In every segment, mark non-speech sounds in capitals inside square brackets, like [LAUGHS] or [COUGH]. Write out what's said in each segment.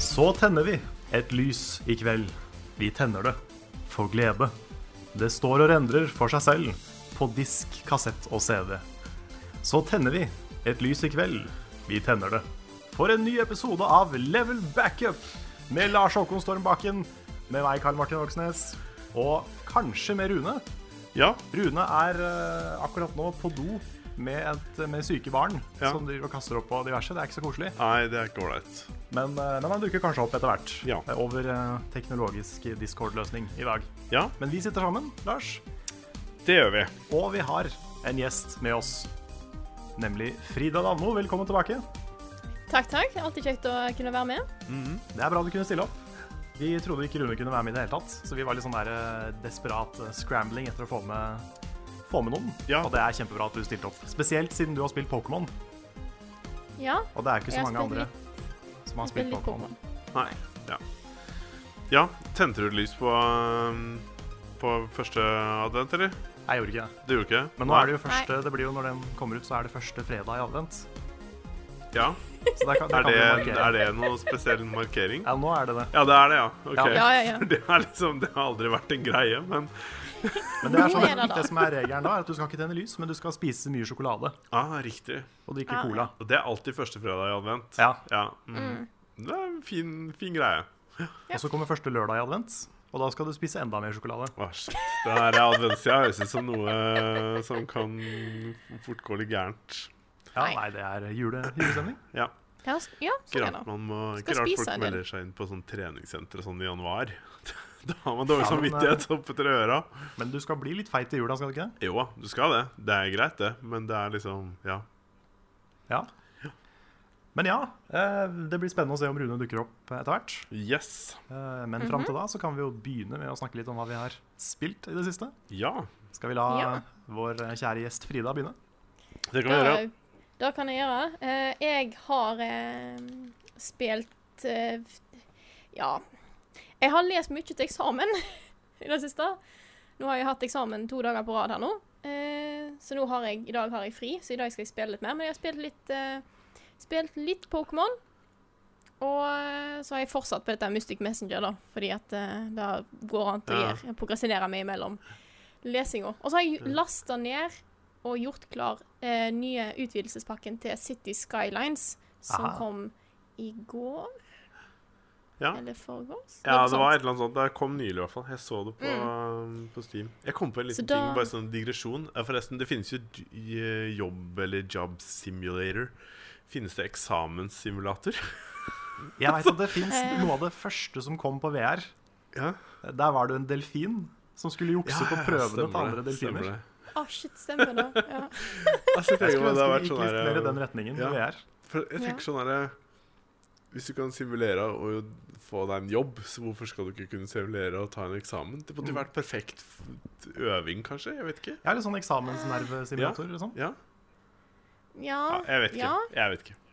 Så tenner vi et lys i kveld. Vi tenner det for glede. Det står og rendrer for seg selv på disk, kassett og CD. Så tenner vi et lys i kveld. Vi tenner det for en ny episode av Level Backup med Lars Håkon Stormbakken, med meg, Karl Martin Hogsnes, og kanskje med Rune. Ja, Rune er eh, akkurat nå på do med, et, med syke barn Ja. som driver og kaster opp på diverse. Det er ikke så koselig. nei, det er ikke ålreit. Men, eh, men han dukker kanskje opp etter hvert. Ja. eh, Over eh, teknologisk Discord-løsning i dag. Ja, Men vi sitter sammen, Lars, det gjør vi. og vi har en gjest med oss. Nemlig Frida Danmo. Velkommen tilbake. Takk, takk. Alltid kjekt å kunne være med. Det er bra du kunne stille opp. Vi trodde ikke Rune kunne være med i det hele tatt, så vi var litt sånn der eh, desperat eh, scrambling etter å få med, få med noen. Ja. Og det er kjempebra at du stilte opp. Spesielt siden du har spilt Pokémon, Ja, og det er ikke så Jeg har mange spilt andre som har spill spilt litt Pokémon. Pokémon. Nei. Ja. ja, tente du lys på, um, på første advent, eller? Jeg gjorde ikke det. Du gjorde ikke det? Men nå er det jo Nei. første, det blir jo når den kommer ut, så er det første fredag i advent. Ja. Så der kan, der Er kan det, vi markere. er det noe spesiell markering? Ja, nå er det det. Ja, det er det, ja. Ok. [LAUGHS] ja, ja. ja. Det, er liksom, det har aldri vært en greie, men Men det, er Nå sånn, er det da. det som er regelen da, er at du skal ikke tenne lys, men du skal spise mye sjokolade ah, riktig. og drikke Ah. cola. Og det er alltid første fredag i advent. Ja, mm. Det er en fin, fin greie. Og så kommer første lørdag i advent, og da skal du spise enda mer sjokolade. Å, shit. Det her er adventstida høres ut som noe eh, som kan fort gå litt gærent. Ja, Nei. Nei, det er jule, julestemning. Ja. Ja, s- ja Ikke sånn er rart, det. man må, ikke Skal rart spise folk en del. melder seg inn på sånn treningssenter og sånn i januar. [LAUGHS] Da har man dårlig Ja, men, samvittighet oppetter øra. Men du skal bli litt feit i jula, skal du ikke det? Jo da, du skal det. Det er greit, det. Men det er liksom Ja. Ja. Men ja, eh, det blir spennende å se om Rune dukker opp etter hvert. Yes. Eh, Men fram Mhm. til da så kan vi jo begynne med å snakke litt om hva vi har spilt i det siste. Ja. Skal vi la Ja. vår eh, kjære gjest Frida begynne? Det kan vi Da, gjøre. da kan jeg gjøre. Eh, jeg har eh, spilt eh, Ja. Jeg har lest mye til eksamen [LAUGHS] i det siste. Nå har jeg hatt eksamen to dager på rad her nå. Eh, så nå har jeg, i dag har jeg fri, så i dag skal jeg spille litt mer. Men jeg har spilt litt, eh, spilt litt Pokémon. Og eh, så har jeg fortsatt på dette Mystic Messenger, da, fordi at eh, det går an å Ja. gjøre- progressere meg imellom lesinga. Og så har jeg lasta ned og gjort klar eh, nye utvidelsespakken til City Skylines, som Aha. kom i går. Ja. Eller foregårs? Ja, det var Noe sånt. et eller annet sånt. Det kom nylig, i hvert fall. Jeg så det på, um, på Steam. Jeg kom på en liten Mm. Så ting, da- bare sånn digresjon. Ja, Forresten, det finnes jo j- i- jobb eller job simulator. Finnes det eksamenssimulator? [LAUGHS] Jeg vet at det fins Eh. noe av det første som kom på VR. Ja. Der var det en delfin som skulle jukse på prøvene til andre delfiner. Å, Ah, shit, stemmer det. Ja. Altså, Jeg jeg tenker skulle meg ønske vi det har vært gikk sånn litt der, mer i den retningen ja. enn vi er. For jeg tenker sånn her Hvis du kan simulere og få deg en jobb, så hvorfor skal du ikke kunne simulere og ta en eksamen? Det Mm. måtte jo vært perfekt f- øving, kanskje? Jeg vet ikke. Jeg har litt sånn eksamensnervesimulator. Liksom. Ja? Ja. [LAUGHS] ja jeg vet ikke. Ja. Jeg vet ikke. [LAUGHS]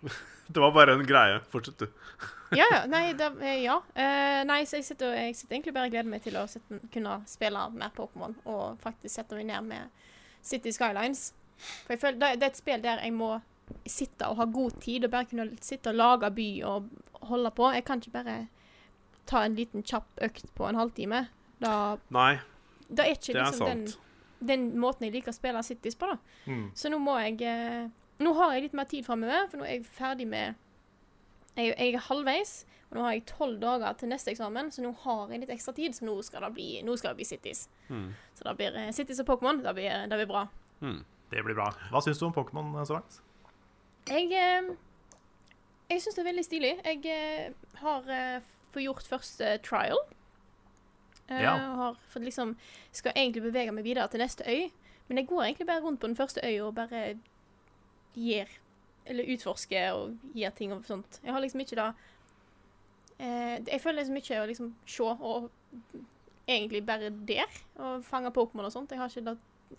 Det var bare en greie. Fortsett, du. Ja, ja. Nei, da, eh, ja. Eh, nei, så jeg sitter, jeg sitter egentlig bare og gleder meg til å sette, kunne spille mer Pokémon og faktisk sette meg ned med City Skylines. For jeg føler, det, det er et spill der jeg må sitte og ha god tid og bare kunne sitte og lage by og holde på. Jeg kan ikke bare ta en liten kjapp økt på en halvtime. Da, Nei, da er ikke det er liksom den, sant. den måten jeg liker å spille Cities på, da. Mm. Så nå må jeg eh, Nå har jeg litt mer tid framover, for nå er jeg ferdig med Jeg, jeg er halvveis, og nå har jeg tolv dager til neste eksamen, så nå har jeg litt ekstra tid, så nå skal det bli, nå skal det bli Cities. Mm. Så da blir eh, Cities og Pokémon det blir, det blir bra. Det blir bra. Hva syns du om Pokémon eh, så langt? Jeg eh, Jeg syns det er veldig stilig. Jeg eh, har eh, fått gjort første trial. Eh, Ja. og Har fått liksom Skal egentlig bevege meg videre til neste øy, men jeg går egentlig bare rundt på den første øya og bare gir Eller utforsker og gir ting og sånt. Jeg har liksom ikke da eh, Jeg føler liksom ikke å liksom se og egentlig bare der og fange Pokémon og sånt. Jeg har ikke da,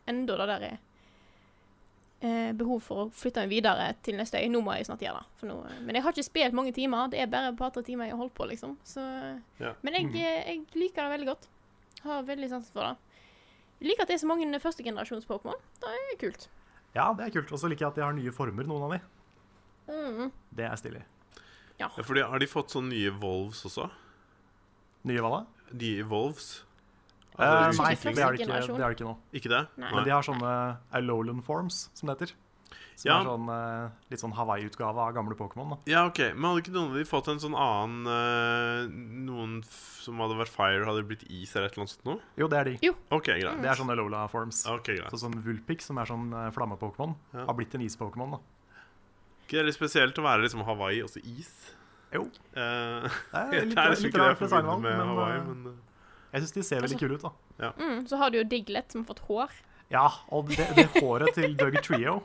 enda det der er eh, behov for å flytte meg videre til neste øy. Nå må jeg snart gjøre det. For nå, eh, men jeg har ikke spilt mange timer. Det er bare et par-tre timer jeg har holdt på, liksom. Så, Ja. Men Mhm. jeg, eh, jeg liker det veldig godt. Har veldig sansen for det. Jeg liker at det er så mange førstegenerasjons Pokémon. Det er kult. Ja, det er kult. Og så liker jeg at de har nye former, noen av de. Mm. Det er stilig. Ja, fordi Har de fått sånne nye Volves også? Nye hva da? De Volves? Eh, det nei, utvikling? det er det ikke, Generasjon. det er det ikke nå. Ikke det? Nei. Men de har sånne Alolan forms, som det heter. Som Ja. er sånn, eh, litt sånn Hawaii-utgave av gamle Pokémon. da. Ja, ok, Men hadde ikke noen av de fått en sånn annen eh, Noen f som hadde vært fire, hadde blitt is eller et eller annet sånt noe? Jo, det er de. OK, Mm. greit. Det er sånne Alola forms. Ok, greit. Sånn som Vulpix, som er sånn eh, flamme-Pokémon, Ja. har blitt en is-Pokémon. da. Ikke det er litt spesielt å være liksom Hawaii og så is? Jo. Eh, Det [LAUGHS] det er litt, er litt, liksom ikke det rar jeg forbinder designvalg, med men, Hawaii, eh, Altså- men eh, jeg syns de ser veldig kule ut. da. Mm, så har du jo Diglett, som har fått hår. Ja, og det, det håret til Dougie Trio,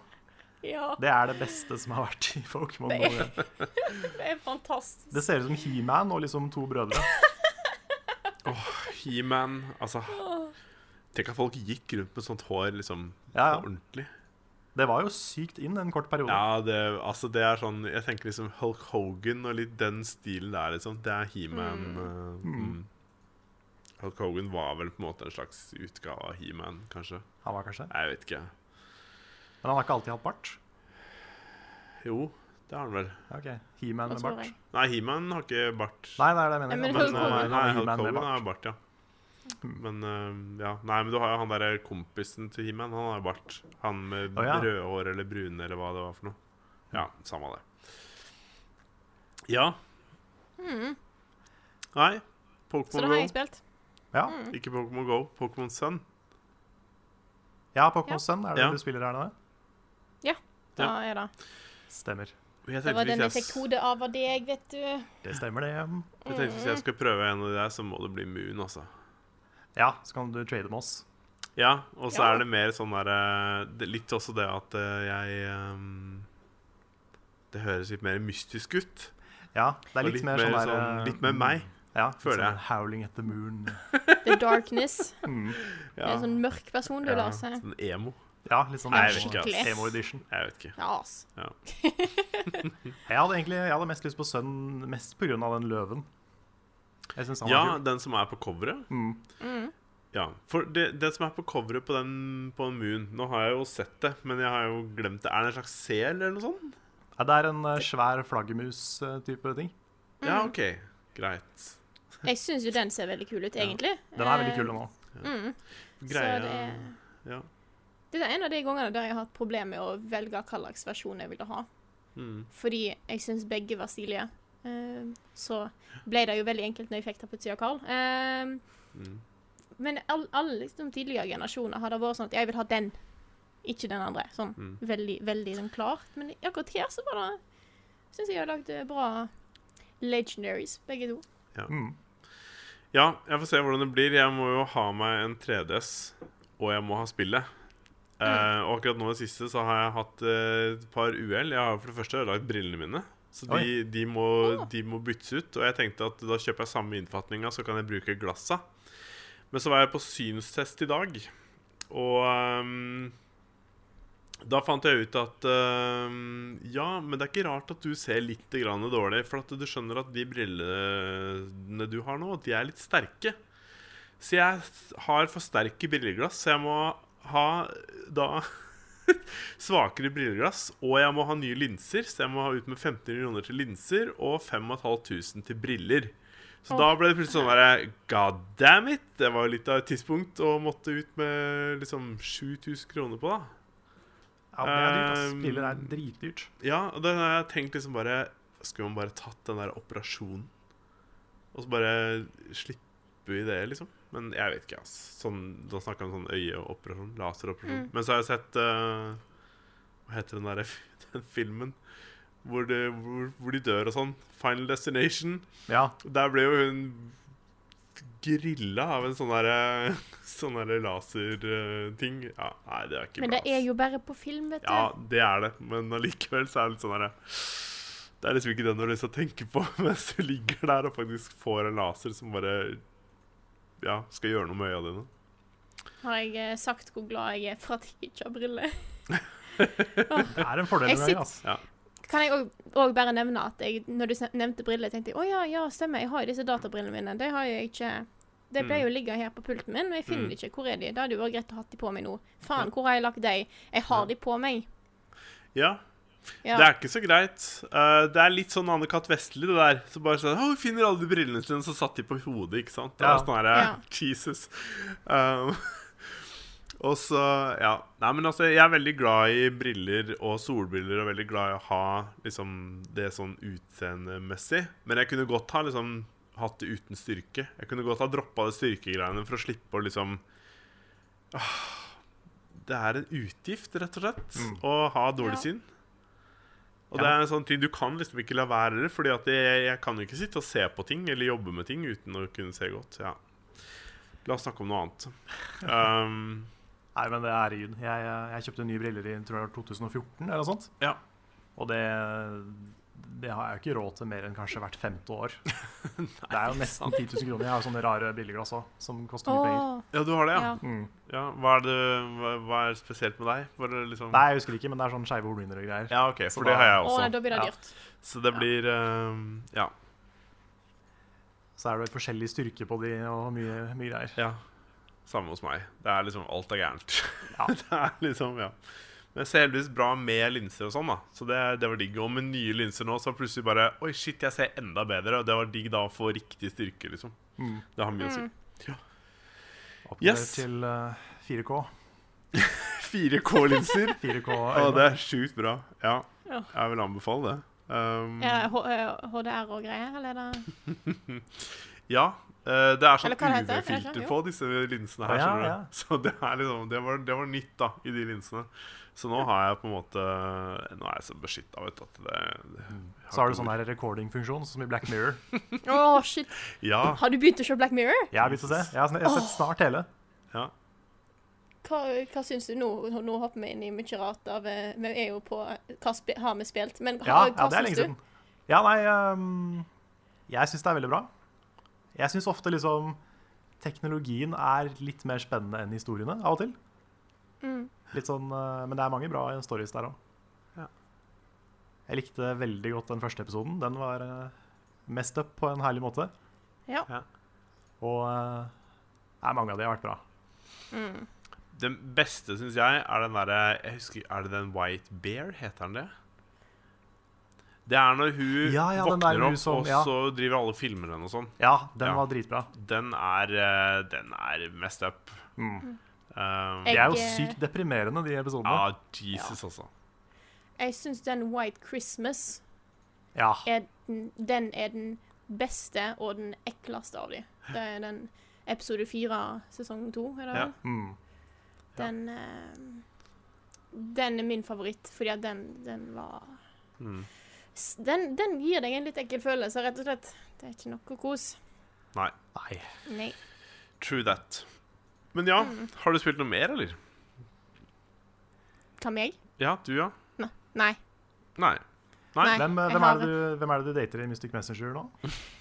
Ja, det er det beste som har vært i Pokémon. Det er- noen gang. det er fantastisk. Det ser ut som He-Man og liksom to brødre. He-Man Altså Tenk at folk gikk rundt med sånt hår liksom Ja, ja. ordentlig. Det var jo sykt inn en kort periode. Ja, det, altså det er sånn Jeg tenker liksom Hulk Hogan og litt den stilen der, liksom. Det er He-Man. eh, mm. Hulk Hogan var vel på en måte en slags utgave av He-Man, kanskje. Han var kanskje. Nei, Jeg vet ikke. Men han har ikke alltid hatt bart. Jo, det har han vel. Ja, Ok, He-Man Hva med tror bart. jeg? Nei, He-Man har ikke bart. Nei, det er det jeg mener. Nei, men Ja, Hulk nei, han nei, har Hogan. Hulk He-Man med Hogan har bart. bart, ja. Men, eh, ja. Nei, men du har jo han derre kompisen til He-Man. Han har jo bart. Han med Å, ja. røde hår eller brune eller hva det var for noe. Ja, samme det. Ja. Nei. Mm. Så det har Pokémon jeg liksom- Go. spilt. Ja, Mm. Ikke Pokémon Go, Pokémon Sun. ja Pokémon Ja. Sun er det Ja. du spiller her nå? Da er det. Stemmer. Jeg Det tenkte, var hvis, den jeg, jeg fikk kode av av deg, vet du. Det stemmer, det. s- jeg tenkte hvis jeg skal prøve en av de der, så må det bli Moon, altså. Ja, så kan du trade med oss. Ja, og så Ja. er det mer sånn derre det- Litt også det at eh, jeg ehm, Det høres litt mer mystisk ut. Ja, det er Og litt, mer sånn der eh, Litt mer Mm. meg. Ja, føler føler jeg. jeg. Howling at the moon. The Darkness. [LAUGHS] Mhm. Ja. En sånn mørk person du Ja, lar seg. Sånn emo. Ja, litt sånn Nei, jeg vet ikke, ass. emo-edition. Jeg vet ikke. Ja, ass. Jeg hadde egentlig jeg hadde mest lyst på Sun mest pga. den løven. Jeg syns han Ja, var kul. den som er på coveret. Mm. Mm. Ja, for det, det som er på coveret på den på Moon Nå har jeg jo sett det, men jeg har jo glemt det. Er det en slags sel eller noe sånt? Ja, det er en eh, svær flaggermus-type ting. Ja, Mm. OK. Greit. Jeg syns jo den ser veldig kul ut, egentlig. Den er veldig kul, Eh, den òg. Greia Så det er, Ja. det er en av de gangene der jeg har hatt problemer med å velge hva slags versjon jeg ville ha. Mm. Fordi jeg syns begge var stilige. Eh, så ble det jo veldig enkelt når jeg fikk Tapetia og Carl. Eh, Mm. Men all- alle liksom, tidligere generasjoner har det vært sånn at jeg vil ha den, ikke den andre. Sånn Mm. veldig, veldig sånn klart. Men akkurat her så var det Syns jeg har lagd eh, bra legendaries, begge to. ja, jeg får se hvordan det blir. Jeg må jo ha meg en 3DS, og jeg må ha spillet. Eh, og akkurat nå i det siste så har jeg hatt eh, et par uhell. Jeg har for det første ødelagt brillene mine. Så de, Oi. de, må, de må byttes ut. Og jeg tenkte at da kjøper jeg samme innfatninga, så kan jeg bruke glassa. Men så var jeg på synstest i dag, og ehm, da fant jeg ut at ehm, Ja, men det er ikke rart at du ser litt grann dårlig. For at du skjønner at de brillene du har nå, de er litt sterke. Så jeg s- har for sterke brilleglass, så jeg må ha da [LAUGHS] svakere brilleglass. Og jeg må ha nye linser, så jeg må ha ut med 1500 kroner til linser og 5500 til briller. Så da ble det plutselig sånn derre God damn it! Det var litt av et tidspunkt å måtte ut med liksom 7000 kroner på, da. Ja, det er dyrt, eh, ass. Um, Briller er dritdyrt. Ja, og da har jeg tenkt liksom bare Skulle man bare tatt den der operasjonen Og så bare slippe i det liksom Men jeg vet ikke, ass sånn, Da snakker jeg om sånn øyeoperasjon, Mm. [LAUGHS] laseroperasjon Men så har jeg sett eh, Hva heter den der den filmen hvor, det, hvor, hvor de dør og sånn. Final Destination. Ja. Der ble jo hun grilla av en sånn derre sånn der [LAUGHS] laserting. Ja, nei, det er ikke Men bra. det er jo bare på film, vet du. Ja, det er det, men allikevel så er det litt sånn derre Det er liksom ikke den du har lyst til å tenke på [LAUGHS] mens du ligger der og faktisk får en laser som bare Ja, skal gjøre noe med øya dine. Har jeg eh, sagt hvor glad jeg er for at jeg ikke har briller? Det er en fordel Jeg noen ganger. sitter- ass. Ja. Kan jeg òg- òg bare nevne at jeg, når du sn- nevnte briller, tenkte jeg å ja, ja, stemmer, jeg har jo disse databrillene mine. De har jo jeg ikke De ble Mm. jo ligga her på pulten min, og jeg finner Mm. de ikke. Hvor er de? Det hadde jo vært greit å ha de på meg nå. Faen, hvor har jeg lagt de? Jeg har de på meg. ja. Ja. Det er ikke så greit. Eh, det er litt sånn Anne-Kat. Vestli, det der. Så bare sånn, «Å, vi finner alle de brillene sine, så satt de på hodet, ikke sant? Det er Ja. sånn her, Ja. Jesus. Um, [LAUGHS] og så, ja. Nei, men altså, jeg er veldig glad i briller og solbriller, og veldig glad i å ha liksom, det sånn utseendemessig. Men jeg kunne godt ha liksom, hatt det uten styrke. Jeg kunne godt ha droppa det styrkegreiene for å slippe å liksom Ah, Det er en utgift, rett og slett, å ha dårlig Ja. syn. Og det er en sånn ting Du kan liksom ikke la være, Fordi at jeg, jeg kan jo ikke sitte og se på ting eller jobbe med ting uten å kunne se godt. Ja. La oss snakke om noe annet. Um, Nei, men det er herregud. Jeg, eh, jeg kjøpte nye briller i tror jeg, var 2014 eller noe sånt. ja. Og det, det har jeg jo ikke råd til mer enn kanskje hvert femte [LAUGHS] år. det er jo nesten 10 000 kroner. Jeg har sånne rare brilleglass òg, som koster mye penger. Åh, ja, du har det, ja? ja. Mm. ja. Hva, er det, hva, hva er spesielt med deg? Var det liksom Nei, jeg husker ikke, men det er sånn skeive hornhinner og greier. Ja, OK, Så for det da- har jeg Åh, nei, også. da blir det altså. Ja. dyrt. Så det blir um, Ja. Så er det vel forskjellig styrke på de og mye, mye greier. Ja. Samme hos meg. Det er liksom Alt er gærent. [LAUGHS] Ja. det er liksom, ja. Men jeg ser heldigvis bra med linser og sånn, da. Så det, det var digg. Og med nye linser nå, så plutselig bare Oi, shit, jeg ser enda bedre. Og det var digg da å få riktig styrke, liksom. Det har mye Mm. å si. Oppgradert Yes. Mm. [LAUGHS] til eh, 4K. 4K-linser. [LAUGHS] 4K Å, det er sjukt bra. Ja. Ja. Jeg vil anbefale det. Um, Er Mm. det H- eh, HDR og greier, eller [LAUGHS] er det Ja. eh, Det er sånn Eller hva det heter? Er det sånn? UV-filter Jo. på disse linsene her. Å, ja, skjønner du. ja. [LAUGHS] Så det, er liksom, det, var, det var nytt, da, i de linsene. Så nå har jeg på en måte Nå er jeg så beskytta, vet du, at det, det jeg Så har du ikke sånn noe- her recording-funksjon, sånn som i Black Mirror. Å, shit. Ja. Ah. Har du begynt å se Black Mirror? Jeg har begynt å se. Jeg har, sn- jeg har sett snart hele. ja. Hva, hva syns du nå? Nå hopper vi inn i mye rart av eh, Vi er jo på hva spe, har vi spilt, men hva, Ja, ja hva det er syns lenge du? siden. Ja, nei ehm, Jeg syns det er veldig bra. Jeg syns ofte liksom Teknologien er litt mer spennende enn historiene av og til. Mm. Litt sånn, eh, Men det er mange bra stories der òg. Ja. Jeg likte veldig godt den første episoden. Den var eh, messed up på en herlig måte. Ja. Ja. Og eh, nei, mange av de har vært bra. Den beste, syns jeg, er den derre Jeg husker Er det den White Bear? Heter den det? Det er når hun Ja, ja, den der våkner hun opp, som- og ja. så driver alle og filmer henne og sånn. Ja, den Ja. var dritbra. Den er eh, Den er messed up. Mm. Um, Mm. Jeg- De er jo eh, sykt deprimerende, de episodene. ja, Jesus, altså. Jeg syns den White Christmas Ja. er den, den er den beste og den ekleste av de. Det er den episode fire, sesong to, er det Ja. vel? Mm. Den eh, Den er min favoritt, fordi at den, den var Mm. S- den, den gir deg en litt ekkel følelse, rett og slett. Det er ikke noe kos. Nei. Nei. Nei. True that. Men ja, Mm. har du spilt noe mer, eller? Hva med jeg? Ja, du, ja? Nei. Nei. Nei. Nei. Nei. Hvem, eh, jeg hvem, har er det du, hvem er det du dater i Mystic Messenger nå?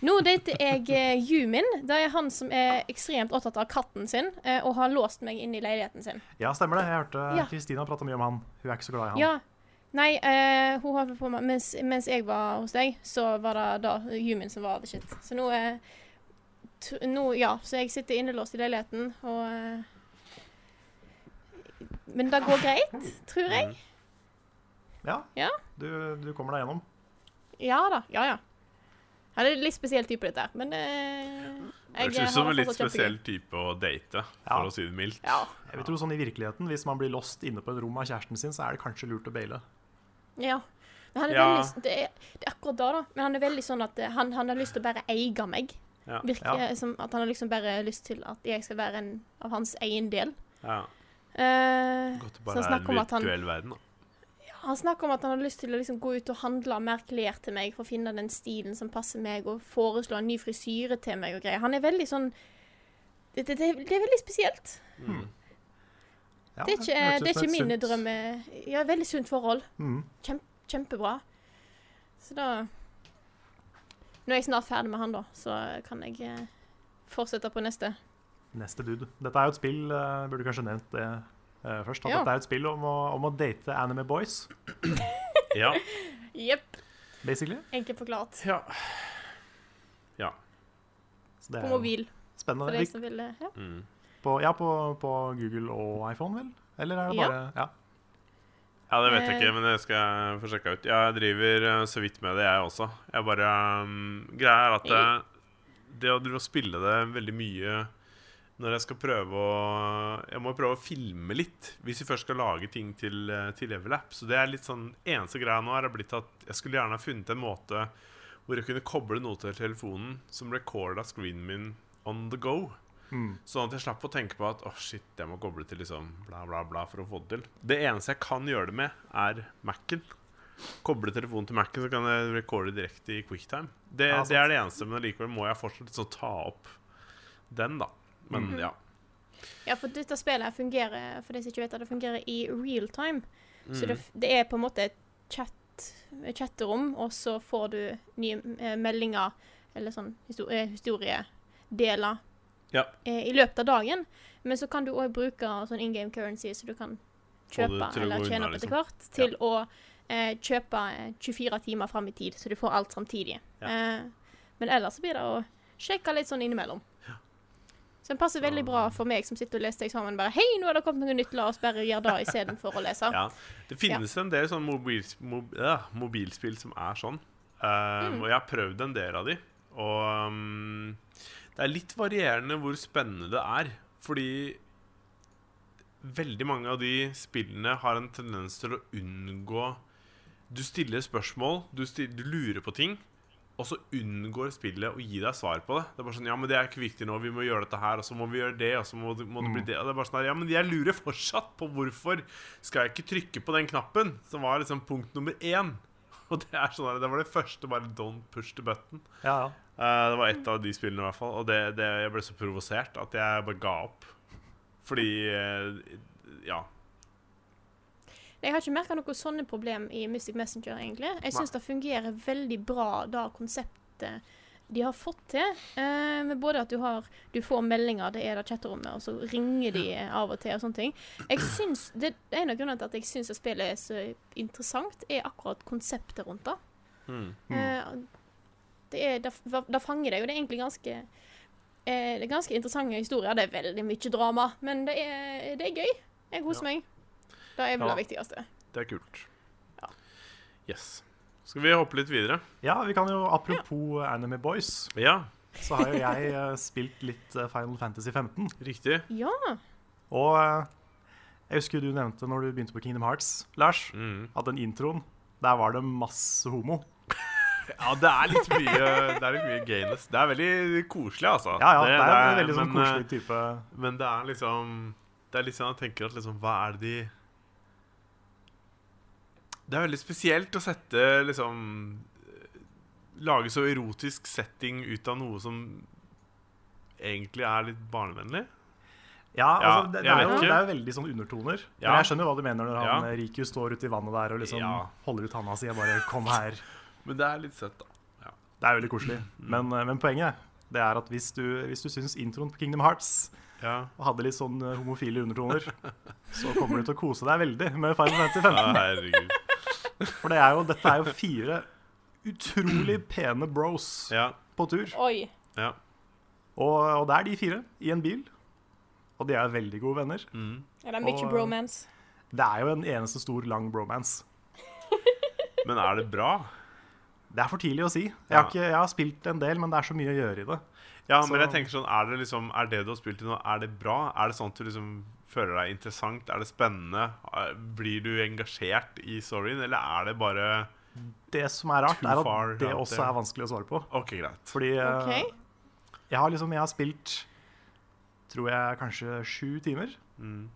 Nå dater jeg eh, Yumin. Det er han som er ekstremt opptatt av katten sin, eh, og har låst meg inn i leiligheten sin. Ja, stemmer det. Jeg hørte Ja. Kristina prate mye om han. Hun er ikke så glad i han. Ja. Nei, eh, hun holdt på med mens, mens jeg var hos deg, så var det da Yumin som var the shit. Så nå, eh, t nå Ja, så jeg sitter innelåst i leiligheten, og eh, Men det går greit, tror jeg. Mm. Ja. Ja. Du, du kommer deg gjennom. Ja da. Ja, ja. Ja, det er litt spesiell type, dette her, men eh, Det jeg høres ut som en har det litt fortsatt spesiell kjempegøy. type å date, Ja. for å si det mildt. Ja. Jeg vil tro sånn i virkeligheten, Hvis man blir lost inne på et rom av kjæresten sin, så er det kanskje lurt å baile. Ja. Men han er Ja. veldig det er, det er akkurat da, da. Men han er veldig sånn at eh, han, han har lyst til å bare eie meg. Ja. Virker Ja. som at han har liksom bare lyst til at jeg skal være en av hans egen del. Ja. Eh, Godt det Så bare er snakk en om at han- virtuell verden, da. Han snakker om at han har lyst til å liksom gå ut og handle mer klær til meg for å finne den stilen som passer meg, og foreslå en ny frisyre til meg og greier. Han er veldig sånn Det, det, det, det er veldig spesielt. Ja, det er ikke, hørtes det er som et ikke mine sunt- drømme... Ja, veldig sunt forhold. Mm. Kjem, kjempebra. Så da Nå er jeg snart ferdig med han, da, så kan jeg eh, fortsette på neste. Neste dude. Dette er jo et spill eh, Burde kanskje nevnt det eh, først. At Ja. Dette er et spill om å, om å date anime boys, Ja. [LAUGHS] Jepp. basically. Enkelt forklart. ja. Så det På er mobil, for spennende. de Vi- som vil eh, ja. Mm. På, ja, på, på Google og iPhone, vel? Eller er det Ja. bare Ja. Ja, det vet jeg Eh. ikke, men det skal jeg få sjekka ut. Jeg driver eh, så vidt med det, jeg også. Jeg bare um, Greia er at det, det å drive og spille det veldig mye når jeg skal prøve å Jeg må prøve å filme litt hvis vi først skal lage ting til, eh, til Level App. Så det er litt sånn Eneste greia nå er blitt at jeg skulle gjerne ha funnet en måte hvor jeg kunne koble noe til telefonen som recorda screenen min on the go. Sånn at jeg slapp å tenke på at Åh shit, jeg må koble til liksom bla, bla, bla for å få det til. Det eneste jeg kan gjøre det med, er Mac-en. Koble telefonen til Mac-en, så kan jeg recorde direkte i QuickTime. Det, Ja, sant. det er det eneste, men likevel må jeg fortsatt så ta opp den, da. Men Mhm. ja. Ja, for dette spillet her fungerer for de som ikke vet det, det fungerer i real time. Så Mm. det, f- det er på en måte et chat, et chatterom, og så får du nye eh, meldinger eller sånn histo- eh, historiedeler ja. eh, i løpet av dagen. Men så kan du òg bruke sånn in game currency, så du Få kan det kjøpe til å eller gå tjene unna, opp etter liksom. hvert til å eh, kjøpe eh, 24 timer fram i tid, så du får alt samtidig. Ja. Eh, men ellers så blir det å sjekke litt sånn innimellom. Så den passer veldig bra for meg som sitter og leser eksamen. bare, Hei, nå er det kommet noe nytt, la oss bare gjøre det istedenfor å lese. ja. Det finnes en del sånne mobils, mob, ja, mobilspill som er sånn. Um, Og jeg har prøvd en del av de. Og um, det er litt varierende hvor spennende det er. Fordi veldig mange av de spillene har en tendens til å unngå Du stiller spørsmål, du, sti- du lurer på ting. Og så unngår spillet å gi deg svar på det. Det er bare sånn, ja, men det er ikke viktig nå, vi må gjøre dette her, og så må vi gjøre det, og så må det, må det bli det. Og det er bare sånn, her, ja, men jeg lurer fortsatt på hvorfor skal jeg ikke trykke på den knappen, som var liksom punkt nummer én. [LAUGHS] Og det er sånn, her, det var det første, bare don't push the button. ja, ja. Eh, det var et av de spillene i hvert fall, og det, det, jeg ble så provosert at jeg bare ga opp. Fordi, eh, ja, Jeg har ikke merka noe sånne problem i Mystic Messenger, egentlig. Jeg syns det fungerer veldig bra, det konseptet de har fått til. Eh, med både at du har Du får meldinger, det er det chatterommet, og så ringer de av og til og sånne ting. Jeg syns det, det er En av grunnene til at jeg syns spillet er så interessant, er akkurat konseptet rundt det. Eh, det, er, det, f- det fanger deg, og det er egentlig ganske eh, det er ganske interessante historier. Det er veldig mye drama, men det er, det er gøy. Jeg koser meg. Det er vel Ja. det viktigste. det er kult. Yes. Skal vi hoppe litt videre? ja, vi kan jo Apropos Anime Boys, Ja, så har jo jeg eh, spilt litt eh, Final Fantasy 15. riktig. Ja. Og eh, jeg husker du nevnte når du begynte på Kingdom Hearts, Lars, Mm. at den introen der var det masse homo. Ja, det er litt mye, det er litt mye gayness. Det er veldig koselig, altså. Ja, ja, det, er en veldig sånn men, eh, koselig type Men det er liksom Det er litt sånn jeg tenker at liksom Hva er det de Det er veldig spesielt å sette liksom Lage så erotisk setting ut av noe som egentlig er litt barnevennlig. Ja, altså, det, det, jeg er vet jo, ikke. det er jo veldig sånn undertoner. Men Ja. jeg skjønner jo hva du mener når han Ja. eh, Riku står ute i vannet der og liksom Ja. holder ut handa si og bare 'kom her'. Men det er litt søtt, da. Det er veldig koselig. Mm. Men, eh, men poenget det er at hvis du, hvis du syns introen på Kingdom Hearts Ja. hadde litt sånn eh, homofile undertoner, så kommer du til å kose deg veldig med Final Fantasy 15. Herregud. For det er jo, dette er jo fire utrolig pene bros Ja. på tur. Oi. ja. Og, og det er de fire i en bil. Og de er veldig gode venner. Mm. Ja, det er mye Og, eh, bromance. Det er jo en eneste stor, lang bromance. Men er det bra? Det er for tidlig å si. Jeg har, Ja. ikke, jeg har spilt en del, men det er så mye å gjøre i det. Ja, Så- men jeg tenker sånn Er det liksom Er det du har spilt i nå, er det bra? Er det sånn at du liksom føler deg interessant? Er det spennende? Er- Blir du engasjert i storyen, eller er det bare Det som er rart, Too er far at det out også there. er vanskelig å svare på. OK, greit. Fordi eh, OK. jeg har liksom Jeg har spilt Mm. tror jeg kanskje sju timer,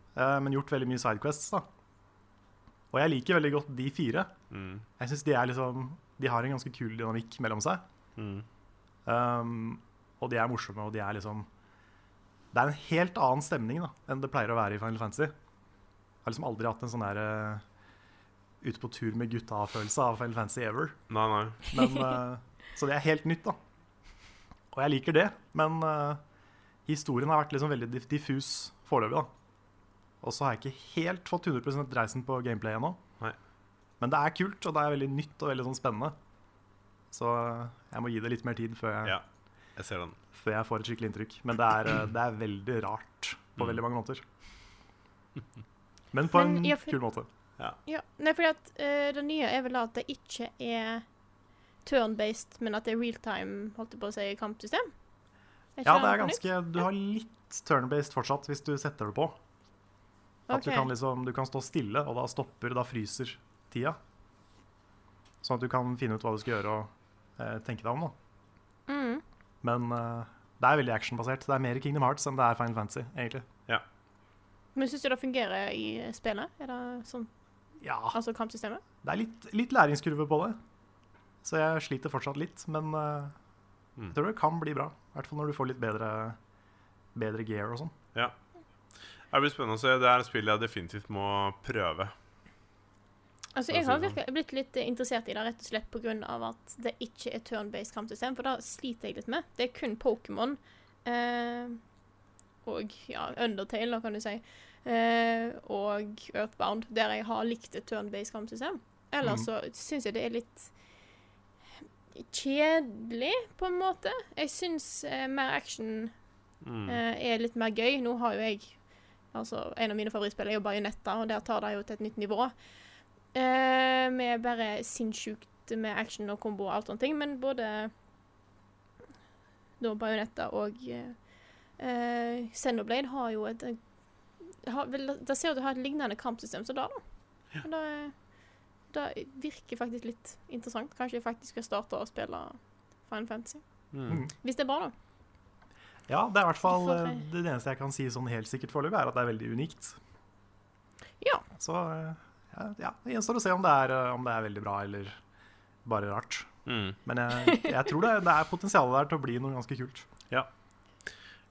eh, men gjort veldig mye sidequests, da. Og jeg liker veldig godt de fire. Mm. Jeg synes de er liksom De har en ganske kul dynamikk mellom seg. Mm. Um, og de er morsomme, og de er liksom Det er en helt annen stemning da enn det pleier å være i Final Fantasy. Jeg har liksom aldri hatt en sånn der eh, ute på tur med gutta-følelse av Final Fantasy ever. Nei, nei. [LAUGHS] Men, eh, så det er helt nytt, da. Og jeg liker det, men eh, historien har vært liksom veldig diff- diffus foreløpig, da. Og så har jeg ikke helt fått 100 dreisen på gameplay ennå. Nei. Men det er kult, og det er veldig nytt og veldig sånn spennende. Så eh, jeg må gi det litt mer tid før jeg, Ja, jeg ser den. før jeg får et skikkelig inntrykk. Men det er, eh, det er veldig rart Mm. på veldig mange [LAUGHS] måter. Men på Men en jeg- kul måte. Ja, Nei, fordi at eh, det nye er vel at det ikke er turn-based, men at det er real-time, holdt jeg på å si, kampsystem? Ja, det er ganske Du har litt turn-based fortsatt hvis du setter det på. At du, kan liksom, du kan stå stille, og da stopper, da fryser tida. Sånn at du kan finne ut hva du skal gjøre og eh, tenke deg om. da. Mm. Men eh, det er veldig actionbasert. Det er mer Kingdom Hearts enn det er Final Fantasy. egentlig. Men syns du det fungerer i spillet? Er det sånn, Ja, altså kampsystemet? Det er litt, litt læringskurve på det, så jeg sliter fortsatt litt. Men eh, Mm. jeg tror det kan bli bra. I hvert fall når du får litt bedre, bedre gear og sånn. Det blir spennende å se. Det er et spill jeg definitivt må prøve. Altså, For å jeg si har det virkelig blitt litt eh, interessert i det rett og slett pga. at det ikke er turn-based kampsystem, for det sliter jeg litt med. Det er kun Pokémon eh, og ja, Undertale, da, kan du si, eh, og Earthbound, der jeg har likt et turn-based kampsystem. Ellers så syns jeg det er litt kjedelig, på en måte. Jeg syns eh, mer action Mm. eh, er litt mer gøy. Nå har jo jeg altså En av mine favorittspill er jo Bajonetta, og der tar det jo til et nytt nivå. Eh, med bare sinnssykt med action og kombo og alt sånne ting, men både da Bajonetta og eh, eh, Xenoblade har jo et har, vel, Det ser ut til å ha et lignende kampsystem som det, da. Og Det, det virker faktisk litt interessant. Kanskje jeg faktisk skal starte å spille Final Fantasy. Mm. Hvis det er bra, da. Ja, det er i hvert fall får eh, det eneste jeg kan si sånn helt sikkert foreløpig, er at det er veldig unikt. Ja. Så eh, ja, ja, det gjenstår å se om det, er, eh, om det er veldig bra eller bare rart. Mm. Men jeg, jeg tror det, det er potensial der til å bli noe ganske kult. Jeg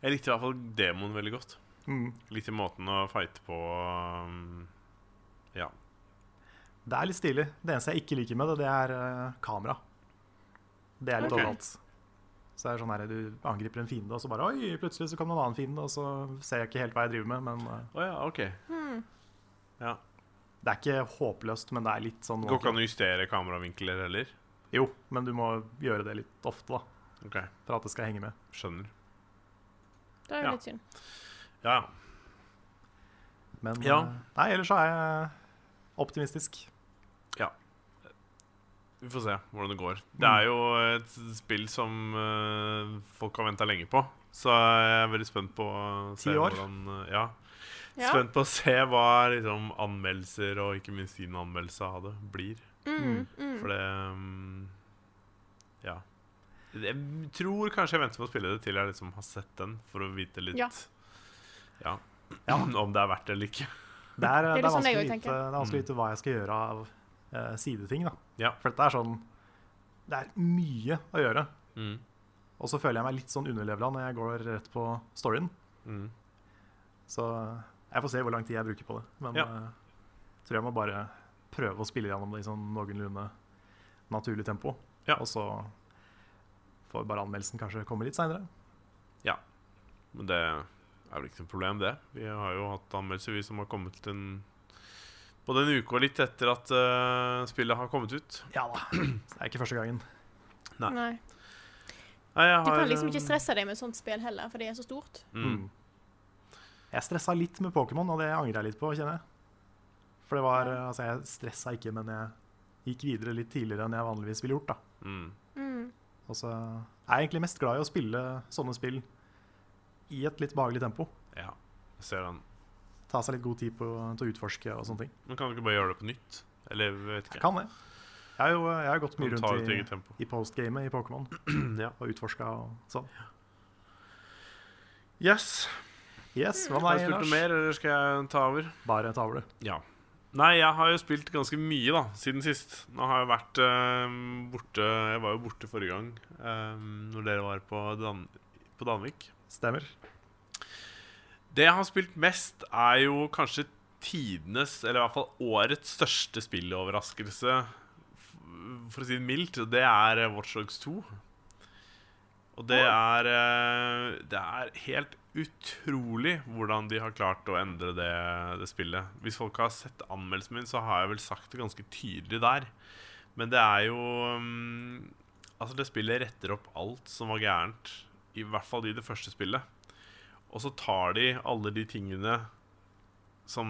likte i hvert fall demoen veldig godt. Mm. Likte måten å fighte på. Um, ja. Det er litt stilig. Det eneste jeg ikke liker med det, det er eh, kamera. Det er litt Ok. overalt. Så det er sånn her, Du angriper en fiende, og så bare oi, plutselig så kom det en annen fiende, og så ser jeg ikke helt hva jeg driver med. Men eh, Å ja, OK. Det er ikke håpløst, men det er litt sånn Går ikke an å justere kameravinkler heller. Jo, men du må gjøre det litt ofte, da. OK, For at det skal henge med. skjønner. Det er jo Ja. litt synd. Ja, ja. Men Ja. eh, nei, ellers så er jeg optimistisk. Vi får se hvordan det går. Det Mm. er jo et spill som eh, folk har venta lenge på. Så jeg er veldig spent på å se Ti år? hvordan eh, Ja. Ja. Spent på å se hva liksom, anmeldelser, og ikke minst din anmeldelse av det, blir. Mm, mm. For det mm, Ja. Jeg tror kanskje jeg venter med å spille det til jeg liksom har sett den, for å vite litt Ja. ja, [CLEARS THROAT] om det er verdt det eller ikke. Det er, Det er det litt er sånn jeg vanskelig å også vite, tenker. det er vanskelig å vite hva jeg skal gjøre av eh, sideting. da. Ja. For dette er sånn Det er mye å gjøre. Mm. Og så føler jeg meg litt sånn underlevela når jeg går rett på storyen. Mm. Så jeg får se hvor lang tid jeg bruker på det. Men Ja. jeg tror jeg må bare prøve å spille gjennom det i sånn noenlunde naturlig tempo. Ja. Og så får bare anmeldelsen kanskje komme litt seinere. Men det er vel ikke noe problem, det. Vi har jo hatt anmeldelser, vi som har kommet til en både en uke og litt etter at eh, spillet har kommet ut. Ja da. Det er ikke første gangen. Nei. Nei, jeg har, Du kan liksom eh, ikke stresse deg med sånt spill heller, for det er så stort. Mm. Jeg stressa litt med Pokémon, og det angrer jeg litt på, kjenner jeg. For det var eh, Altså, jeg stressa ikke, men jeg gikk videre litt tidligere enn jeg vanligvis ville gjort, da. Mm. Mm. Og så er jeg egentlig mest glad i å spille sånne spill i et litt behagelig tempo. Ja, jeg ser den. Ta seg litt god tid på, til å utforske og sånne ting. Men kan du ikke bare gjøre det på nytt? Eller jeg vet Jeg ikke. kan det. Jeg har jo jeg har gått mye Kan ta ditt eget rundt i, tempo. i postgamet i Pokémon [CLEARS THROAT] ja. og utforska og sånn. Yes. Yes, hva med Har du deg, spurt noe Lars? mer, eller skal jeg ta over? Bare tavle. Ja. Nei, jeg har jo spilt ganske mye da, siden sist. Nå har jeg vært eh, borte Jeg var jo borte forrige gang, eh, når dere var på, Dan på Danvik. Stemmer. Det jeg har spilt mest, er jo kanskje tidenes, eller i hvert fall årets største spilloverraskelse, f- for å si det mildt. og Det er eh, Watch Dogs 2. Og det er eh, Det er helt utrolig hvordan de har klart å endre det, det spillet. Hvis folk har sett anmeldelsen min, så har jeg vel sagt det ganske tydelig der. Men det er jo mm, Altså, det spillet retter opp alt som var gærent. I hvert fall i det første spillet. Og så tar de alle de tingene som,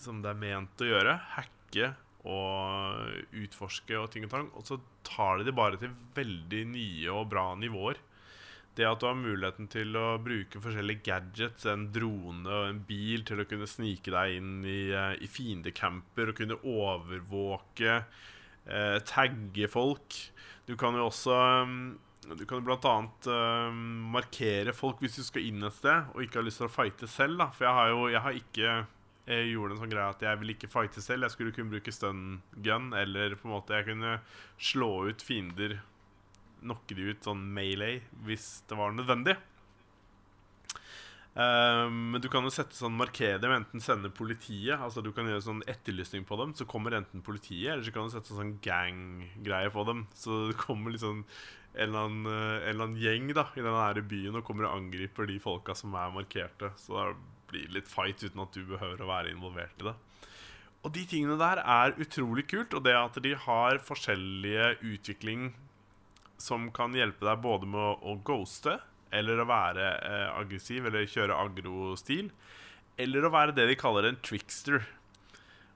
som det er ment å gjøre, hacke og utforske og ting og tang, og så tar de det bare til veldig nye og bra nivåer. Det at du har muligheten til å bruke forskjellige gadgets, en drone og en bil, til å kunne snike deg inn i, eh, i fiendecamper og kunne overvåke, eh, tagge folk. Du kan jo også um, Du kan jo blant annet um, markere folk hvis du skal inn et sted og ikke har lyst til å fighte selv. Da. For jeg har jo jeg har ikke jeg gjorde en sånn greie at jeg ville ikke fighte selv. Jeg skulle kunne bruke stun gun, eller på en måte jeg kunne slå ut fiender, knocke de ut sånn melee hvis det var nødvendig. Ehm, Men du kan jo sette sånn markere dem, enten sende politiet Altså du kan gjøre sånn etterlysning på dem, så kommer enten politiet, eller så kan du sette sånn gang-greie på dem. Så det kommer liksom en eller, annen, eh, en eller annen gjeng da i den her byen og kommer og angriper de folka som er markerte. Så da blir det litt fight uten at du behøver å være involvert i det. Og de tingene der er utrolig kult, og det at de har forskjellige utvikling som kan hjelpe deg både med å, å ghoste, eller å være eh, aggressiv, eller kjøre agro-stil, eller å være det de kaller en trickster.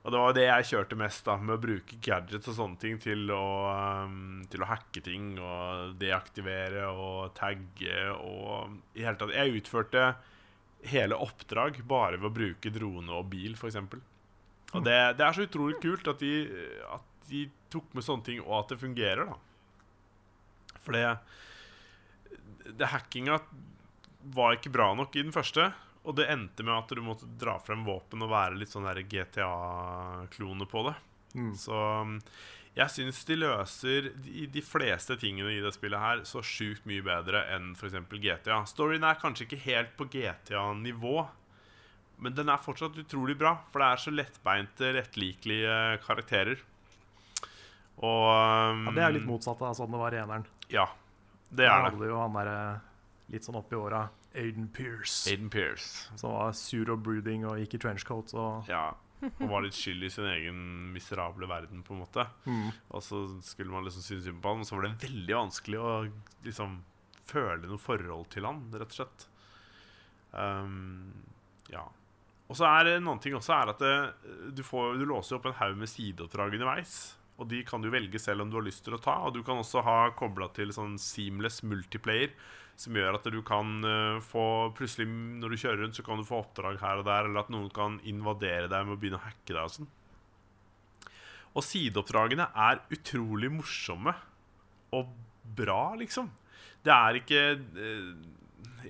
Og det var det jeg kjørte mest, da, med å bruke gadgets og sånne ting til å, ehm, til å hacke ting og deaktivere og tagge og I hele tatt. Jeg utførte hele oppdrag bare ved å bruke drone og bil, f.eks. Og det, det er så utrolig kult at de, at de tok med sånne ting, og at det fungerer, da. For det, det hackinga var ikke bra nok i den første. Og det endte med at du måtte dra frem våpen og være litt sånn der GTA-klone på det. Mm. Så um, jeg syns de løser de, de fleste tingene i det spillet her så sjukt mye bedre enn f.eks. GTA. Storyen er kanskje ikke helt på GTA-nivå, men den er fortsatt utrolig bra. For det er så lettbeinte, rettlikelige karakterer. Og um, Ja, det er jo litt motsatt av sånn det var i eneren. Ja, det Da er det. hadde du jo han derre litt sånn oppi åra, Aiden Pierce, Aiden Pierce. som var sur og brooding og gikk i trenchcoat og Ja. Og var litt skyld i sin egen miserable verden, på en måte. Og så skulle man liksom synes synd på han, og så var det veldig vanskelig å liksom føle noe forhold til han, rett og slett. Ehm, ja. Og så er det en annen ting også er at det, du, får, du låser jo opp en haug med sideoppdrag underveis. Og de kan du velge selv om du har lyst til å ta. Og du kan også ha kobla til sånn seamless multiplayer, som gjør at du kan eh, få Plutselig når du kjører rundt, så kan du få oppdrag her og der, eller at noen kan invadere deg med å begynne å hacke deg og sånn. Og sideoppdragene er utrolig morsomme og bra, liksom. Det er ikke eh,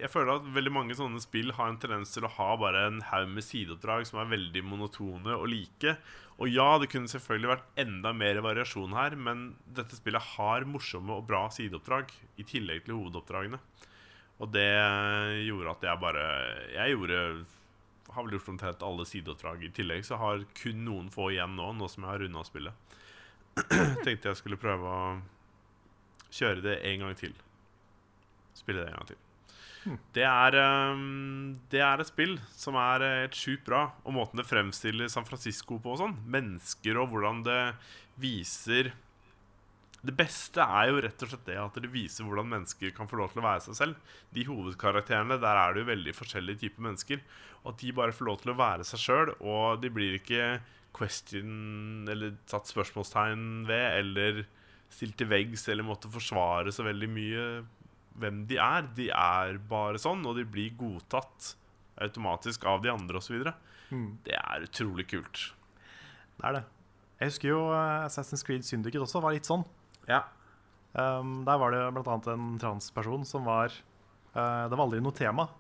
Jeg føler at veldig mange sånne spill har en tendens til å ha bare en haug med sideoppdrag som er veldig monotone og like. Og ja, det kunne selvfølgelig vært enda mer variasjon her, men dette spillet har morsomme og bra sideoppdrag i tillegg til hovedoppdragene. Og det gjorde at jeg bare Jeg gjorde har vel gjort omtrent alle sideoppdrag. I tillegg så har kun noen få igjen nå, nå som jeg har runda spillet. [CLEARS THROAT] Tenkte jeg skulle prøve å kjøre det en gang til. Spille det en gang til. Det er, ehm, det er et spill som er eh, helt sjukt bra. Og måten det fremstiller San Francisco på og sånn. Mennesker og hvordan det viser Det beste er jo rett og slett det at det viser hvordan mennesker kan få lov til å være seg selv. De hovedkarakterene, der er det jo veldig forskjellige typer mennesker. Og at de bare får lov til å være seg sjøl, og de blir ikke question eller satt spørsmålstegn ved eller stilt til veggs eller måtte forsvare så veldig mye hvem de er. De er bare sånn, og de blir godtatt automatisk av de andre osv. videre Det er utrolig kult. Det er det. Jeg husker jo eh, Assassin's Creed Syndicate også var litt sånn. Ja. Um, der var det blant annet en transperson som var eh, Det var aldri noe tema. Nei.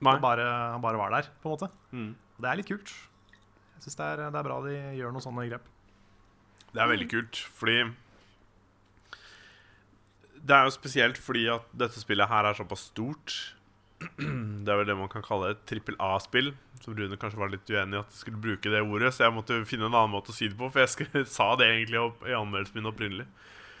Mm. Han bare, han bare var der, på en måte. Og det er litt kult. Jeg Jeg syns det, er- det er bra de gjør noen sånne grep. Det er veldig kult, fordi Det er jo spesielt fordi at dette spillet her er såpass stort. [CLEARS THROAT] Det er vel det man kan kalle et trippel A-spill, som Rune kanskje var litt uenig i at jeg skulle bruke det ordet, så jeg måtte finne en annen måte å si det på, for jeg sk- [LAUGHS] sa det egentlig opp, i anmeldelsen min opprinnelig.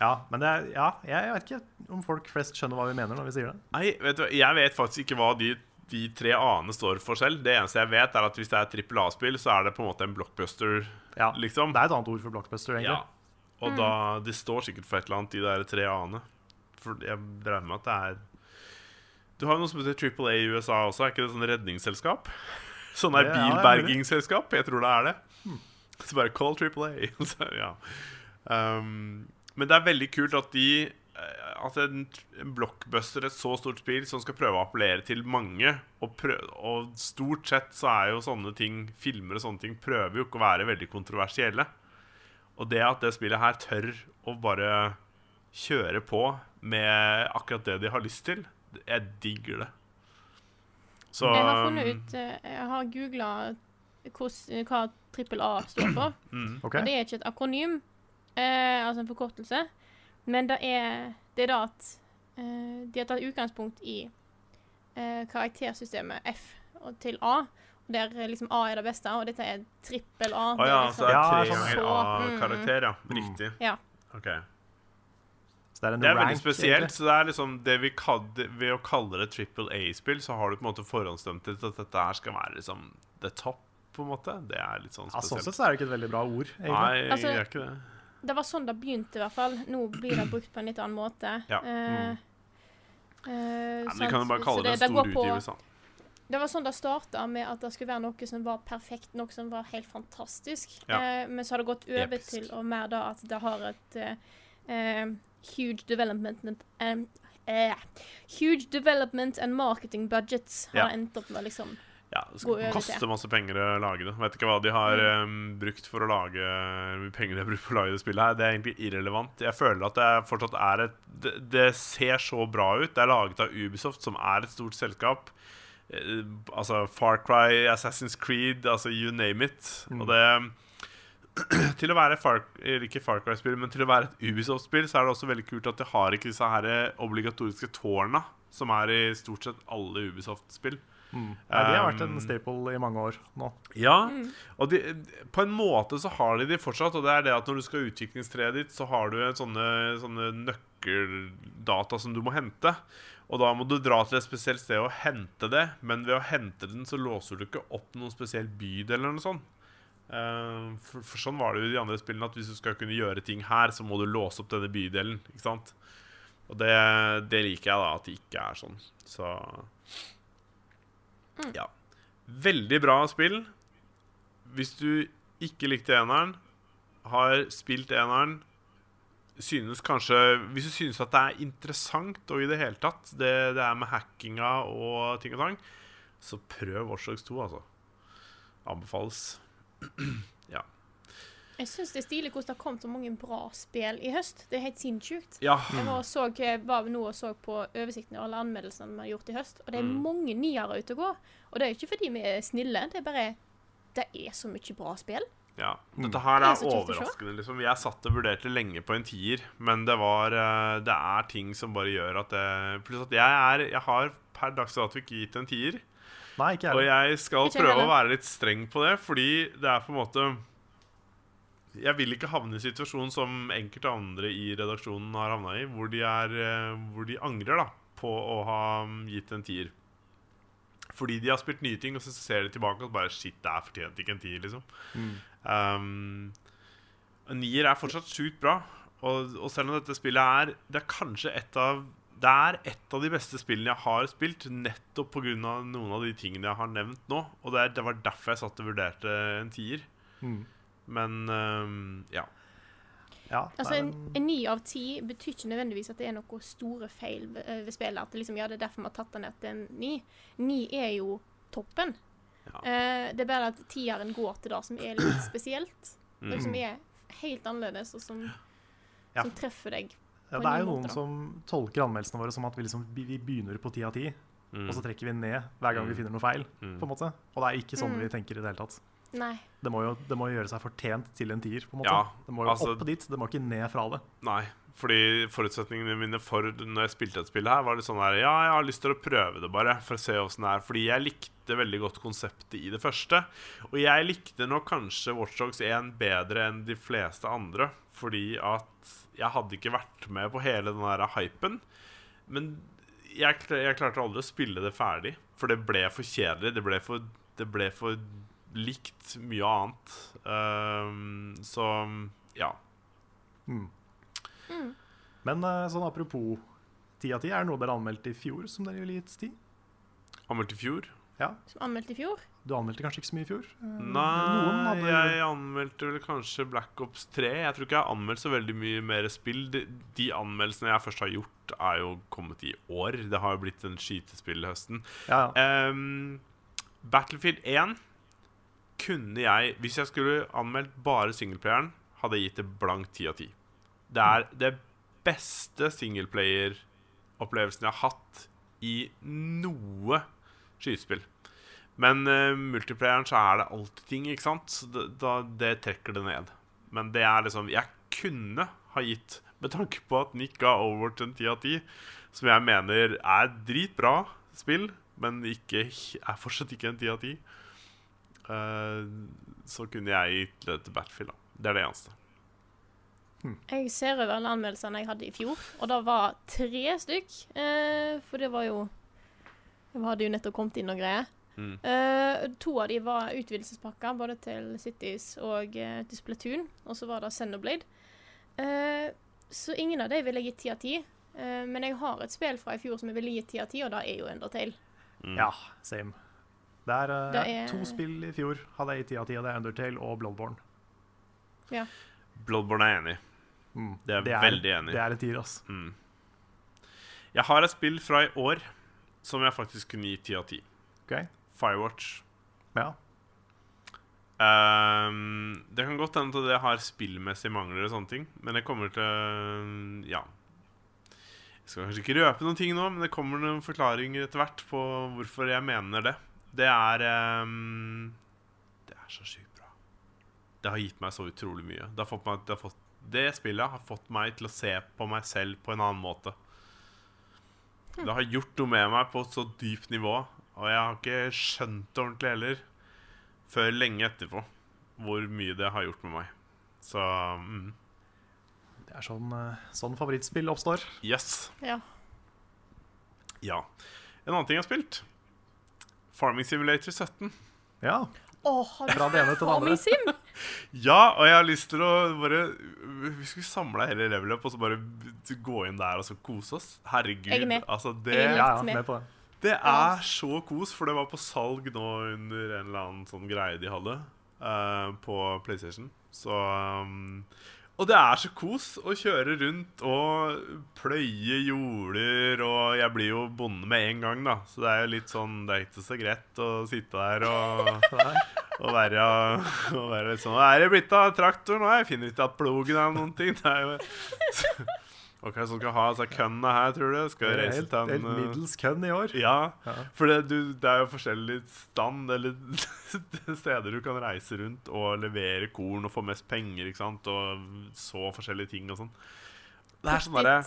Ja, men det er, ja, jeg vet ikke om folk flest skjønner hva vi mener når vi sier det. Nei, vet du hva, jeg vet faktisk ikke hva de, de tre A-ene står for selv. Det eneste jeg vet, er at hvis det er trippel A-spill, så er det på en måte en blockbuster, Ja, liksom. Det er et annet ord for blockbuster, egentlig. Ja. Og da Det står sikkert for et eller annet, de der tre A-ene. For jeg regner med at det er Du har jo noe som heter Triple A i USA også, er ikke det sånn redningsselskap? [LAUGHS] Sånn der Det- ja, det Mm. er mulig. bilbergingsselskap? Jeg tror det er det. Så bare call Triple A. [LAUGHS] Så, ja. um, men det er veldig kult at de eh, At en, en blockbuster, et så stort spill som skal prøve å appellere til mange og, prø- og stort sett så er jo sånne ting filmer og sånne ting prøver jo ikke å være veldig kontroversielle. Og det at det spillet her tør å bare kjøre på med akkurat det de har lyst til, jeg digger det. Så Jeg har funnet Um, ut eh, Jeg har googla hva trippel A står [CLEARS THROAT] for. Ok? Og det er ikke et akronym, eh, altså en forkortelse, men det er det er da at eh, de har tatt utgangspunkt i eh, karaktersystemet F og til A. Og der eh, liksom A er det beste, og dette er trippel A. Å det ja, er liksom- så det Ja, er tre sånn. ganger A-karakter, ja. Riktig. Ja. Ok. Så det er, en Det er veldig rank, spesielt. egentlig. Så det er liksom det vi kan- Ved å kalle det trippel A-spill, så har du på en måte forhåndsdømt til at dette her skal være liksom the top, på en måte. Det er litt sånn Ja, sånn spesielt. sett så er det ikke et veldig bra ord, egentlig. Nei, Altså- det er ikke det. Det var sånn det begynte, i hvert fall. Nå blir det brukt på en litt annen måte. Ja. mm. Eh, eh, Ja, men vi sant? kan jo bare kalle Så det en går stor på- utgivelse. da. Det var sånn det starta, med at det skulle være noe som var perfekt, noe som var helt fantastisk. Ja. Eh, men så har det gått over Episk. til og mer da at det har et eh, eh, huge development and, em, eh, Huge development and marketing budgets har Ja. endt opp med, liksom. Ja, det Gå skal over koste til. masse penger å lage det. Vet ikke hva de har eh, brukt for å lage hvor mye penger de har brukt for å lage det spillet her. Det er egentlig irrelevant. Jeg føler at det fortsatt er et det, det ser så bra ut. Det er laget av Ubisoft, som er et stort selskap. Eh, altså Far Cry, Assassin's Creed, altså you name it. Mm. Og det ehm, Til å være Far, eller ikke Far Cry-spill, men til å være et Ubisoft-spill, så er det også veldig kult at de har ikke disse her eh, obligatoriske tårna, som er i stort sett alle Ubisoft-spill. Mm. Nei, de har vært Um, en staple i mange år nå. Ja, og de, på en måte så har de de fortsatt, og det er det at når du skal ha utviklingstreet ditt, så har du en sånne, sånne nøkkeldata som du må hente. Og da må du dra til et spesielt sted og hente det, men ved å hente den så låser du ikke opp noen spesiell bydel eller noe sånt. Eh, for, for sånn var det jo i de andre spillene, at hvis du skal kunne gjøre ting her, så må du låse opp denne bydelen, ikke sant? Og det, det liker jeg da, at det ikke er sånn. Så Ja. Veldig bra spill. Hvis du ikke likte eneren, har spilt eneren Synes kanskje Hvis du synes at det er interessant og i det hele tatt, det, det er med hackinga og ting og tang, så prøv Watchdogs 2, altså. Anbefales. ja. Jeg syns det er stilig hvordan det har kommet så mange bra spill i høst. Det er helt sinnssykt. ja. Jeg var, og så, jeg var nå og så på oversikten av alle anmeldelsene vi har gjort i høst, og det er Mm. mange niere ute og går. Og det er jo ikke fordi vi er snille, det er bare Det er så mye bra spill. Ja. Dette her Det er er så trist å se. overraskende. Liksom. Jeg satt og vurderte lenge på en tier, men det, var, eh, det er ting som bare gjør at det Pluss at jeg, er, jeg har per dags dato ikke gitt en tier. Nei, ikke Og jeg. jeg skal Ikke jeg prøve å heller. være litt streng på det, fordi det er på en måte Jeg vil ikke havne i situasjonen som enkelte andre i redaksjonen har havna i, hvor de, er, eh, hvor de angrer da, på å ha mm, gitt en tier. Fordi de har spilt nye ting, og så ser de tilbake og bare Shit, det er fortjent ikke en tier, liksom. Um, en Nier er fortsatt sjukt bra. Og, og selv om dette spillet er Det er kanskje et av Det er et av de beste spillene jeg har spilt, nettopp pga. noen av de tingene jeg har nevnt nå. Og det, er, det var derfor jeg satt og vurderte en tier. Men um, ja. Ja, Altså, nei, en, en ni av ti betyr ikke nødvendigvis at det er noen store feil ved, eh, ved spillet. At det liksom, ja, det er derfor vi har tatt den ned til en ni. Ni er jo toppen. Ja. Eh, det er bare at tieren går til det som er litt spesielt. Og som er helt annerledes, og som, Ja. som treffer deg. ja, på det er jo en ny noen måte, da. som tolker anmeldelsene våre som at vi, liksom, vi vi begynner på ti av Mm. Mm. ti, og så trekker vi ned hver gang vi finner noe feil. på en måte. Og det er ikke sånn vi tenker i det hele tatt. Nei. Det må jo, det må jo gjøre seg fortjent til en tier. på en måte Ja, Det må jo altså- opp dit, det må ikke ned fra det. Nei, fordi forutsetningene mine for når jeg spilte et spill her, var litt sånn her Ja, jeg har lyst til å prøve det, bare, for å se åssen det er. Fordi jeg likte veldig godt konseptet i det første. Og jeg likte nok kanskje Watchdogs 1 bedre enn de fleste andre, fordi at jeg hadde ikke vært med på hele den der hypen. Men jeg, kl- jeg klarte aldri å spille det ferdig, for det ble for kjedelig. Det ble for, det ble for likt mye annet. Ehm, så ja. Men eh, sånn apropos ti av ti, er det noe dere anmeldte i fjor som dere ville gitt ti? Anmeldt i fjor. Ja, Som anmeldt i fjor. Du anmeldte kanskje ikke så mye i fjor? Eh, noen Nei, hadde- jeg anmeldte vel kanskje Black Ops 3. Jeg tror ikke jeg har anmeldt så veldig mye mer spill. De, de anmeldelsene jeg først har gjort, er jo kommet i år. Det har jo blitt en skytespill i høsten. Ja, ja. Ehm, Battlefield 1 kunne jeg Hvis jeg skulle anmeldt bare singleplayeren, hadde jeg gitt det blankt 10 av 10. Det er Mm. det beste singleplayer-opplevelsen jeg har hatt i noe skytespill. Men eh, multiplayeren så er det alltid ting, ikke sant? Så det, da, det trekker det ned. Men det er liksom Jeg kunne ha gitt, med tanke på at den ikke ga over til en 10 av 10, som jeg mener er dritbra spill, men ikke, er fortsatt ikke en 10 av 10, eh, så kunne jeg gitt det til Battlefield, da. Det er det eneste. Jeg ser over alle anmeldelsene jeg hadde i fjor, og det var tre stykk. Eh, for det var jo Vi hadde jo nettopp kommet inn og greier. Mm. Eh, to av de var utvidelsespakker, både til Cities og eh, til Splatoon. Og så var det Xenoblade. Eh, så ingen av de ville jeg gitt ti av ti. Eh, men jeg har et spill fra i fjor som jeg ville gitt ti av ti, og det er jo Undertale. Mm. ja same. Det er, eh, Det er- to spill i fjor hadde jeg i ti av ti, og det er Undertale og Bloodborne. Ja. Bloodborne er enig. Mm. Det er, veldig enig. Mm. Det er en tier, ass. Jeg har et spill fra i år som jeg faktisk kunne gitt 10 av 10. Ok? Firewatch. Ja. Ehm, det kan godt hende at det har spillmessige mangler og sånne ting, men det kommer til Ja. Jeg skal kanskje ikke røpe noen ting nå, men det kommer noen forklaringer etter hvert på hvorfor jeg mener det. Det er ehm, Det er så sjukt bra. Det har gitt meg så utrolig mye. Det, har fått meg, det, har fått, det spillet har fått meg til å se på meg selv på en annen måte. Det har gjort noe med meg på et så dypt nivå, og jeg har ikke skjønt det ordentlig heller før lenge etterpå hvor mye det har gjort med meg. Så mm, Det er sånn, eh, sånn favorittspill oppstår. yes. Ja. Ja. En annen ting jeg har spilt Farming Simulator 17. Ja. Å, har du Fra det ene til det andre. Farming Sim? Ja, og jeg har lyst til å bare Vi skulle samla hele level up og så bare gå inn der og så kose oss. Herregud. Jeg er med. Altså, det, Jeg er med. Ja, ja, med. med på det. det er så kos, for det var på salg nå under en eller annen sånn greie de hadde eh, på PlayStation. Så um, Og det er så kos å kjøre rundt og pløye jorder, og jeg blir jo bonde med en gang, da. Så det er jo litt sånn Det er ikke så greit å sitte der [LAUGHS] og å være, å være litt sånn Hva er det blitt av traktoren? Nei, jeg finner ikke at plogen er noen ting. [LAUGHS] Det er jo [LAUGHS] Ok, så skal jeg ha altså, kønna her, tror du? Skal Det jeg er reise helt, til helt en eh, middels kønn i år. ja, Ja. for det, du, det er jo forskjellig stand eller [LAUGHS] steder du kan reise rundt og levere korn og få mest penger, ikke sant, og så forskjellige ting og sånn. Det er sånn derre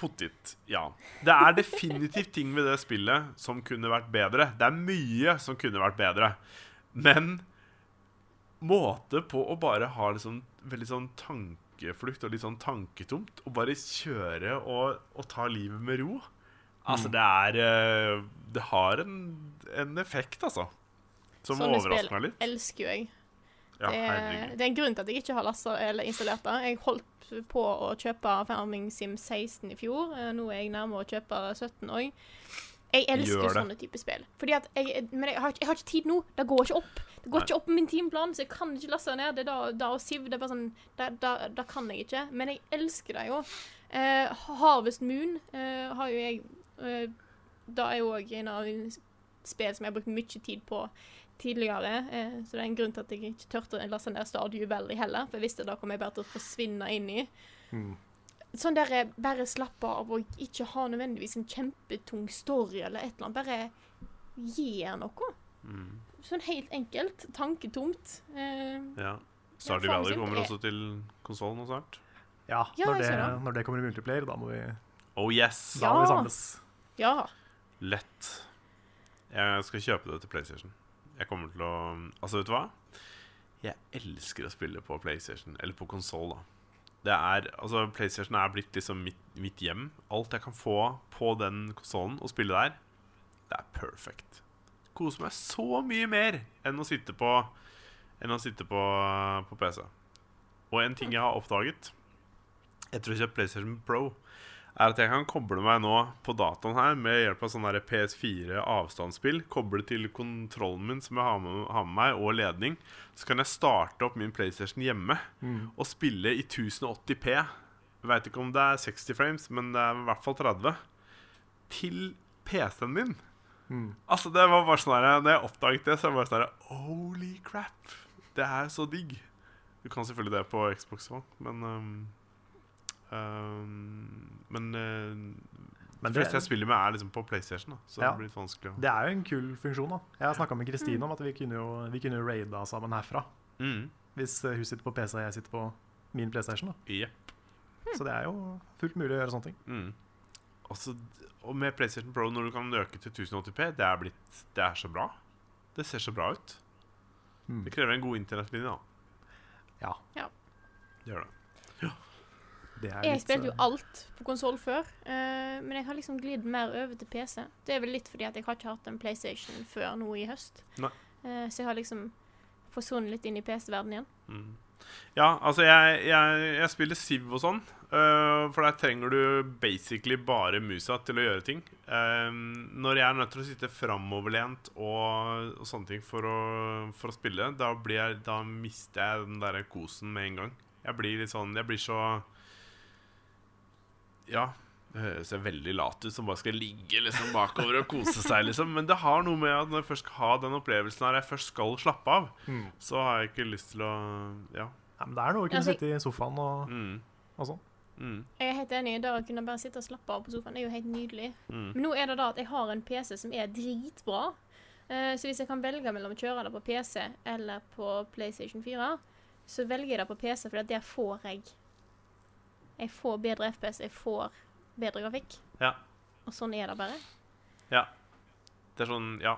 Pottit. Ja. Det er definitivt ting ved det spillet som kunne vært bedre. Det er mye som kunne vært bedre. Men måte på å bare ha liksom veldig sånn tankeflukt og litt sånn tanketomt, og bare kjøre og, og ta livet med ro. Altså, det er eh, Det har en, en effekt, altså. Som Sånne spill overrasker meg litt. elsker jo jeg. Ja, det, er, herregud. det er en grunn til at jeg ikke har lasta eller installert det. Jeg holdt på å kjøpe Farming Sim 16 i fjor. eh, Nå er jeg nærmere å kjøpe 17 òg. Jeg elsker Gjør det. sånne typer spill. Fordi at jeg, men jeg har, ikke- jeg har ikke tid nå. Det går ikke opp. Det går Nei. ikke opp på min timeplan, så jeg kan ikke laste det ned. Det er da, da og Siv, det er bare sånn Det, det, det kan jeg ikke. Men jeg elsker det jo. Eh, Harvest Moon eh, har jo jeg eh, Det er jo òg en av mine spill som jeg har brukt mye tid på tidligere. Eh, så det er en grunn til at jeg ikke turte å laste ned Stardew Valley heller, for jeg visste da kom jeg bare til å forsvinne inn i. Sånn der eh, bare slappe av og ikke ha Mm. nødvendigvis en kjempetung story eller et eller annet. Bare gjør noe. sånn helt enkelt. Tanketomt. Eh, Ja. Stardew faen, Valley simpel- kommer også til konsollen og snart. Ja, Ja, når jeg det, ser det. når det kommer i multiplayer, da må vi, Oh yes! da må vi Ja. samles. ja. Lett. Jeg skal kjøpe det til PlayStation. Jeg kommer til å Altså, vet du hva? Jeg elsker å spille på PlayStation, eller på konsoll, da. Det er, altså, PlayStation er blitt liksom mitt, mitt hjem. Alt jeg kan få på den konsollen og spille der, det er perfect. Koser meg så mye mer enn å sitte på Enn å sitte på, på PC. Og en ting jeg har oppdaget etter å ha kjøpt PlayStation Pro, er at jeg kan koble meg nå på dataen her med hjelp av sånn der PS4 avstandsspill. Koble til kontrollen min som jeg har med, har med meg, og ledning. Så kan jeg starte opp min PlayStation hjemme og spille i 1080P. Jeg Veit ikke om det er 60 frames, men det er i hvert fall 30. Til PC-en min. Mm. Altså, det var bare sånn her Når jeg oppdaget det, så var jeg bare sånn her Holy crap! Det er så digg. Du kan selvfølgelig det på Xbox òg, men ehm, Um, men uh, Men de det, fleste jeg spiller med, er liksom på PlayStation. Da, så Ja. det blir litt vanskelig å det er jo en kul funksjon. da. Jeg har snakka med Mm. Kristine om at vi kunne jo vi kunne jo raida sammen herfra. Mm. Hvis eh, hun sitter på PC og jeg sitter på min PlayStation. da. Jepp. Mm. Så det er jo fullt mulig å gjøre sånne ting. Mm. Og så- og med PlayStation Pro, når du kan øke til 1080P, det er, blitt, det er så bra. Det ser så bra ut. Mm. Det krever en god internettlinje, da. Ja, Det gjør det. det er Jeg litt, spilte jo eh, alt på konsoll før, eh, men jeg har liksom glidd mer over til PC. Det er vel litt fordi at jeg har ikke hatt en PlayStation før nå i høst. Nei. Eh, så jeg har liksom forsvunnet litt inn i PC-verdenen igjen. Mm. Ja, altså, jeg, jeg, jeg spiller Siv og sånn. øh, for der trenger du basically bare musa til å gjøre ting. Ehm, når jeg er nødt til å sitte framoverlent og, og sånne ting for å, for å spille, da, blir jeg, da mister jeg den der kosen med en gang. Jeg blir litt sånn Jeg blir så Ja. Det høres jeg veldig lat ut som bare skal ligge liksom bakover og kose seg, liksom. Men det har noe med at når jeg først skal ha den opplevelsen her, jeg først skal slappe av, så har jeg ikke lyst til å Ja. ja, men Det er noe å kunne Altså, sitte i sofaen og, Mm. og sånn. Jeg er helt enig. Det å kunne bare sitte og slappe av på sofaen er jo helt nydelig. Mm. Men nå er det da at jeg har en PC som er dritbra. Eh, Så hvis jeg kan velge mellom å kjøre det på PC eller på PlayStation 4, så velger jeg det på PC, for der får jeg Jeg får bedre FPS, jeg får bedre grafikk. Ja. Og sånn er det bare. ja. Det er sånn Ja.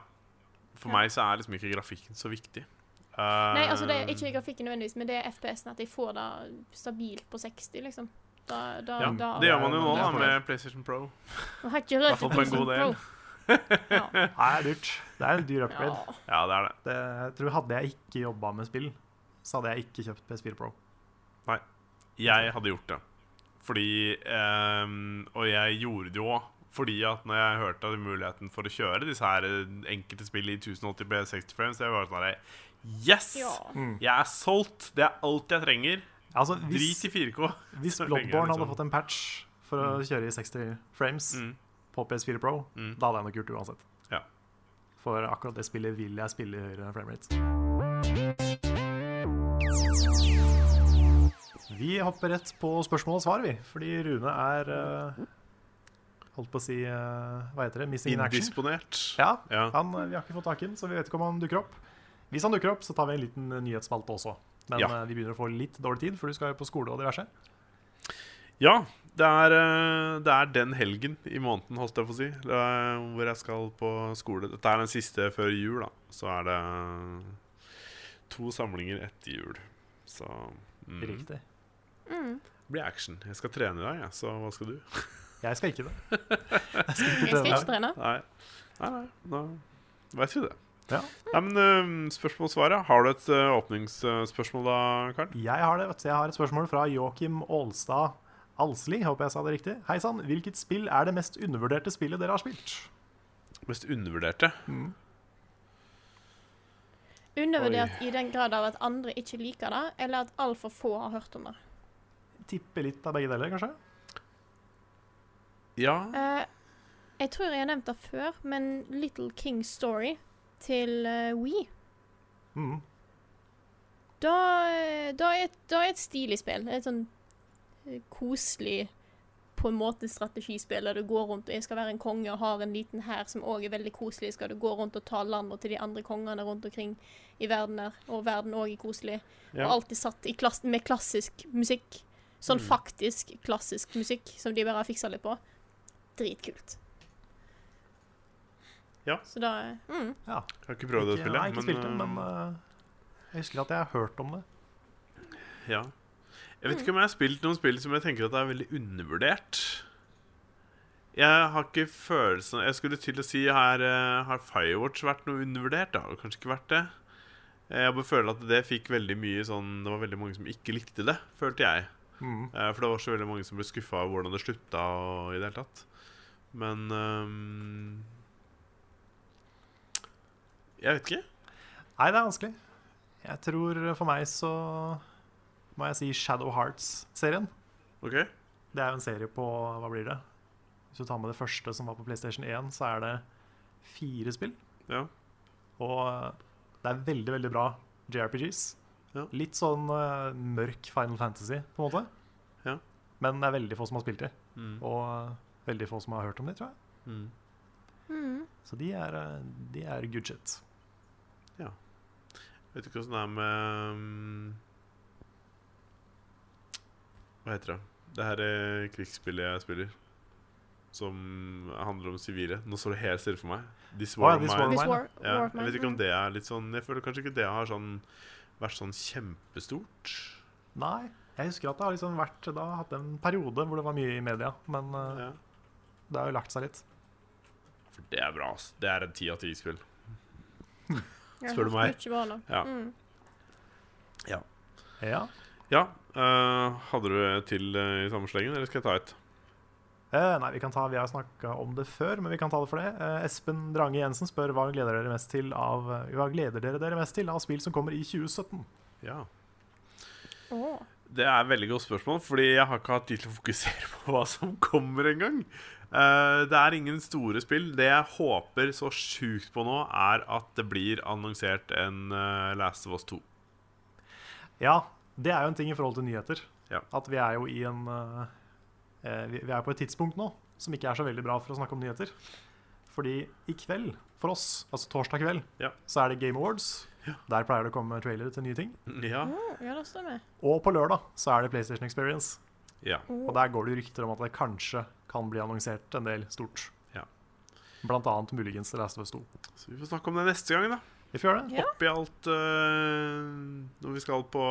For meg så er liksom ikke grafikken så viktig. Eh, Nei, altså det er ikke Um. grafikken nødvendigvis, men det er FPS-en, at jeg får det stabilt på 60, liksom. Da, da, ja, da Det gjør man jo nå, det er da, med PlayStation Pro. Jeg har ikke I hvert rørt fall på en god del. Ja. Nei, det er dyrt. Det er en dyr Ja. upgrade. Ja, det er det. Det, jeg tror Hadde jeg ikke jobba med spill, så hadde jeg ikke kjøpt PS4 Pro. Jeg hadde gjort det. Fordi ehm, Og jeg gjorde det jo òg. Fordi at når jeg hørte av muligheten for å kjøre disse her eh, enkelte spill i 1080 p 60 frames, jeg var sånn her Yes! Ja. Jeg er solgt! Det er alt jeg trenger. Altså, hvis, Drit i 4K. hvis [LAUGHS] så trenger jeg Bloodborne hadde liksom- fått en patch for å kjøre i 60 frames Mm. på PS4 Pro, Mm. da hadde jeg nok gjort det uansett. Ja. For akkurat det spillet vil jeg spille i høyere framerate. Vi hopper rett på spørsmål og svar, vi. Fordi Rune er eh, Holdt på å si eh, Hva heter det? Missing in action. Indisponert. Ja, Ja. Han, eh, vi har ikke fått tak i den, så vi vet ikke om han dukker opp. Hvis han dukker opp, så tar vi en liten nyhetsspalte også. Men Ja. eh, vi begynner å få litt dårlig tid, for du skal jo på skole og diverse. Ja, det er, eh, det er den helgen i måneden, holdt jeg på å si, det er hvor jeg skal på skole. Dette er den siste før jul, da. Så er det eh, to samlinger etter jul. Så mm. Riktig. Det blir action. Jeg skal trene i dag, jeg, så hva skal du? Jeg skal ikke det. Jeg skal ikke trene. Nei, nei, nei da veit vi det. Ja. Nei, men eh, spørsmål og svar, ja. Har du et eh, åpningsspørsmål da, Karl? Jeg har det, vet du. Jeg har et spørsmål fra Joakim Aalstad Alsli, håper jeg sa det riktig. Hei sann, hvilket spill er det mest undervurderte spillet dere har spilt? Mest undervurderte? Undervurdert i den grad av at andre ikke liker det, eller at altfor få har hørt om det. Tipper litt av begge deler, kanskje? Ja. Eh, jeg tror jeg har nevnt det før, men Little King's Story til uh, We Mhm. Da, da, er, da er et stilig spill. Et sånn eh, koselig på en måte strategispill der du går rundt og jeg skal være en konge og har en liten hær som òg er veldig koselig. Skal du gå rundt og ta landet til de andre kongene rundt omkring i verden der, og verden òg er koselig. Ja. Og alltid satt i klass med klassisk musikk. Sånn faktisk klassisk musikk som de bare har fiksa litt på. Dritkult. Ja. Så da mm. Ja. Jeg har ikke prøvd det Ikke- jeg har spillet, ikke spilt det, men, men eh, eh, jeg husker at jeg har hørt om det. ja. Jeg vet ikke om jeg har spilt noen spill som jeg tenker at er veldig undervurdert. Jeg har ikke følelsen Jeg skulle til å si her eh, Har Firewatch vært noe undervurdert? Det har jo kanskje ikke vært det. Eh, Jeg bare føler at det fikk veldig mye sånn Det var veldig mange som ikke likte det, følte jeg. Mm. Eh, For det var så veldig mange som ble skuffa av hvordan det slutta og i det hele tatt. Men ehm, Jeg vet ikke. Nei, det er vanskelig. Jeg tror eh, for meg så må jeg si Shadow Hearts-serien. OK? Det er jo en serie på Hva blir det? Hvis du tar med det første som var på PlayStation 1, så er det fire spill. Ja. Og det er veldig, veldig bra JRPGs. Ja. Litt sånn eh, mørk Final Fantasy, på en måte. Ja. Men det er veldig få som har spilt de. Mm. Og eh, veldig få som har hørt om de, tror jeg. Mm. Så de er, eh, de er good shit. Vet ikke åssen det er med ehm, Hva heter det? Det her er krigsspillet jeg spiller. Som handler om sivile. Nå står det helt stille for meg. This Å, War ja, of This Mine. War of This Mine. war, Ja, war of jeg vet Mine, ikke om mm. det er litt sånn Jeg føler kanskje ikke det har sånn, vært sånn kjempestort. Nei, jeg husker at det har liksom vært Da har hatt en periode hvor det var mye i media, men eh, Ja. det har jo lagt seg litt. For det er bra, ass. Det er en ti av ti-spill. Jeg har spør du hørt meg. mye bra nå. Ja. Mm. Ja. ja eh, hadde du et til eh, i samme slengen, eller skal jeg ta et? Eh, nei, vi kan ta Vi har snakka om det før, men vi kan ta det for det. Eh, Espen Drange Jensen spør hva gleder dere mest til av Hva gleder dere dere mest til av spill som kommer i 2017? Ja. Åh. Det er et veldig godt spørsmål, fordi jeg har ikke hatt tid til å fokusere [LAUGHS] på hva som kommer engang. Uh, det er ingen store spill. Det jeg håper så sjukt på nå, er at det blir annonsert en eh, Last of Us 2. Ja, det er jo en ting i forhold til nyheter. Ja. At vi er jo i en eh, eh, Vi vi er på et tidspunkt nå som ikke er så veldig bra for å snakke om nyheter. Fordi i kveld, for oss, altså torsdag kveld, Ja. så er det Game Awards. Der pleier det å komme trailere til nye ting. Ja. Åh, ja, det stemmer. Og på lørdag så er det PlayStation Experience. ja. Og der går det jo rykter om at det kanskje kan bli annonsert en del stort. Ja. Blant annet muligens The Last of Us 2. Så vi får snakke om det neste gang, da. Vi får gjøre det. Ja. Oppi alt eh, når vi skal på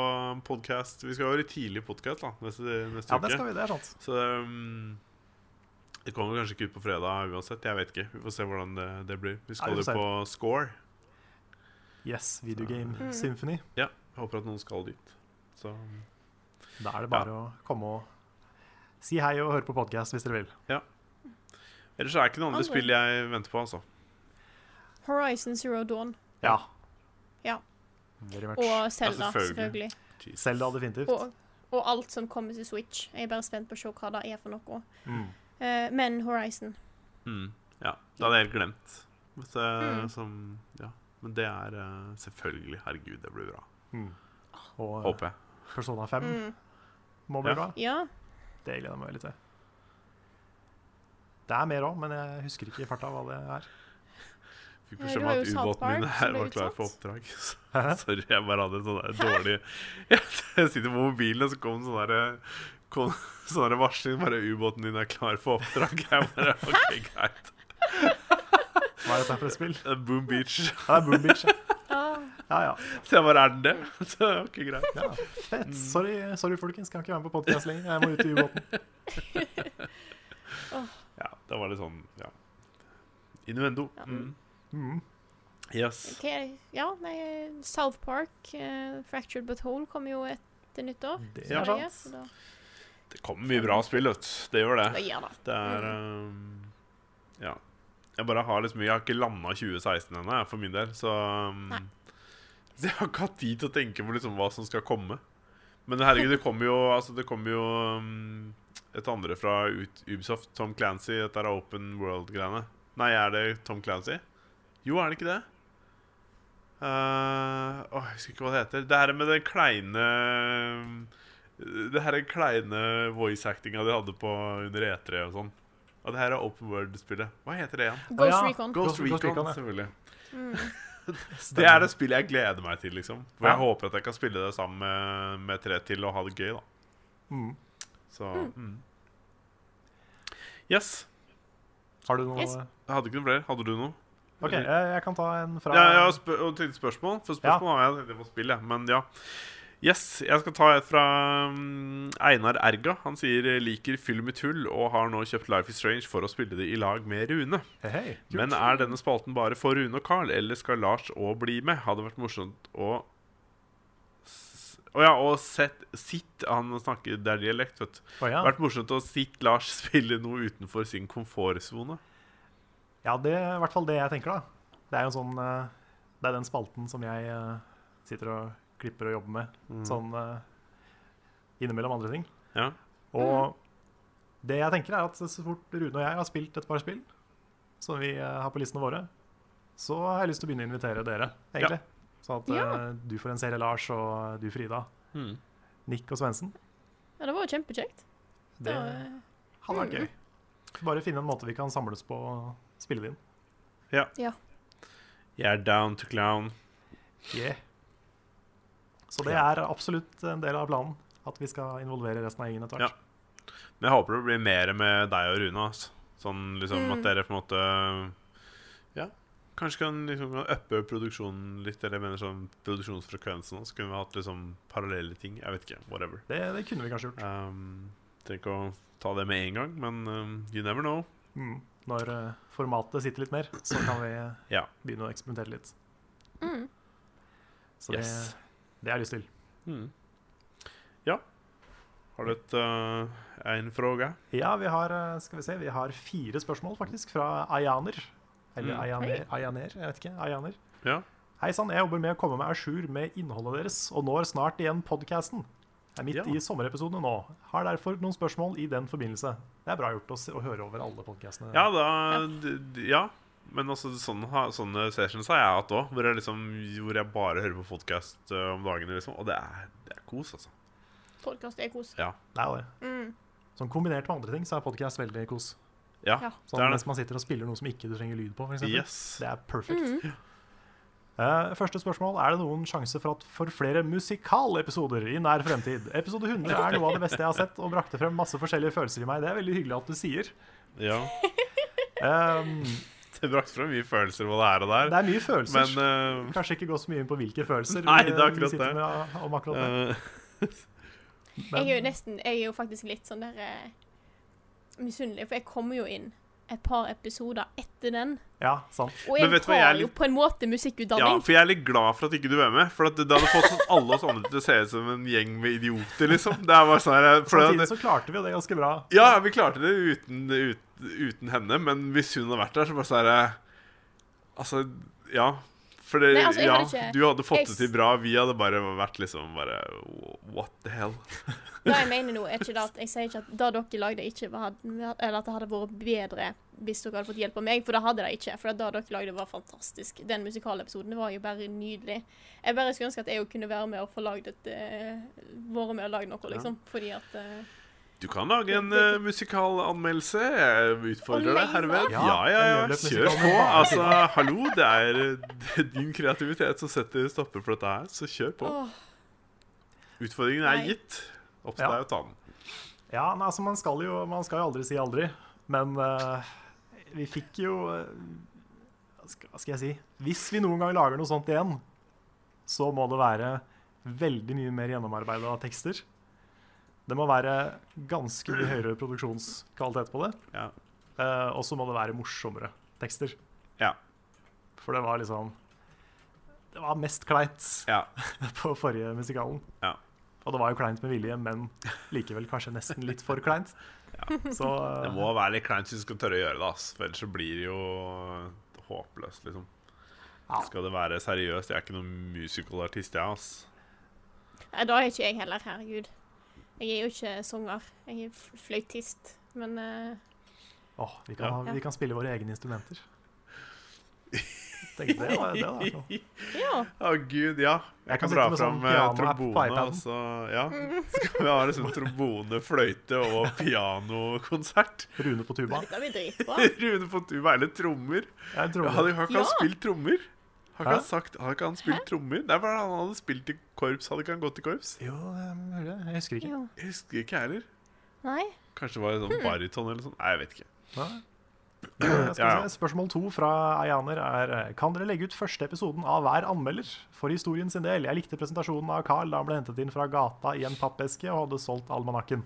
podkast Vi skal jo være tidlig podkast da, neste, neste Ja, uke. det skal vi. Det er sant. Så um, det kommer kanskje ikke ut på fredag uansett. Jeg vet ikke. Vi får se hvordan det, det blir. Vi Ja, skal vi jo får se. på Score. Yes, Video Game Symphony. Ja, jeg håper at noen skal dit. Så um, Da er det bare å komme og si hei og høre på podkast hvis dere vil. Ellers er det ikke noen andre Aldri. spill jeg venter på, altså. Horizon Zero Dawn Ja. Ja. Very much. og Zelda, selvfølgelig. selvfølgelig. Jesus. Selda definitivt. Og, og alt som kommer til Switch. Jeg er bare spent på å se hva det er for noe. Mm. Eh, men Horizon. Mm, ja. Det hadde jeg helt glemt. Men, det- som, ja. Men det er eh, selvfølgelig. Herregud, det blir bra. Og eh, Håper jeg. Persona 5 Mm. må bli Ja. bra. Ja. Det gleder jeg meg veldig til. Det er mer òg, men jeg husker ikke i farta hva det er. Fikk Eh, beskjed du om har at jo South ubåten min Park som her ble var klar for utsatt. oppdrag. [LAUGHS] Så- Sorry, jeg bare hadde sånn der dårlig [LAUGHS] Jeg sitter på mobilen, og så kom sånn derre Kom [LAUGHS] sånn der varsling bare 'Ubåten din er klar for oppdrag'. [LAUGHS] Jeg bare OK, greit. Hva er dette for et spill? Eh, Boom Beach. [LAUGHS] Ja, det er Boom [LAUGHS] Beach. ja. Ah. Ja, ja. Så jeg bare Er den det? [LAUGHS] Så OK, greit. Ja, fett. Sorry, sorry folkens, kan ikke være med på podkast lenger. Jeg må ut i ubåten. Ja, det var litt sånn Ja. Innuendo. Mm. Mm. Yes. ok, ja, nei, South Park, eh, Fractured But Whole, kommer jo etter nyttår. Det Ja. er Sverige, sant. så da, Det kommer mye bra spill, vet du. Det gjør da det. gjør det. Det er um, Ja. Jeg bare har liksom Jeg har ikke landa 2016 ennå, jeg, for min del, så um, Nei. Så [LAUGHS] jeg har ikke hatt tid til å tenke på liksom hva som skal komme. Men herregud, det kommer jo Altså, det kommer jo um, et andre fra ut, Ubisoft, Tom Clancy. Dette er Open World-greiene. Nei, er det Tom Clancy? Jo, er det ikke det? Eh, Åh, jeg husker ikke hva det heter. Det her med den kleine Det her er kleine voice actinga de hadde på under E3 og sånn. Og det her er Open World-spillet. Hva heter det igjen? Ghost ja. Recon. Ghost, Ghost Recon, Recon, ja. selvfølgelig. Det Stemmer. er det spillet jeg gleder meg til, liksom. For jeg Ja. håper at jeg kan spille det sammen med, med tre til og ha det gøy, da. Mm. Så mm. Yes. Har du noe Yes. Jeg hadde ikke noe flere. Hadde du noe? OK, jeg, jeg kan ta en fra Ja, jeg har spør og tenkte spørsmål. For spørsmål har jeg det var spill, jeg. Men ja. Yes, jeg skal ta et fra mm, Einar Erga. Han sier eh, liker film i tull og har nå kjøpt Life is Strange for å spille det i lag med Rune. Hei, hei. Kult. Men er denne spalten bare for Rune og Carl, eller skal Lars òg bli med? Hadde vært morsomt å s- Å ja, og sett Sitt Han snakker Det er dialekt, vet du. Å, ja. Vært morsomt å sitt Lars [LAUGHS] spille noe utenfor sin komfortsone. Ja, det er i hvert fall det jeg tenker, da. Det er jo sånn eh, Det er den spalten som jeg eh, sitter og klipper og jobber med sånn eh, innimellom andre ting. Ja. Og det jeg tenker, er at så fort Rune og jeg har spilt et par spill som vi eh, har på listene våre, så har jeg lyst til å begynne å invitere dere, egentlig. Sånn at Ja. eh, du får en serie, Lars, og du, Frida. Mm. Nick og Svendsen. Ja, det var jo kjempekjekt. eh, Det Det var- hadde vært gøy. Bare finne en måte vi kan samles på og spille det inn. Jeg er down to clown. Yeah. Så det er absolutt en del av planen. At vi skal involvere resten av gjengen etter hvert. Men jeg håper det blir mer med deg og Rune. Altså. Sånn liksom Mm. at dere på en måte Ja, kanskje kan liksom uppe produksjonen litt. Eller jeg mener sånn produksjonsfrekvensen. også. Så kunne vi hatt liksom parallelle ting. Jeg vet ikke. Whatever. Det, det kunne vi kanskje gjort. Um, Trenger ikke å ta det med en gang, men um, you never know. Mm. Når eh, formatet sitter litt mer, så kan vi Ja. begynne å eksperimentere litt. Mm. Så det, Yes. det har jeg lyst til. Mm. Ja. Har du et uh, en fråga? Ja, vi har, eh, skal vi se, vi har fire spørsmål faktisk fra Ayaner. Eller Mm. Ayaner, Ayaner, jeg vet ikke. Ayaner. Ja. Hei sann, jeg jobber med å komme meg à jour med innholdet deres, og når snart igjen podkasten. Er midt Ja. i sommerepisodene nå. Har derfor noen spørsmål i den forbindelse. Det er bra gjort å, se, å høre over alle podkastene. Ja, da d- d- Ja. Men altså, sånne, ha- sånne sessions har jeg hatt òg, hvor, jeg liksom, hvor jeg bare hører på podkast om dagene. Liksom, og det er, det er kos, altså. Podcast er kos. Ja. Det er jo det. Mm. Sånn kombinert med andre ting så er podkast veldig kos. ja, Ja. Sånn Det er det. mens man sitter og spiller noe som ikke du trenger lyd på, for eksempel. Yes. Det er perfekt. Eh, første spørsmål. Er det noen sjanse for, at for flere musikalepisoder i nær fremtid? Episode 100 er noe av det beste jeg har sett, og brakte frem masse forskjellige følelser i meg. Det er veldig hyggelig at du sier. Ja. Eh, Det brakte frem mye følelser hva det er og det der. er mye følelser. Men eh, [LAUGHS] Kanskje ikke gå så mye inn på hvilke følelser Nei, vi- det er akkurat vi sitter det. med om akkurat det. eh, Jeg er jo Men nesten Jeg er jo faktisk litt sånn der eh, misunnelig, for jeg kommer jo inn et par episoder etter den. ja, sant. Og Men jeg vet du hva, har jeg er jo litt- på en måte ja, musikkutdanning. for jeg er litt glad for at ikke du er med. For at det hadde fått sånn alle oss andre til å se ut som en gjeng med idioter, liksom. Det er bare sånn her, for det- Samtidig så klarte vi jo det ganske bra. Ja, vi klarte det uten, ut, uten henne, men hvis hun hadde vært der, så bare sånn her, Altså, ja. For det, Nei, altså, jeg ja, hadde ikke- du hadde fått jeg det s- til bra. Vi hadde bare vært liksom bare What the hell? Det jeg mener nå, er ikke det at jeg sier ikke at det dere lagde, ikke var, eller at det hadde vært bedre hvis dere hadde fått hjelp av meg, for det hadde det ikke. For det dere lagde, var fantastisk. Den musikalepisoden var jo bare nydelig. Jeg bare skulle ønske at jeg jo kunne være med og få lagd et eh, Vært med og lagd noe, liksom. Fordi at eh, Du kan lage en uh, musikalanmeldelse. Jeg utfordrer deg Alene? herved. Ja, Ja, ja, en ja. løpende Kjør musikal på. med barn. Altså, hallo, det er eh, [LAUGHS] din kreativitet som setter stopper for dette her, så kjør på. Åh. Utfordringen er Nei. gitt. Opp til Ja. deg å ta den. Ja, nei, altså man skal, jo, man skal jo aldri si aldri, men eh, vi fikk jo eh, hva skal- Hva skal jeg si? Hvis vi noen gang lager noe sånt igjen, så må det være veldig mye mer gjennomarbeida tekster. Det må være ganske mye høyere produksjonskvalitet på det. Ja. eh, og så må det være morsommere tekster. Ja. For det var liksom Det var mest kleint ja. på forrige musikalen. Ja. Og det var jo kleint med vilje, men likevel kanskje nesten litt for [LAUGHS] kleint. Så Det må være litt kleint hvis du skal tørre å gjøre det, ass. For ellers så blir det jo håpløst, liksom. Ja. Skal det være seriøst? Jeg er ikke noen musikalartist, jeg, ass. Nei, da er ikke jeg heller, herregud. Jeg er jo ikke sanger. Jeg er f- fløytist. Men eh, Åh, vi, kan, Ja. [LAUGHS] ha- vi kan spille våre egne instrumenter. Tenkte, det var, sånn. det var noe. Ja. Å, gud, ja. Jeg, Jeg kan kan sitte dra med fram sånn eh, piano-app på trombone, iPaden. og så Ja. Så kan vi ha liksom trombone, fløyte og pianokonsert. [LAUGHS] Rune på tuba. Dette blir dritbra. Rune på tuba eller trommer. Jeg tror Ja, det. Har ikke han Ja. spilt trommer? Har Hæ? ikke han sagt Har ikke han spilt trommer? Det er bare han hadde spilt i korps. Hadde ikke han gått i korps? Jo, jeg hører det. Jeg husker ikke. Jo. Jeg husker ikke jeg heller. Nei. Kanskje det var en sånn Hmm. baryton eller sånn. Nei, jeg vet ikke. Nei. Eh, skal [CLEARS THROAT] Ja, vi ja. se. Spørsmål to fra Ayaner er eh, Kan dere legge ut første episoden av hver anmelder for historien sin del? Jeg likte presentasjonen av Carl da han ble hentet inn fra gata i en pappeske og hadde solgt almanakken.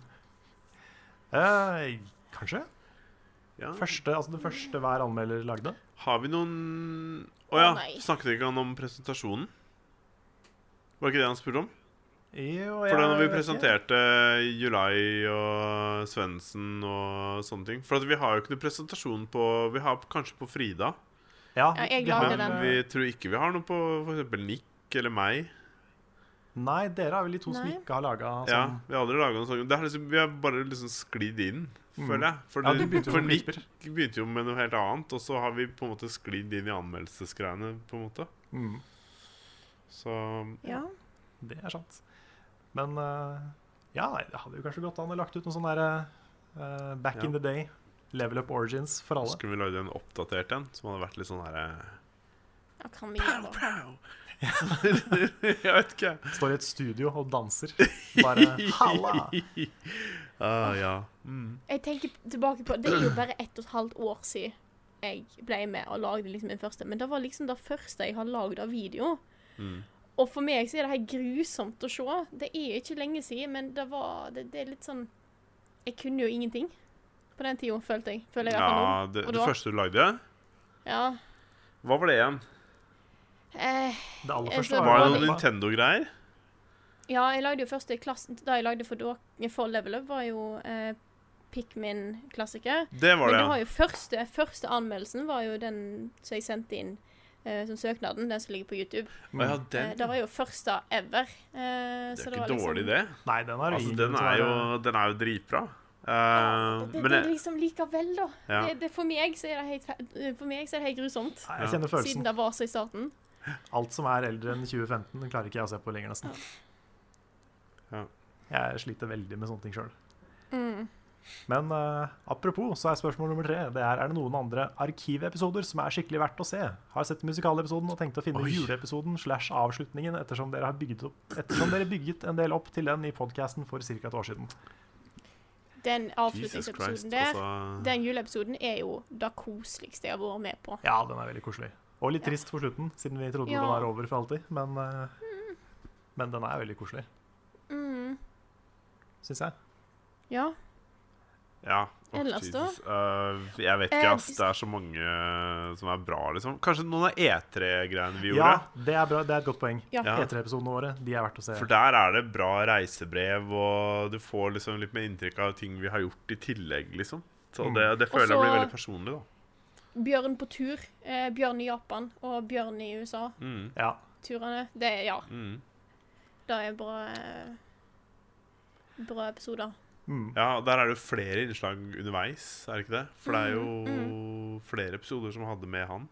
Eh, kanskje? Ja. Første, altså det første hver anmelder lagde? Har vi noen Å Å, ja, nei. snakket ikke han om presentasjonen? Var ikke det han spurte om? Jo, For da når vi vet ikke. presenterte Julai og Svendsen og sånne ting For at vi har jo ikke noe presentasjon på Vi har kanskje på Frida, Ja, Ja, jeg vi har lager vel, men den. vi tror ikke vi har noe på f.eks. Nick eller meg. Nei, dere er vel de to som Nei. ikke har laga Ja, sånn. Vi har aldri laget noe sånt. Det har liksom, vi har bare liksom sklidd inn, føler jeg. For, Mm. Ja, det- du begynte jo for med Nick klipper. begynte jo med noe helt annet, og så har vi på en måte sklidd inn i anmeldelsesgreiene, på en måte. Mm. Så Ja. Det er sant. Men eh, ja, nei, det hadde jo kanskje gått an å lagt ut noe sånn derre Back Ja. in the day. Level up origins for alle. skulle vi lagd en oppdatert en som hadde vært litt sånn herre ja kan vi gjøre det? [LAUGHS] Jeg vet ikke. Står i et studio og [LAUGHS] danser. Bare halla! Ah, ja. Jeg tenker tilbake på Det er jo bare ett og et halvt år siden jeg ble med og lagde liksom min første. Men det var liksom det første jeg har lagd av video. Mm. Og for meg så er det helt grusomt å se. Det er ikke lenge siden, men det var Det, det er litt sånn Jeg kunne jo ingenting på den tida, følte jeg. Føler jeg i hvert fall ja nå. det, Og det da- første du lagde? Ja. Hva var det igjen? Eh, Det aller Jeg første tror Var det det noen Nintendo-greier? ja, jeg lagde jo første klassen Da jeg lagde for, dere- for Level Up, var jo eh, Pikmin-klassiker. Det var Men det, det var ja. jo første, første anmeldelsen var jo den som jeg sendte inn eh, som søknaden. Den som ligger på YouTube. Å, ja Eh, det den. var jo første ever. eh, Det er så det ikke var liksom- dårlig, det. Nei, den er, Altså, ingen den til å er jo, være- den er jo dritbra. Eh, Det, det, men det er jeg, liksom likevel, da. Ja. Det, det, for, meg så er det helt, fe- eh, for meg så er det helt grusomt. Nei, Jeg kjenner Siden følelsen. det var så i starten. Alt som er eldre enn 2015, den klarer ikke jeg å se på lenger, nesten. Ja. Jeg sliter veldig med sånne ting sjøl. Mm. Men eh, apropos, så er spørsmål nummer tre Det er er det noen andre arkivepisoder som er skikkelig verdt å se. Har sett musikalepisoden og tenkte å finne Oi. juleepisoden slash avslutningen ettersom dere, har bygget opp, ettersom dere bygget en del opp til den i podkasten for ca. et år siden. Den Jesus Christ, avslutningsepisoden der, altså. den juleepisoden, er jo det koseligste jeg har vært med på. Ja, den er veldig koselig. Og litt trist for slutten, siden vi trodde Ja. det var over for alltid. Men, eh, men den er veldig koselig, Mm. syns jeg. Ja. Ja. Åh, Ellers da? Jesus. Eh, jeg vet ikke, Eh, ass. Det er så mange som er bra, liksom. Kanskje noen av E3-greiene vi gjorde? Ja, det er bra, det er et godt poeng. Ja. Ja. E3-episodene våre de er verdt å se. For der er det bra reisebrev, og du får liksom litt mer inntrykk av ting vi har gjort i tillegg, liksom. Så det, det føler jeg Også- blir veldig personlig, da. Bjørn på tur. Eh, bjørn i Japan og bjørn i USA. Ja. turene. Det er ja. Mm. Det er bra eh, Bra episoder. Ja, der er det jo flere innslag underveis, er det ikke det? For det er Mm, jo flere episoder som hadde med han.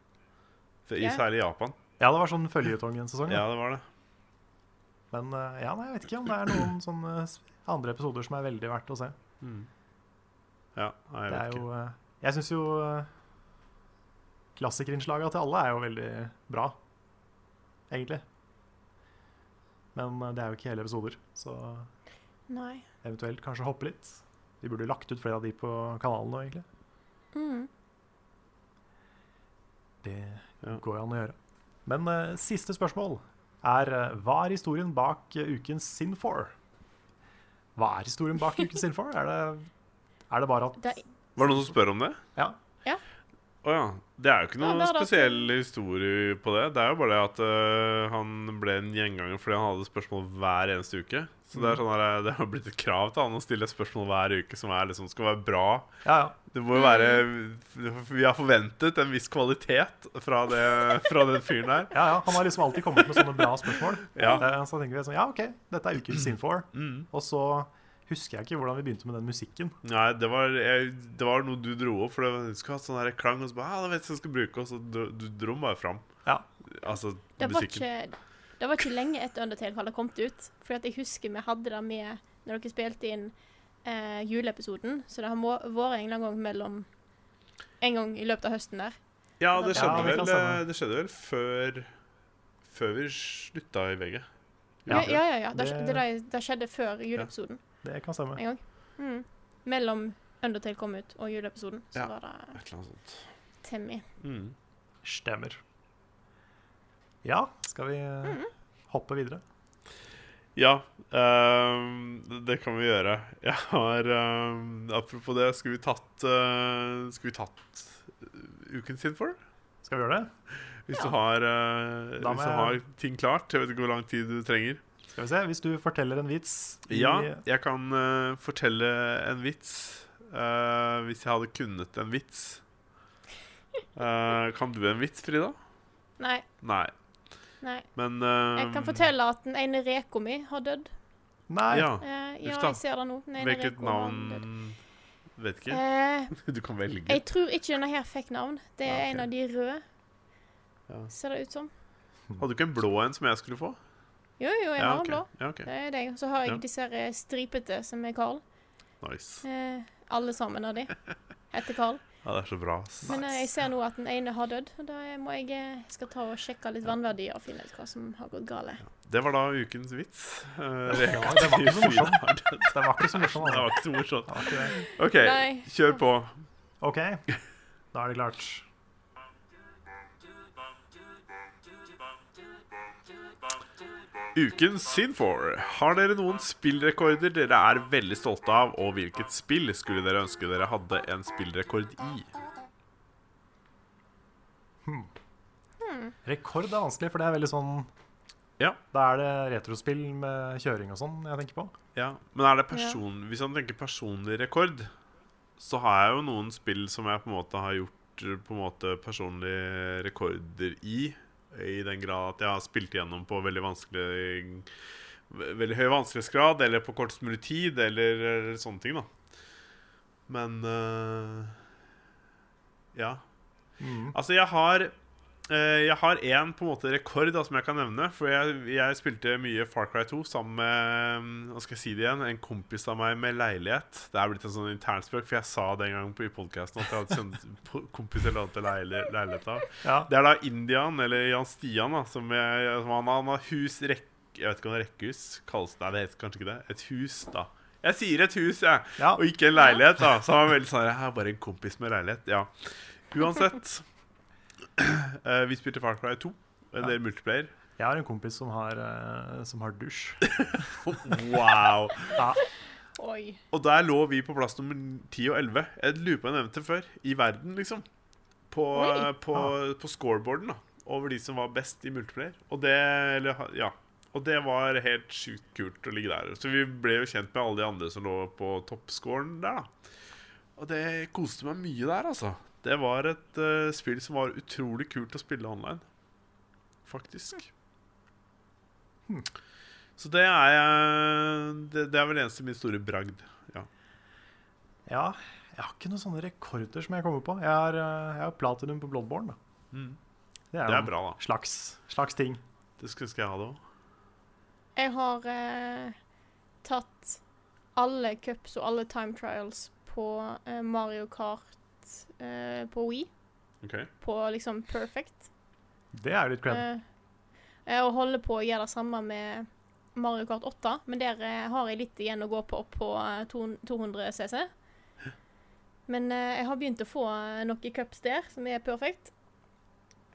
For- I Ja. særlig Japan. ja, det var sånn føljetong en sesong. Ja, da. det var det. Men eh, ja, nei, jeg vet ikke om det er [CLEARS THROAT] noen sånne s- andre episoder som er veldig verdt å se. Ja, nei, jeg Det er vet ikke. jo, eh, jeg syns jo eh, klassikerinnslagene til alle er jo veldig bra, egentlig. Men eh, det er jo ikke hele episoder, så Nei. eventuelt kanskje hoppe litt. Vi burde lagt ut flere av de på kanalen nå, egentlig. Mm. Det Ja. går jo an å gjøre. Men eh, siste spørsmål er eh, hva er historien bak eh, ukens Sin4? Hva er historien [LAUGHS] bak ukens Sin4? Er det, er det bare at Det er, Var det noen som spør om det? Ja. Å ja. Det er jo ikke Ja, noen det er da- spesiell historie på det. Det er jo bare det at øh, han ble en gjenganger fordi han hadde spørsmål hver eneste uke. Så Mm. det er sånn her, [LAUGHS] øh, det har blitt et krav til han å stille spørsmål hver uke som er liksom, skal være bra. Ja, ja. Det må jo være Mm. Vi har forventet en viss kvalitet fra, det, fra den fyren der. Ja, ja, Han har liksom alltid kommet med sånne bra spørsmål. [LAUGHS] Ja. Mm. Eh, Så tenker vi sånn, ja, ok, dette er ukens Sin4. Og så husker jeg ikke hvordan vi begynte med den musikken. Nei, det var, jeg, det var noe du dro opp, for det var, du skulle ha sånn her klang, og så bare, ja, da vet jeg hva jeg skal bruke, og så dro, du dro den bare fram. Ja. Altså, Det var, musikken. ikke, det var ikke lenge etter Undertale hadde kommet ut. For at jeg husker vi hadde det med når dere spilte inn eh, juleepisoden. Så det har må- vært en eller annen gang mellom En gang i løpet av høsten der. Ja, det Ja, skjedde, det kan vel, stemme. eh, det skjedde vel før, før vi slutta i VG. Ja, ja, ja. ja. Det, Det- det, det, det skjedde før juleepisoden Det kan stemme. en gang. Mm. Mellom Undertale kom ut og juleepisoden, så Ja. var det Et eller annet sånt. Temmy. Mm. Stemmer. Ja, skal vi eh, hoppe videre? Ja, ehm, det- det kan vi gjøre. Jeg har ehm, Apropos det, skulle vi tatt eh, Skulle vi tatt eh, uken sin for det? Skal vi gjøre det? Hvis, du, har, eh, Da må hvis du jeg- har ting klart. Jeg vet ikke hvor lang tid du trenger. Skal vi se, Hvis du forteller en vits i- Ja, jeg kan eh, fortelle en vits. eh, hvis jeg hadde kunnet en vits. [LAUGHS] Eh, kan du en vits, Frida? Nei. Nei. nei. Men eh, Jeg kan fortelle at den ene reka mi har dødd. Nei, Ja. Eh, Uff ja, da. jeg ser det nå. Den ene Hvilket reka har navn dødd. Vet ikke. Eh, Du kan velge. Jeg tror ikke denne her fikk navn. Det er Ja, ok. en av de røde. Ja. Ser det ut som. Hadde du ikke en blå en som jeg skulle få? Jo, jo, jeg har en ok. blå. Ja, ok. Det er deg. Så har jeg Ja. disse her eh, stripete som er Carl. Nice. Eh, alle sammen [LAUGHS] av de heter Carl. Ja, det er så bra. ass. Men eh, jeg ser nå at den ene har dødd. og Da må jeg eh, skal ta og sjekke litt vannverdier og finne ut hva som har gått gale. Det var da ukens vits. Eh, det var, det var [LAUGHS] ikke så morsomt. det Det var ikke så morsomt. var altså. ikke så morsomt. Det var ikke det. OK, Nei. kjør på. OK, da er det klart. Ukens Sin4. Har dere noen spillrekorder dere er veldig stolte av, og hvilket spill skulle dere ønske dere hadde en spillrekord i? Rekord er vanskelig, for det er veldig sånn Ja. Da er det retrospill med kjøring og sånn jeg tenker på. Ja, Men er det person... hvis man tenker personlig rekord, så har jeg jo noen spill som jeg på en måte har gjort eh, på en måte personlige rekorder i. I den grad at jeg har spilt igjennom på veldig vanskelig ve- Veldig høy vanskelighetsgrad, eller på kortest mulig tid, eller, eller sånne ting, da. Men eh, Ja. Altså, jeg har eh, Jeg har én på en måte rekord da, som jeg kan nevne. For jeg, jeg spilte mye Far Cry 2 sammen med mm, Hva skal jeg si det igjen? En kompis av meg med leilighet. Det er blitt en sånn internspråk, for jeg sa den gangen på i podkasten at jeg hadde sendt [LAUGHS] po- kompis eller annet til leili- leilighet av. Ja. Det er da Indian, eller Jan Stian, da, som, jeg, som han, han har hus rekk... Jeg vet ikke om det er rekkehus kalles det. Nei, det heter kanskje ikke det. Et hus, da. Jeg sier et hus, jeg. Ja. Og ikke en leilighet, da. Så han var veldig sånn Jeg er bare en kompis med leilighet. Ja. Uansett. [CLEARS THROAT] eh, vi spilte Far Cry 2. En del multiplayer. [LAUGHS] Jeg har en kompis som har, eh, som har dusj. Wow. Oi. Og der lå vi på plass nummer 10 og 11. Jeg lurer på om jeg nevnte det før. I verden, liksom. På, eh, Oi. på, på scoreboarden, da. Over de som var best i multiplayer. Og det, eller, ja. og det var helt sjukt kult å ligge der. Så vi ble jo kjent med alle de andre som lå på toppscoren der, da. Og det koste meg mye der, altså. Det var et eh, spill som var utrolig kult å spille online. Faktisk. Så det er, jeg- det, det er vel eneste min store bragd. Ja. Ja, jeg har ikke noen sånne rekorder som jeg kommer på. Jeg har, eh, jeg har platinum på Bloodborne. Da. Det er, Mm. Det jo er bra, da. Slags, slags ting. Det skulle ønske jeg hadde òg. Jeg har eh, tatt alle cups og alle time trials på eh, Mario Kart eh, på Wii. På liksom perfect. Det er jo litt cred. Eh, eh, og holder på å gjøre det samme med Mario Kart 8, men der eh, har jeg litt igjen å gå på opp på eh, to- 200 CC. Men eh, jeg har begynt å få eh, noen cups der som er perfect.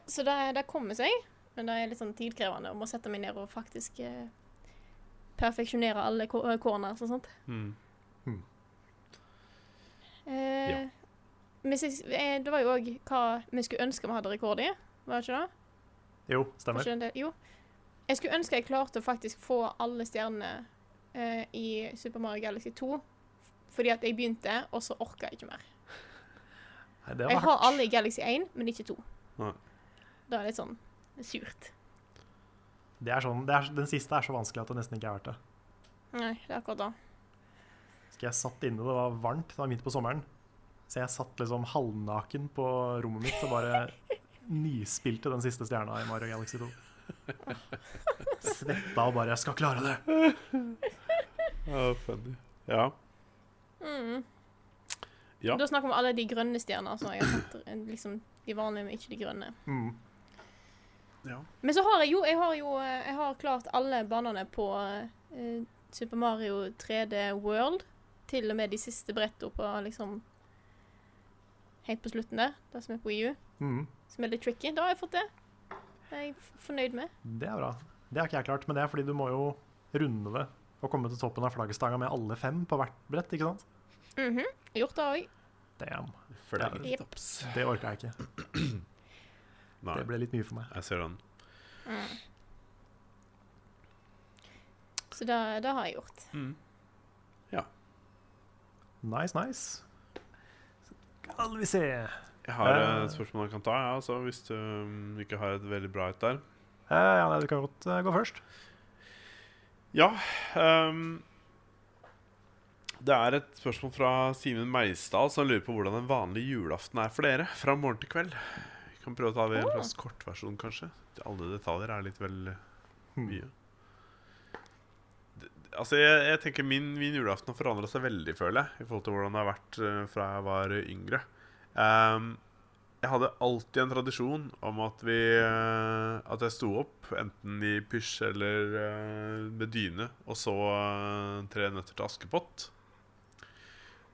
Så det, det kommer seg, men det er litt sånn tidkrevende om å sette meg ned og faktisk eh, perfeksjonere alle ko- eh, corners og sånt. Mm. Eh, hvis jeg, eh, det var jo òg hva vi skulle ønske vi hadde rekord i, var det ikke det? Jo, stemmer. Kanskje det- Jo. Jeg skulle ønske jeg klarte å faktisk få alle stjernene eh, i Super Mario Galaxy 2. Fordi at jeg begynte, og så orka jeg ikke mer. Nei, det var Jeg har hardt. alle i Galaxy 1, men ikke 2. Nei. Da er det litt sånn surt. Det er sånn, det er, den siste er så vanskelig at det nesten ikke er verdt det. Nei, det er akkurat da. husker jeg satt inne, det var varmt, det var midt på sommeren. Så jeg satt liksom halvnaken på rommet mitt og bare nyspilte den siste stjerna i Mario Galaxy 2. Svetta og bare 'Jeg skal klare det'. Ja, funny. Ja. Ja. Da snakker vi om alle de grønne stjerner. som jeg har sett, eh, liksom de vanlige, men ikke de grønne. Mm. Ja. Men så har jeg jo Jeg har jo eh, jeg har klart alle banene på eh, Super Mario 3D World. Til og med de siste brettene på liksom Helt på slutten der, det som er på EU. Mm. Som er litt tricky. Da har jeg fått det. Det er jeg f- fornøyd med. Det er bra. Det har ikke jeg klart, men det er fordi du må jo runde det og komme til toppen av flaggstanga med alle fem på hvert brett, ikke sant? Mhm. Jeg har Gjort det òg. Damn. Flere Jep. taps. Det orka jeg ikke. Nei, Det ble litt mye for meg. jeg ser den. Så det, det har jeg gjort. Nice, nice. Skal vi se Jeg har Eh. et spørsmål jeg kan ta, ja, altså, hvis du um, ikke har et veldig bra et der. Eh, Ja, nei, du kan godt eh, gå først. Ja. ehm, det er et spørsmål fra Simen Meisdal som lurer på hvordan en vanlig julaften er for dere. Fra morgen til kveld. Vi kan prøve å ta det i en slags kortversjon, kanskje. Alle detaljer er litt vel mye. Det- det- Altså, jeg, jeg tenker min, min julaften har forandra seg veldig, føler jeg, i forhold til hvordan det har vært eh, fra jeg var yngre. Ehm, jeg hadde alltid en tradisjon om at vi eh, At jeg sto opp, enten i pysj eller eh, med dyne, og så eh, Tre nøtter til Askepott.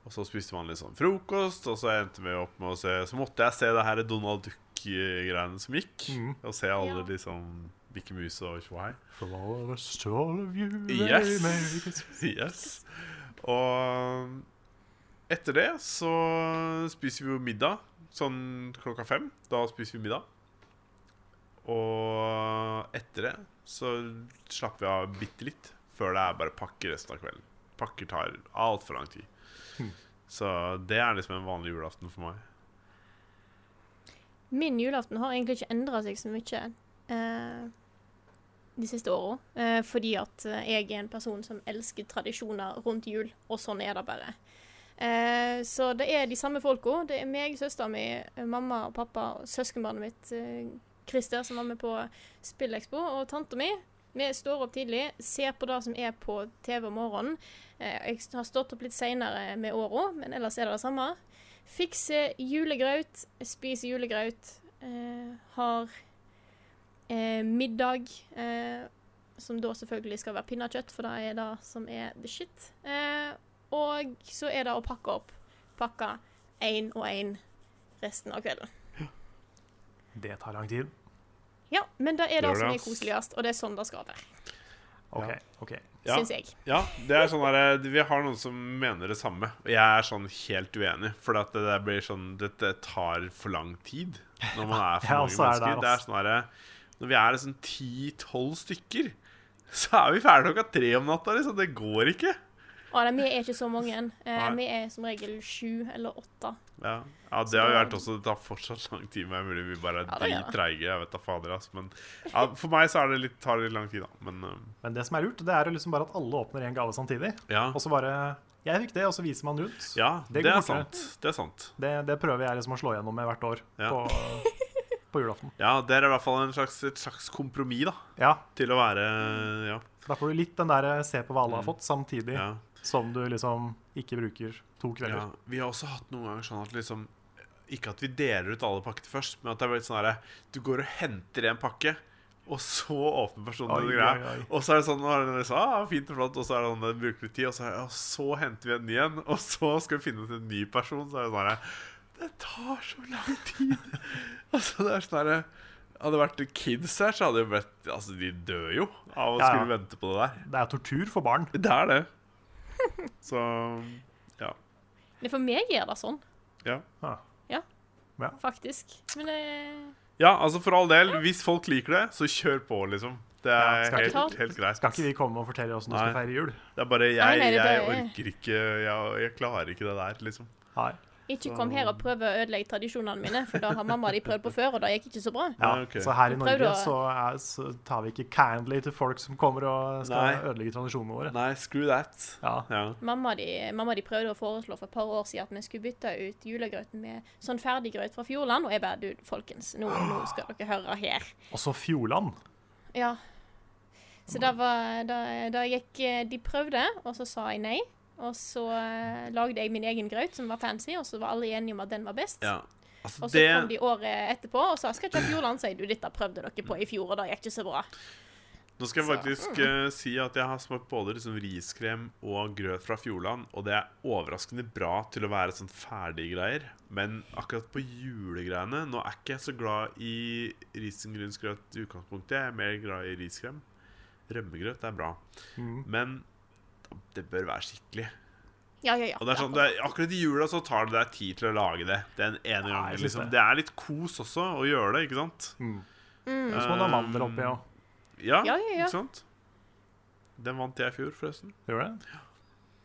Og så spiste man litt sånn frokost, og så endte vi opp med å se Så måtte jeg se det her Donald Duck-greiene som gikk, og se alle Ja. liksom Mikke Mus og tjohei. For all of us, to all of you, very merry Yes. [LAUGHS] Christmas. yes. Og etter det så spiser vi jo middag sånn klokka fem. Da spiser vi middag. Og etter det så slapper vi av bitte litt før det er bare pakke resten av kvelden. Pakker tar altfor lang tid. Så det er liksom en vanlig julaften for meg. Min julaften har egentlig ikke endra seg så mye eh, de siste åra. Eh, fordi at eh, jeg er en person som elsker tradisjoner rundt jul, og sånn er det bare. Eh, så det er de samme folka. Det er meg, søstera mi, eh, mamma og pappa og søskenbarnet mitt eh, Christer, som var med på Spillekspo, og tanta mi. Vi står opp tidlig, ser på det som er på TV om morgenen. Eh, jeg har stått opp litt seinere med åra, men ellers er det det samme. Fikse julegraut, spise julegraut, eh, har eh, middag, eh, som da selvfølgelig skal være pinnekjøtt, for det er det som er the shit. Eh, og så er det å pakke opp. Pakke én og én resten av kvelden. Det tar lang tid. Ja, men det er det Gjør det, som er ass. koseligst, og det er sånn det skal være, OK. Ja. ok. Ja. syns jeg. Ja, det er sånn der, vi har noen som mener det samme. Og jeg er sånn helt uenig. For at det der blir sånn Dette tar for lang tid når man er [LAUGHS] for Ja, mange så er det der, altså. mennesker. det er ass. sånn der, Når vi er liksom ti-tolv stykker, så er vi ferdige klokka tre om natta. liksom Det går ikke. Og det, vi er ikke så mange. Eh, Nei. vi er som regel sju eller åtte. Ja, ja det har jo vært også Det tar fortsatt lang tid. Men det er mulig vi bare er Ja, det gjør det. drittreige. Jeg vet da fader, ass. Men ja, for meg så er det litt, tar det litt lang tid, da. Men um, Men det som er lurt, det er jo liksom bare at alle åpner én gave samtidig. ja. Og så bare Jeg fikk det, og så viser man rundt. ja det det, går er fortere. sant. Det er sant. Det, det prøver jeg liksom å slå gjennom med hvert år Ja. [LAUGHS] på, på julaften. Ja, det er i hvert fall en slags, et slags kompromiss, da. Ja, Til å være Ja. for da får du litt den der eh, se på hva alle har fått, samtidig Mm. ja. som du liksom ikke bruker to Ja, kvelder. vi har også hatt noen ganger sånn at liksom Ikke at vi deler ut alle pakkene først, men at det er blitt sånn herre Du går og henter en pakke, og så åpner personen Oi, denne oi, greia. oi. Og så er det sånn, nå er det liksom, ah, fint og flott, og så er det sånn, det bruker litt tid, og så, er det, ja, så henter vi en ny en, og så skal vi finne ut en ny person, så er det sånn herre Det tar så lang tid! [LAUGHS] altså, det er sånn herre hadde det vært kids her, så hadde jo blitt Altså, de dør jo av å Ja, ja. skulle vente på det der. Det er tortur for barn. Det er det. [LAUGHS] Så ja. Men for meg er det sånn, ja. Ah. faktisk. Men eh, Ja, altså for all del, hvis folk liker det, så kjør på, liksom. Det er Ja, skal ikke- helt, helt greit. Skal ikke vi komme og fortelle åssen du skal Nei. feire jul? Det er bare jeg, Nei, nei, det jeg er- orker ikke jeg, jeg klarer ikke det der, liksom. Nei. Ikke kom her og prøv å ødelegge tradisjonene mine, for da har mamma og de prøvd på før, og det gikk ikke så bra. Ja, Ja, ok. Så her i Prøv Norge da. så, er, så tar vi ikke kindly til folk som kommer og skal Nei. ødelegge tradisjonene våre. Nei, screw that. Ja. Ja. Mamma og de, mamma og de prøvde å foreslå for et par år siden at vi skulle bytte ut julegrøten med sånn ferdiggrøt fra Fjordland, og jeg bare Du, folkens, nå, nå skal dere høre her. Også Fjordland. Ja. Så da var da, da gikk eh, De prøvde, og så sa jeg nei. Og så eh, lagde jeg min egen grøt, som var fancy, og så var alle enige om at den var best. ja. Altså, Og så det kom de året etterpå og sa skal ikke ha Fjordland, sier du. Dette prøvde dere på i fjor, og det gikk ikke så bra. Nå skal jeg Så, faktisk eh, si at jeg har smakt både liksom riskrem og grøt fra Fjordland, og det er overraskende bra til å være sånn ferdiggreier. Men akkurat på julegreiene Nå er ikke jeg så glad i risengrynsgrøt i utgangspunktet. Jeg er mer glad i riskrem. Rømmegrøt er bra. Mm. Men det bør være skikkelig. Ja, ja, ja. Og det er sånn, det er, akkurat i jula så tar det deg tid til å lage det. Den Ja, jeg ene gangen synes liksom. det. Mm. Det er litt kos også å gjøre det, ikke sant? Og så må du Eh, ha mandler oppi òg. Ja, Ja, ja, ja. ikke sant? Den vant jeg i fjor, forresten. Gjør du det?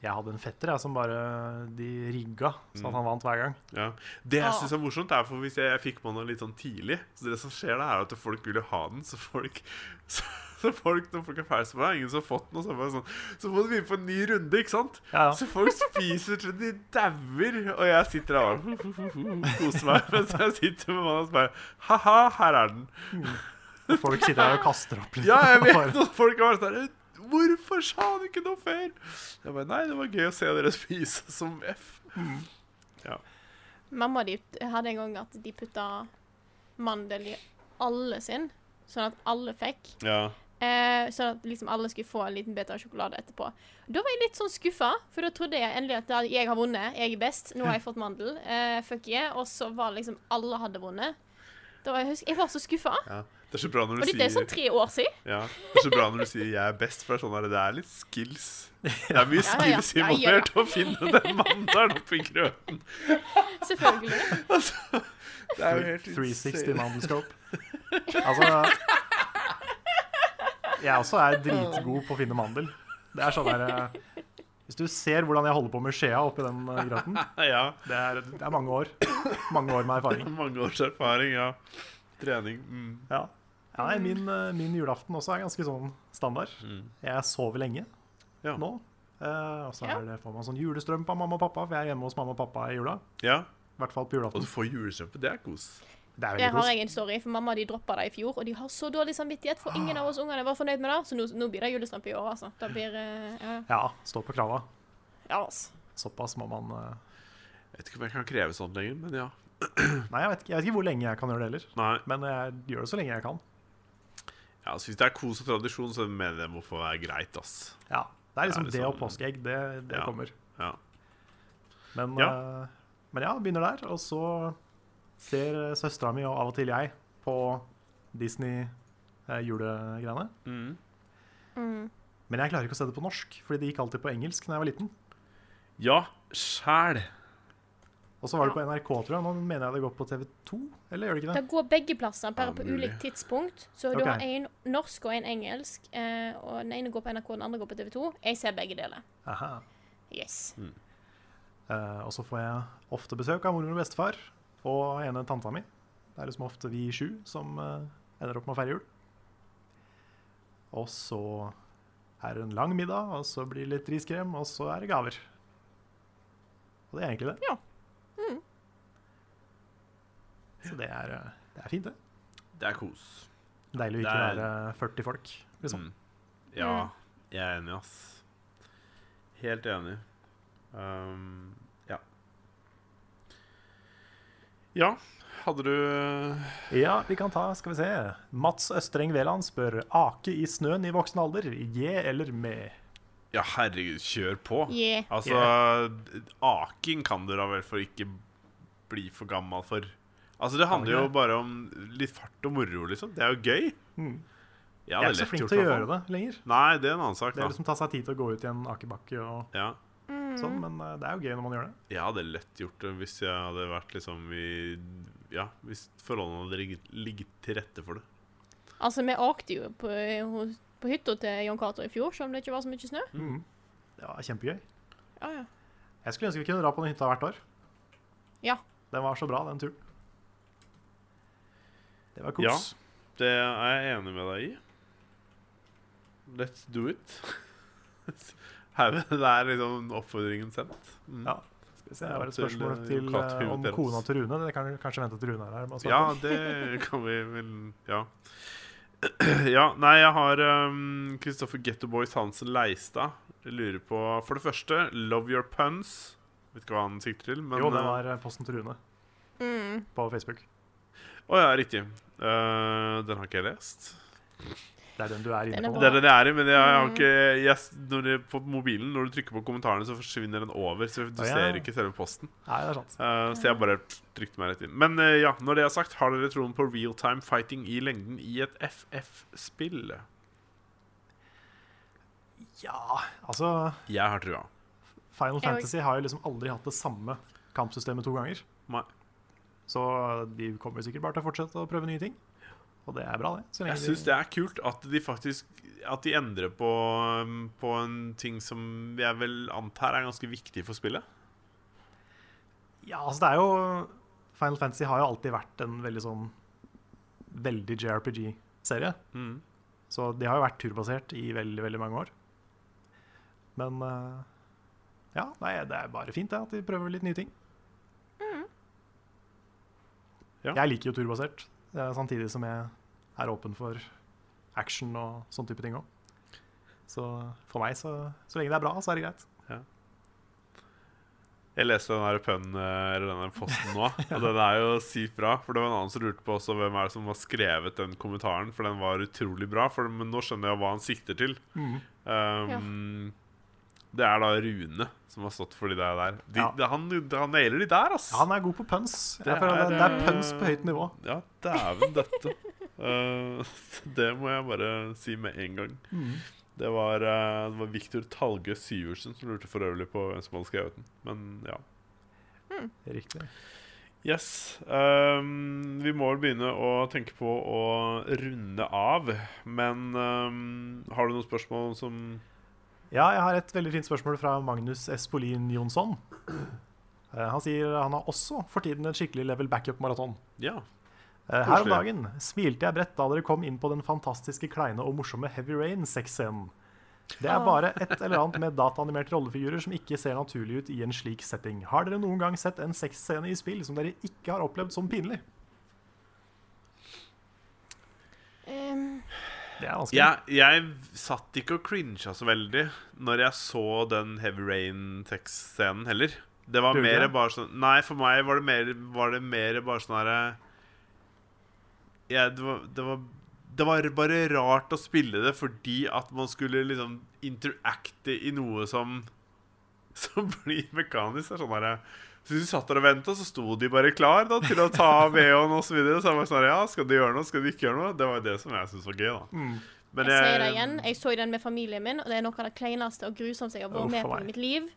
Jeg hadde en fetter jeg, som bare de rigga så at han vant hver [LAUGHS] gang. Ja. Det jeg Ah. synes er morsomt, er for hvis jeg, jeg fikk med den litt sånn tidlig Så det som skjer da, er at folk vil jo ha den, så folk [LAUGHS] så, så folk, når folk er ferdig med det, ingen som har fått den, og så er det bare sånn Så må du begynne på en ny runde, ikke sant? Ja, ja. Så folk spiser til de dauer, og jeg sitter der og bare [LAUGHS] koser meg, mens jeg sitter med mannen og bare Ha-ha, her er den. Og Folk sitter der og kaster opp. litt. Ja, jeg vet Bare- at folk har vært sånn Hvorfor sa du ikke noe før? Jeg bare, Nei, det var gøy å se dere spise som F. Mamma og de hadde en gang at de putta mandel i alle sin, sånn at alle fikk. Ja. Eh, sånn at liksom alle skulle få en liten bit av sjokolade etterpå. Da var jeg litt sånn skuffa, for da trodde jeg endelig at da- jeg har vunnet, jeg er best, nå har jeg fått mandel, eh, fuck yeah. Og så var liksom alle hadde vunnet. Da var jeg, husk, jeg var så skuffa. ja. Det er så bra når du Og dette er sånn tre år siden. Ja, Det er så bra når du sier 'jeg er best', for det er sånn der, det er litt skills. Det er mye Ja, ja, ja. skills Ja, ja, ja. involvert å finne den mandelen oppi grøten. [LAUGHS] Selvfølgelig. Altså, det er jo helt 360 insane. [LAUGHS] mandelscope. Altså Jeg også er dritgod på å finne mandel. Det er sånn der eh, Hvis du ser hvordan jeg holder på med skjea oppi den eh, grøten [LAUGHS] Ja, det er, det er mange år. Mange år med erfaring. mange års erfaring, ja. Trening. Mm. Ja. Ja, nei, min, eh, min julaften også er ganske sånn standard. Jeg sover lenge Mm. Ja. nå. Eh, og så Ja. er det, får man sånn julestrøm av mamma og pappa, for jeg er hjemme hos mamma og pappa i jula. ja. I hvert fall på Og julaften. du får julestrømpe. Det er kos. Det er Der veldig har kos. jeg en story, for mamma og de droppa det i fjor, og de har så dårlig samvittighet, for ingen av oss ungene var fornøyd med det, så nå, nå blir det julestrømpe i år, altså. Det blir eh, ja, Ja, stå på krava. ja, altså. Såpass må man eh, Jeg vet ikke om jeg kan kreve sånt lenger, men ja. Nei, jeg vet, ikke, jeg vet ikke hvor lenge jeg kan gjøre det heller. Nei. Men jeg gjør det så lenge jeg kan. Ja, altså, hvis det er kos og tradisjon, så mener jeg det må få være greit, ass. Ja, Det er Det er liksom det og liksom- påskeegg. Det, det Ja. kommer. Ja. Men ja. Ja. men ja, begynner der. Og så ser søstera mi og av og til jeg på Disney-julegreiene. Mm. Men jeg klarer ikke å se det på norsk, fordi det gikk alltid på engelsk da jeg var liten. Ja, sjæl. Og så var det på NRK, tror jeg. Nå mener jeg det går på TV2, eller gjør det ikke Det det? går begge plasser, bare Ja, på mulig. ulikt tidspunkt. Så Ok. du har en norsk og en engelsk. Eh, og Den ene går på NRK, den andre går på TV 2. Jeg ser begge deler. Aha. Yes. Eh, og så får jeg ofte besøk av mormor og bestefar og ene tanta mi. Det er liksom ofte vi sju som eh, ender opp med å feire jul. Og så er det en lang middag, og så blir det litt riskrem, og så er det gaver. Og det er egentlig det. Ja. Så det er, eh, det er fint, det. Det er kos. Deilig å ikke Det er- være 40 folk, liksom. Mm. Ja, jeg er enig, ass. Helt enig. Um, ja. Ja, hadde du Ja, vi kan ta, skal vi se. Mats Østreng Veland spør Ake i snøen i voksen alder, je eller med? Ja, herregud, kjør på. Yeah. Altså, aking kan du da vel for ikke bli for gammel for. Altså, det handler jo ikke? bare om litt fart og moro, liksom. Det er jo gøy. Ja, Mm. Jeg er ikke så flink til å gjøre det lenger. Nei, det er en annen sak, Det da. er liksom ta seg tid til å gå ut i en akebakke og Ja. Mm. sånn, men eh, det er jo gøy når man gjør det. Jeg hadde lett gjort det hvis jeg hadde vært liksom i Ja, hvis forholdene hadde ligget- ligget til rette for det. Altså, vi åkte jo på, hos- på hytta til Jon Cato i fjor, selv om det ikke var så mye snø. Det var kjempegøy. Ja, ja. Jeg skulle ønske vi kunne dra på den hytta hvert år. Ja. Den var så bra, den turen. Det var kos. Ja. Det er jeg enig med deg i. Let's do it. [LAUGHS] Her, det er liksom oppfordringen sendt. Mm. Ja. Skal vi se, Ja, Her var det et til, spørsmål eh, til, Jon Cato eh, om Hutenes. kona til Rune. Det kan vi kanskje vente til Rune er her. med å svare Ja, på. det kan vi vel Ja. [CLEARS THROAT] ja nei, jeg har Kristoffer Getto Boys Hansen Leistad. Jeg lurer på For det første, love your puns. Vet ikke hva han sikter til, men jo, det var eh, posten til Rune Mm. på Facebook. Å ja, riktig. Eh, den har ikke jeg lest. Det er den du er Den inne er på. Det er den jeg er i, men jeg har Mm. ikke jeg, når det, På mobilen, når du trykker på kommentarene, så forsvinner den over. Så du Å, ja. ser ikke selve posten. Nei, det er sant. Eh, så jeg bare trykte meg rett inn. Men eh, ja, når det er sagt, har dere troen på real time fighting i lengden i et FF-spill? Ja, altså Jeg har trua. Final Jeg- Fantasy har jo liksom aldri hatt det samme kampsystemet to ganger. Nei. Så de kommer sikkert bare til å fortsette å prøve nye ting. Og det er bra, det. Så lenge Jeg de- syns det er kult at de faktisk At de endrer på, um, på en ting som jeg vel antar er ganske viktig for spillet. Ja, altså det er jo Final Fantasy har jo alltid vært en veldig sånn Veldig JRPG-serie. Mhm. Så de har jo vært turbasert i veldig, veldig mange år. Men eh, ja, nei, det er bare fint det, at de prøver litt nye ting. Ja. Jeg liker jo turbasert, eh, samtidig som jeg er åpen for action og sånn type ting òg. Så for meg, så, så lenge det er bra, så er det greit. Jeg leste den der pønnen, eh, eller den der posten [LAUGHS] nå, og den er jo sykt bra. For det var en annen som lurte på også hvem er det som har skrevet den kommentaren, for den var utrolig bra. For, men nå skjønner jeg hva han sikter til. Mm. Um, Det er da Rune som har stått for de der. der. De, Ja. det- han, det- han nailer de der, ass! Ja, Han er god på puns. Det Det er, det, er, det er eh, puns på høyt nivå. Ja, dæven døtte. Eh, [LAUGHS] det må jeg bare si med en gang. Mm. Det var, uh, det var Viktor Talge Syversen som lurte for øvrig på hvem som hadde skrevet den. Men ja. Riktig. Yes. ehm, vi må vel begynne å tenke på å runde av. Men ehm, har du noen spørsmål som Ja, jeg har et veldig fint spørsmål fra Magnus Espolin Jonsson. Eh, Han sier han har også for tiden en skikkelig level backup-maraton. Ja. Eh, Her om Koselig. dagen smilte jeg bredt da dere kom inn på den fantastiske kleine og morsomme Heavy Rain-sexscenen. Det er bare et eller annet med dataanimerte rollefigurer som ikke ser naturlig ut i en slik setting. Har dere noen gang sett en sexscene i spill som dere ikke har opplevd som pinlig? Ehm, Det er vanskelig. Jeg, jeg satt ikke og crincha så veldig når jeg så den Heavy Rain-tekstscenen heller. Det var Gjorde du mer det? bare sånn Nei, for meg var det mer, var det mer bare sånn herre ja, det, var- det, var- det var bare rart å spille det fordi at man skulle liksom interacte i noe som [LAUGHS] Som blir mekanisk. Det er sånn herre så du satt der og venta, så sto de bare klar da, til å ta [LAUGHS] VH-en osv. Så, videre. så jeg var sånn, ja, skal de gjøre noe, skal de ikke gjøre noe? Det var jo det som jeg syntes var gøy. da. Mm. Men jeg sier det jeg- igjen. Jeg så den med familien min, og det er noe av det kleineste og grusomste jeg Uff, har vært med for på meg. i mitt liv.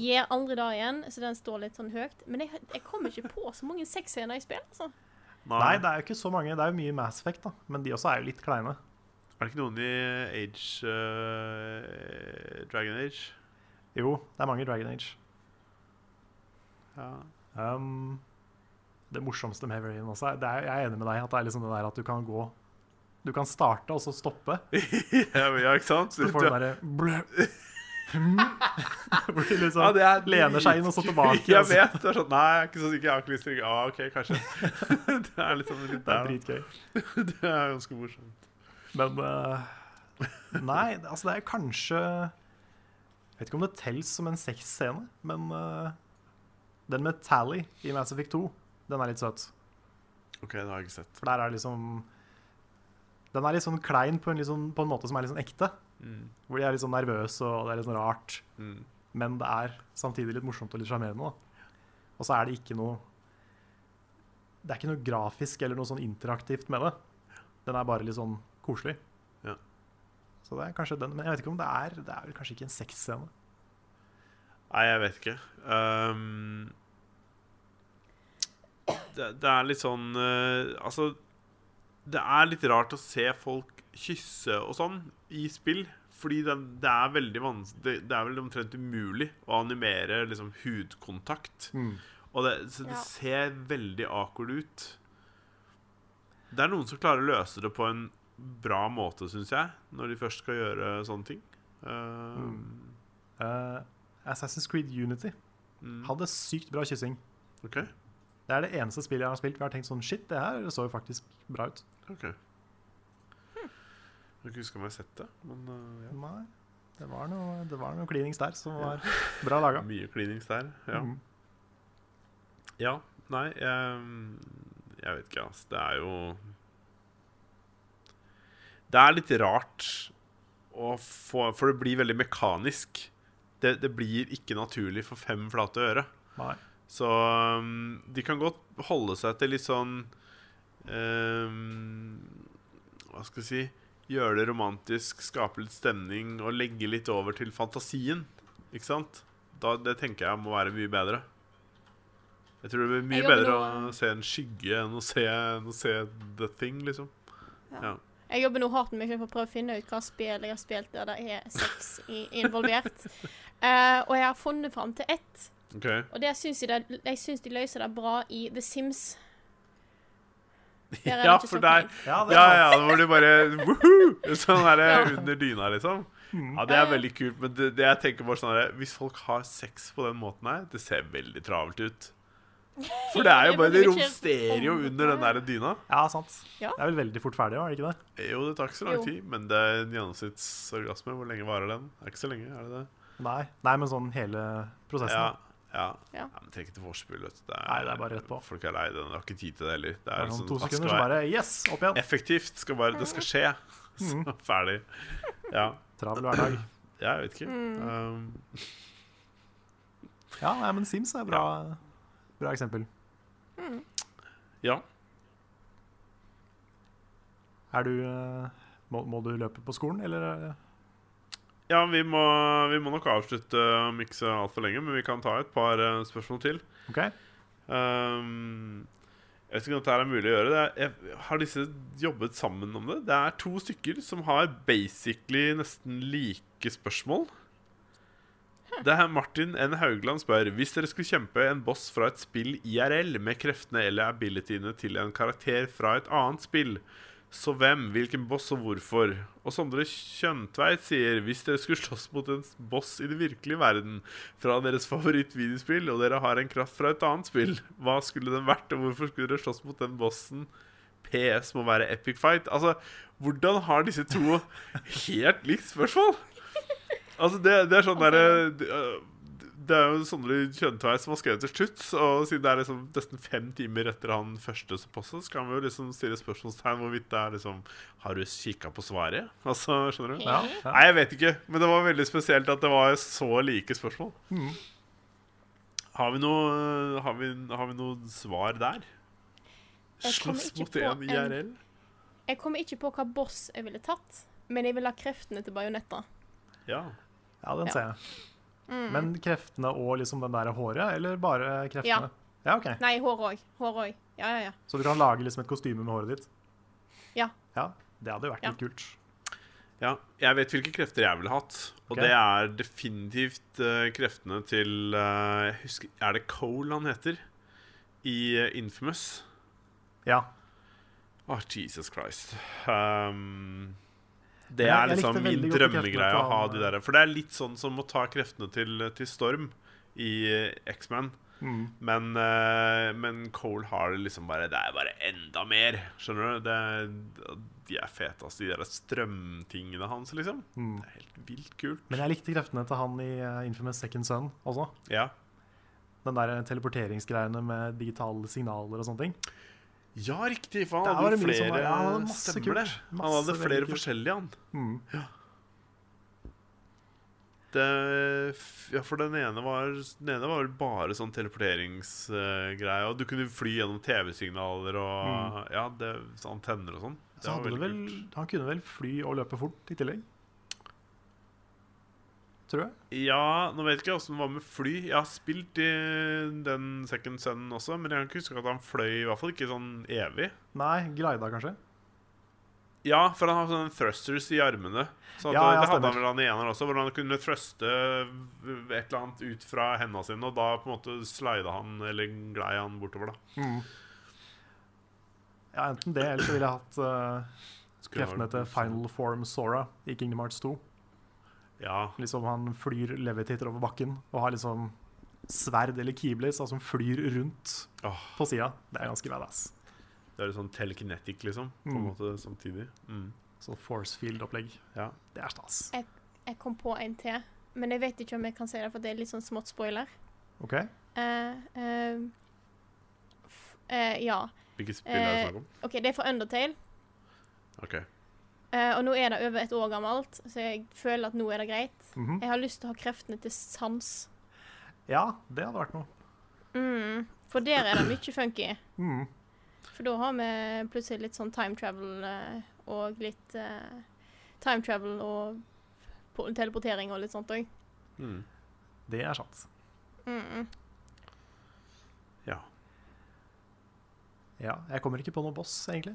Gir aldri det igjen, så den står litt sånn høyt. Men jeg, jeg kommer ikke på så mange sexscener i spill, altså. Nei, det er jo ikke så mange. Det er jo mye Mass Effect, da. Men de også er jo litt kleine. Er det ikke noen i Age eh, Dragon Age? [LAUGHS] Jo, det er mange i Dragon Age. Ja. Um, det morsomste med Heavy Rain også er, det er, Jeg er enig med deg at det er liksom det der at du kan gå Du kan starte og så stoppe. ja, men ja, ikke sant? Du får den derre [LAUGHS] blø- Hvor de liksom lener seg inn og så tilbake. altså. [LAUGHS] Jeg og så- vet. det er sånn, Nei, jeg er ikke så sikker. Jeg har ikke lyst til å ah, OK, kanskje. [LAUGHS] [LAUGHS] det er liksom litt Det er der, dritgøy. da. [LAUGHS] Det er ganske morsomt. Men eh, Nei, det- altså det er kanskje Jeg vet ikke om det telles som en sexscene, men eh, den med Tally i Mass Effect 2, den er litt søt. OK, det har jeg ikke sett. For der er det liksom Den er litt sånn klein på en, litt sånn- på en måte som er litt sånn ekte. Mm. Hvor de er litt sånn nervøse, og det er litt sånn rart. Mm. Men det er samtidig litt morsomt og litt sjarmerende. da. Og så er det ikke noe Det er ikke noe grafisk eller noe sånn interaktivt med det. Den er bare litt sånn koselig. Ja. Så det er kanskje den, men jeg vet ikke om det er Det er vel kanskje ikke en sexscene. Nei, jeg vet ikke. Ehm, det, det er litt sånn eh, Altså, det er litt rart å se folk kysse og sånn i spill. Fordi det, det er veldig vanskelig det, det er vel omtrent umulig å animere liksom, hudkontakt. Og det, så det Ja. ser veldig awkward ut. Det er noen som klarer å løse det på en bra måte, syns jeg, når de først skal gjøre sånne ting. Eh, Eh, Assassin's Creed Unity Mm. hadde sykt bra kyssing. OK. Det er det eneste spillet jeg har spilt hvor jeg har tenkt sånn Shit, det her så jo faktisk bra ut. ok Jeg kan ikke huske om jeg har sett det, men eh, Nei, det var noe, det var noe klinings der som var bra laga. ja. [LAUGHS] mye klinings der. Ja. Mhm. Ja, nei Jeg, jeg vet ikke, ass. Det er jo Det er litt rart å få For det blir veldig mekanisk. Det, det blir ikke naturlig for fem flate øre. Nei. Så um, de kan godt holde seg til litt sånn um, Hva skal jeg si Gjøre det romantisk, skape litt stemning og legge litt over til fantasien. Ikke sant? Da, det tenker jeg må være mye bedre. Jeg tror det blir mye Jeg jobber bedre nå- å se en skygge enn å se, enn å se the thing, liksom. Jeg jobber nå hardt med meg selv for å prøve å finne ut hva spill jeg har spilt der det er sex i, [LAUGHS] involvert. Eh, og jeg har funnet fram til ett. Ok, Og det syns jeg, det, jeg syns de løser det bra i The Sims. Der er det Ja, ikke for så der kleint. Ja, det Ja, var- ja, da var det bare woohoo! Sånn er det Ja. Mm. under dyna, liksom. Ja, det er veldig kult, men det, det jeg tenker bare sånn her Hvis folk har sex på den måten her, det ser veldig travelt ut. For det er [LAUGHS] jo Jeg bare Det bryr meg ikke romsterer jo om under den dette der dyna. ja, sant. Ja. Det er vel veldig fort ferdig, var det ikke det? Jo, det tar ikke så lang Jo. tid, men det er en gjennomsnittsorgasme. Hvor lenge varer den? Er ikke så lenge, er det det? Nei, Nei men sånn hele prosessen. Ja. da. ja. Ja. ja men Trenger ikke til vorspiel. vet du. Nei, det er bare rett på. Folk er lei den. De har ikke tid til det heller. Det Det er er sånn sånn, to alt sekunder, så skal være bare Mm. yes, opp igjen. effektivt. Skal bare, det skal skje. [LAUGHS] Så ferdig. Ja. Travel hverdag. [CLEARS THROAT] Jeg vet ikke. Um, Ja, nei, men Sims er bra, bra eksempel. ja. Er du eh, må, må du løpe på skolen, eller? eh, Ja, vi må, vi må nok avslutte å mikse altfor lenge, men vi kan ta et par eh, spørsmål til. OK? Ehm, jeg vet ikke om dette her er mulig å gjøre. Det er, jeg, har disse jobbet sammen om det? Det er to stykker som har basically nesten like spørsmål. Det er Martin N. Haugland spør Hvis dere skulle kjempe en boss fra et spill IRL med kreftene eller abilityene til en karakter fra et annet spill, så hvem, hvilken boss og hvorfor? Og Sondre Kjøntveit sier hvis dere skulle slåss mot en boss i den virkelige verden fra deres favorittvideospill, og dere har en kraft fra et annet spill, hva skulle den vært, og hvorfor skulle dere slåss mot den bossen? PS må være epic fight. Altså, hvordan har disse to helt likt spørsmål? Altså, det, det er sånn derre Altså- det, øh, det er jo Sondre Kjøntveit som har skrevet til slutt, og siden det er liksom nesten fem timer etter han første som postet, så kan vi jo liksom stille spørsmålstegn hvorvidt det er liksom Har du kikka på svaret? Altså, skjønner du? Ja. ja. Nei, jeg vet ikke, men det var veldig spesielt at det var så like spørsmål. Har vi noe, øh, har vi, har vi noe svar der? Jeg kommer Slåss ikke mot på en en- IRL? Jeg kommer ikke på hva boss jeg ville tatt, men jeg ville ha kreftene til bajonetta. Ja. Ja, den Ja. Mm. ser jeg. Men kreftene og liksom den der håret, eller bare kreftene? Ja. ok. Nei, hår òg. Hår òg. Ja, ja, ja. Så du kan lage liksom et kostyme med håret ditt? Ja. Ja, Det hadde jo vært Ja. litt kult. Ja, jeg vet hvilke krefter jeg ville hatt. Og Ok. det er definitivt eh, kreftene til eh, jeg husker, Er det Cole han heter? I eh, Infamous. Ja. Åh, Ah, Jesus Christ. Um, det Jeg- er jeg likte liksom min veldig godt de kreftene drømmegreie til å ha han, de eh. der. For det er litt sånn som å ta kreftene til, til Storm i eh, X-Man. Mm. Men, eh, men Cole har det liksom bare Det er bare enda mer. Skjønner du? Det er, de er fete, altså. De der strømtingene hans, liksom. Mm. Det er helt vilt kult. Men jeg likte kreftene til han i eh, Infamous Second Son også. Ja. Den der eh, teleporteringsgreiene med digitale signaler og sånne ting. Ja, riktig! For Der han var hadde det jo mye som flere var- ja, han hadde masse stemmer det. kult. Han hadde Masse veldig flere kult. forskjellige, han. Mm. Det, f- ja, for den ene var Den ene var vel bare sånn teleporteringsgreie. Og du kunne fly gjennom TV-signaler og Ja, det, så antenner og sånn. Det Mm. Så var hadde du veldig vel, kult. han kunne vel fly og løpe fort i tillegg? Tror jeg. Ja, nå vet jeg ikke åssen det var med fly. Jeg har spilt i den Second Sun også, men jeg kan ikke huske at han fløy, i hvert fall ikke sånn evig. Nei, glida kanskje? Ja, for han har sånne thrusters i armene. Så at, Ja, ja, det hadde stemmer. han vel han i eneren også, hvor han kunne thruste et eller annet ut fra hendene sine, og da på en måte slida han eller glei han bortover, da. Ja, Enten det, eller så ville jeg hatt eh, Skulle kreftene ha- til Final Form Sora i Kingdom Hearts 2. Ja. Liksom Han flyr levitator over bakken og har liksom sverd eller keyblades altså, som flyr rundt Åh, på sida. Det er ganske badass. det er litt sånn telekinetic, liksom, på en Mm. måte samtidig. Mm. Så force field-opplegg. Ja. Det er stas. Jeg kom på en til, men jeg vet ikke om jeg kan si det, for det er litt sånn smått spoiler. OK? Eh, eh, f eh, ja. Eh, Hvilket spill er det snakk om? OK, det er for Undertale, OK. eh, og nå er det over et år gammelt, så jeg føler at nå er det greit. Mhm. Jeg har lyst til å ha kreftene til sans, Ja, det hadde vært noe. mm, for der er det mye funky. Mm. For da har vi plutselig litt sånn time travel eh, og litt eh, Time travel og po- teleportering og litt sånt òg. Mm. Det er sant. Mm. Ja. Ja, Jeg kommer ikke på noe boss, egentlig.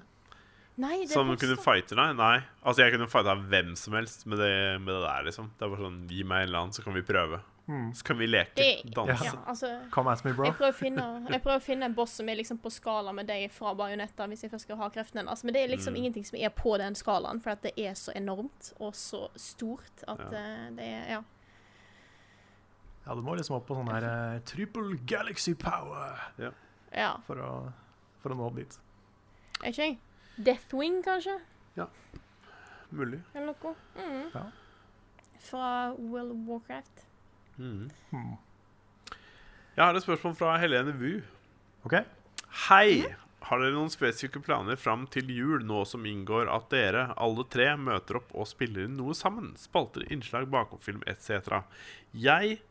Nei, det er Som boss, kunne da. fighte deg? Nei. Altså, jeg kunne fighta hvem som helst med det, med det der, liksom. Det er bare sånn Gi meg en eller annen, så kan vi prøve. Mm. Så kan vi leke, Det- danse. Ja, altså Come at me, bro. Jeg prøver, å finne, [LAUGHS] jeg prøver å finne en boss som er liksom på skala med deg fra Bajonetta, hvis jeg først skal ha kreftene hennes. Men det er Mm. liksom ingenting som er på den skalaen, for at det er så enormt og så stort at Ja. eh, det er Ja. Ja, Du må liksom opp på sånn her eh, triple galaxy power ja. for å, for å nå dit. Er ikke jeg? Deathwing, kanskje? Mulig. Eller noe? Mm. Ja. Fra World of Warcraft. Hmm. Jeg har et spørsmål fra Helene Wu. OK? Hei! Har dere noen spesifikke planer fram til jul nå som inngår at dere, alle tre, møter opp og spiller inn noe sammen? Spalter, innslag, bakomfilm etc. Jeg,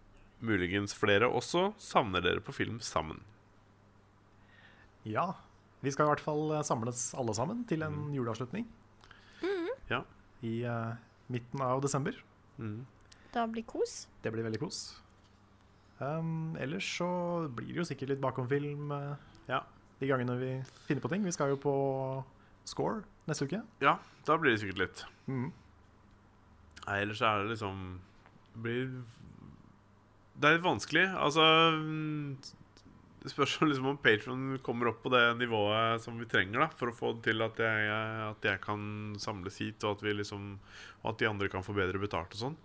muligens flere også, savner dere på film sammen. Ja. Vi skal i hvert fall eh, samles alle sammen til en juleavslutning. Mm. Ja. I eh, midten av desember. Det blir kos. Det blir veldig kos. Um, ellers så blir det jo sikkert litt bakomfilm eh, Ja. de gangene vi finner på ting. Vi skal jo på Score neste uke. Ja, da blir det sikkert litt. Mhm. Nei, ellers er det liksom blir, Det er litt vanskelig. Altså mm, Det spørs jo liksom om Patron kommer opp på det nivået som vi trenger da for å få det til at jeg, at jeg kan samles hit, og at, vi liksom, og at de andre kan få bedre betalt og sånn.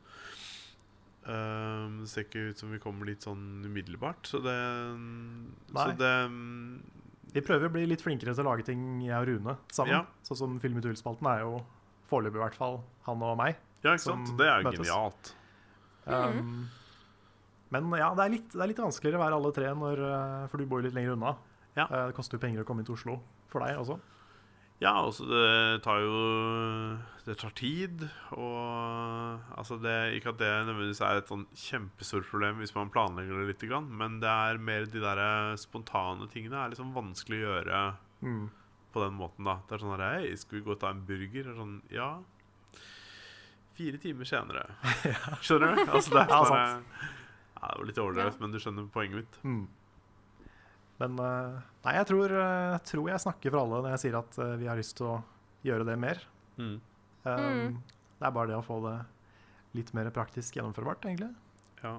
Ehm, det ser ikke ut som vi kommer dit sånn umiddelbart, så det, så Nei. det mm, Vi prøver å bli litt flinkere til å lage ting jeg og Rune sammen. Ja. Sånn som Film i tull-spalten er jo foreløpig i hvert fall han og meg. Ja, ikke Som sant? Det er jo møtes. genialt. Mm. Um, men ja, det er, litt, det er litt vanskeligere å være alle tre, når, eh, for du bor jo litt lenger unna. Ja. Eh, Det koster jo penger å komme inn til Oslo for deg også. Ja, altså det tar jo Det tar tid, og altså det, ikke at det nødvendigvis er et sånn kjempestort problem hvis man planlegger det lite grann, men det er mer de der eh, spontane tingene er liksom vanskelig å gjøre Mm. på den måten, da. Det er sånn her Hei, skal vi gå og ta en burger? Og sånn Ja. Fire timer senere. [LAUGHS] Skjønner du? Altså det er Ja, sånn sant. her- ja, det var litt overdrevet, men du skjønner poenget mitt. Mm. Men eh, nei, jeg tror, eh, tror jeg snakker for alle når jeg sier at eh, vi har lyst til å gjøre det mer. Mm. Um, Det er bare det å få det litt mer praktisk gjennomførbart, egentlig. Ja.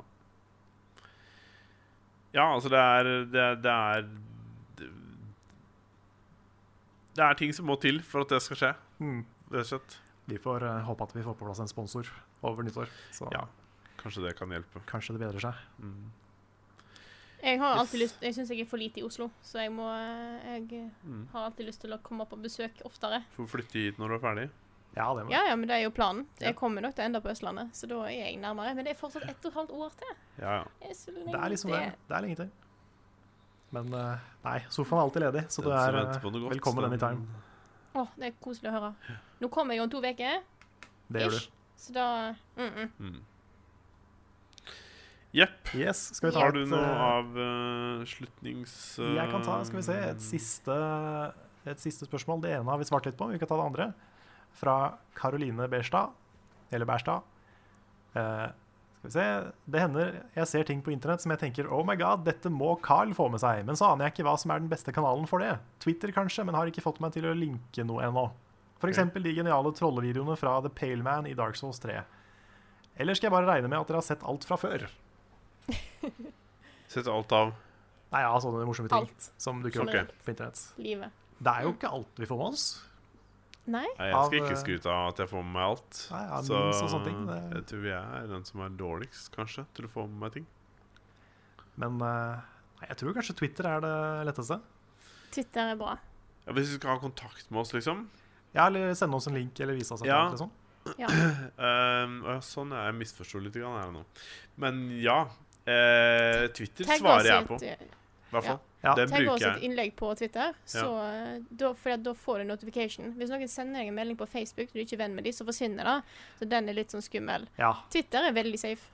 Ja, altså det er Det, er- det er det, det er ting som må til for at det skal skje, Mm. rett og slett. Vi får eh, håpe at vi får på plass en sponsor over nyttår, så Ja. Kanskje det kan hjelpe. kanskje det bedrer seg. Mm. Jeg har alltid Yes. lyst Jeg syns jeg er for lite i Oslo, så jeg må eh, Jeg Mm. har alltid lyst til å komme på besøk oftere. Får flytte hit når du er ferdig. Ja, det må Ja, ja, men det er jo planen. Ja. Jeg kommer nok til å ende på Østlandet, så da er jeg nærmere. Men det er fortsatt ett og et halvt år til. Ja, ja. Det er, så Det lenge er liksom det. Det er lenge til. Men eh, nei, sofaen er alltid ledig, så du Den som er eh, venter på noe godt, velkommen den- anytime. Å, det er koselig å høre. Nå kommer jeg jo om to uker, Det gjør du. ish. Så da mm -mm. Mm. Jepp. Yes, skal vi ta Har du et, noe eh, avslutnings... Jeg kan eh, ta skal vi se, et siste, et siste spørsmål. Det ene har vi svart litt på, men vi kan ta det andre. Fra Karoline Berstad. Eller Berstad. Eh, skal vi se. Det hender jeg ser ting på internett som jeg tenker Oh my god, dette må Carl få med seg. Men så aner jeg ikke hva som er den beste kanalen for det. Twitter kanskje, men har ikke fått meg til å linke noe ennå. F.eks. de geniale trollevideoene fra The Pale Man i Dark Souls 3. Eller skal jeg bare regne med at dere har sett alt fra før? Sett eh, alt av. Nei, ja, sånne morsomme ting Alt. som dukker Ok. opp på internett. Livet. Det er jo ikke alt vi får med oss. Nei? Nei, jeg skal Av, ikke eh, skryte av at jeg får med meg alt. Nei, ja, memes og sånne ting, det- jeg tror jeg er den som er dårligst, kanskje, til å få med meg ting. Men eh, nei, jeg tror kanskje Twitter er det letteste. Twitter er bra. Ja, hvis du skal ha kontakt med oss, liksom. Ja, eller sende oss en link eller vise oss et Ja. eller annet. Liksom. Ja. Ehm, å ja, sånn, ja, jeg misforsto litt grann her nå. Men ja. eh, Twitter Tagg oss svarer jeg på, i et- eh, i hvert fall. Ja. Den Tagg oss bruker i et jeg. innlegg på Twitter, så, eh, da, for da får du notification. Hvis noen sender deg en melding på Facebook når du ikke er venn med dem, så forsvinner det. Så den er litt sånn skummel. Ja, Twitter er veldig safe.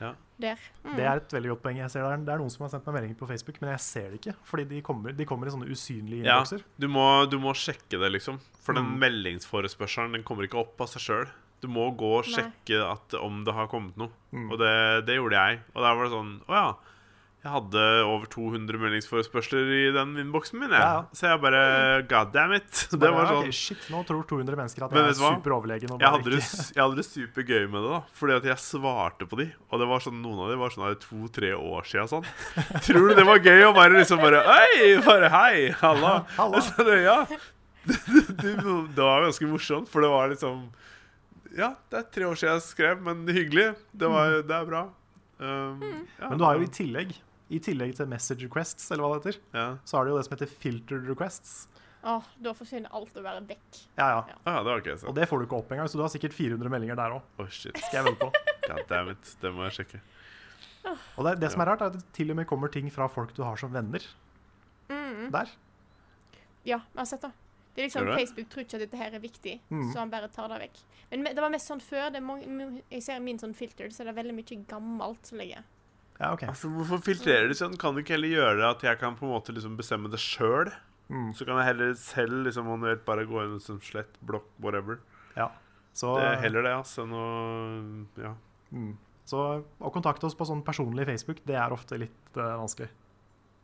Ja. Der. Mm. det er et veldig godt poeng. Jeg ser det, er, det er noen som har sendt meg meldinger på Facebook, men jeg ser det ikke. Fordi de kommer, de kommer i sånne usynlige Ja, innbokser. Mm. du må, du må sjekke det, liksom. For den meldingsforespørselen den kommer ikke opp av seg sjøl. Du må gå og Nei. sjekke at, om det har kommet noe. Mm. Og det, det gjorde jeg. Og der var det sånn Å ja. Jeg hadde over 200 meldingsforespørsler i den innboksen min. Jeg. Ja, ja. Så jeg bare God damn it. Det Bare, var ja, sånn ok, shit, nå tror 200 mennesker at Men jeg er vet du hva? superoverlegen. og jeg bare hadde, det, ikke- jeg hadde det supergøy med det, da. Fordi at jeg svarte på de. Og det var sånn, noen av de var sånn her to-tre år siden sånn. Tror du det var gøy å bare liksom bare Hei! Bare hei! Halla! [LAUGHS] Halla. Så det, ja. [LAUGHS] Det, det, det var ganske morsomt, for det var liksom Ja, det er tre år siden jeg skrev, men hyggelig. Det, Mm. var, det er bra. Um, ja, Men du har jo i tillegg, i tillegg til message requests, eller hva det heter, ja. så har du jo det som heter filtered requests. Åh, da forsvinner alt å være vekk. Ja, ja. Å ah, ja, det var ikke jeg Og sett. det får du ikke opp engang, så du har sikkert 400 meldinger der òg. Å, shit. Skal jeg vente på. God damn it. Det må jeg sjekke. Og det, det som er rart, er at det til og med kommer ting fra folk du har som venner. Der. Ja, vi har sett det. Det er liksom, Gjør du det? Mm. Facebook tror ikke at dette her er viktig, så han bare tar det vekk. Men me- det var mest sånn før. Det er mange, mo- jeg ser i min sånn filter, så er det veldig mye gammelt som ligger. Ja, ok. Altså, Hvorfor filtrerer de sånn? Kan du ikke heller gjøre at jeg kan på en måte liksom bestemme det sjøl? Så kan jeg heller selv liksom manuelt bare gå inn og liksom slett, blokk, whatever. Ja. Så, Det er heller det, altså, enn å Ja. så å kontakte oss på sånn personlig Facebook, det er ofte litt eh, vanskelig.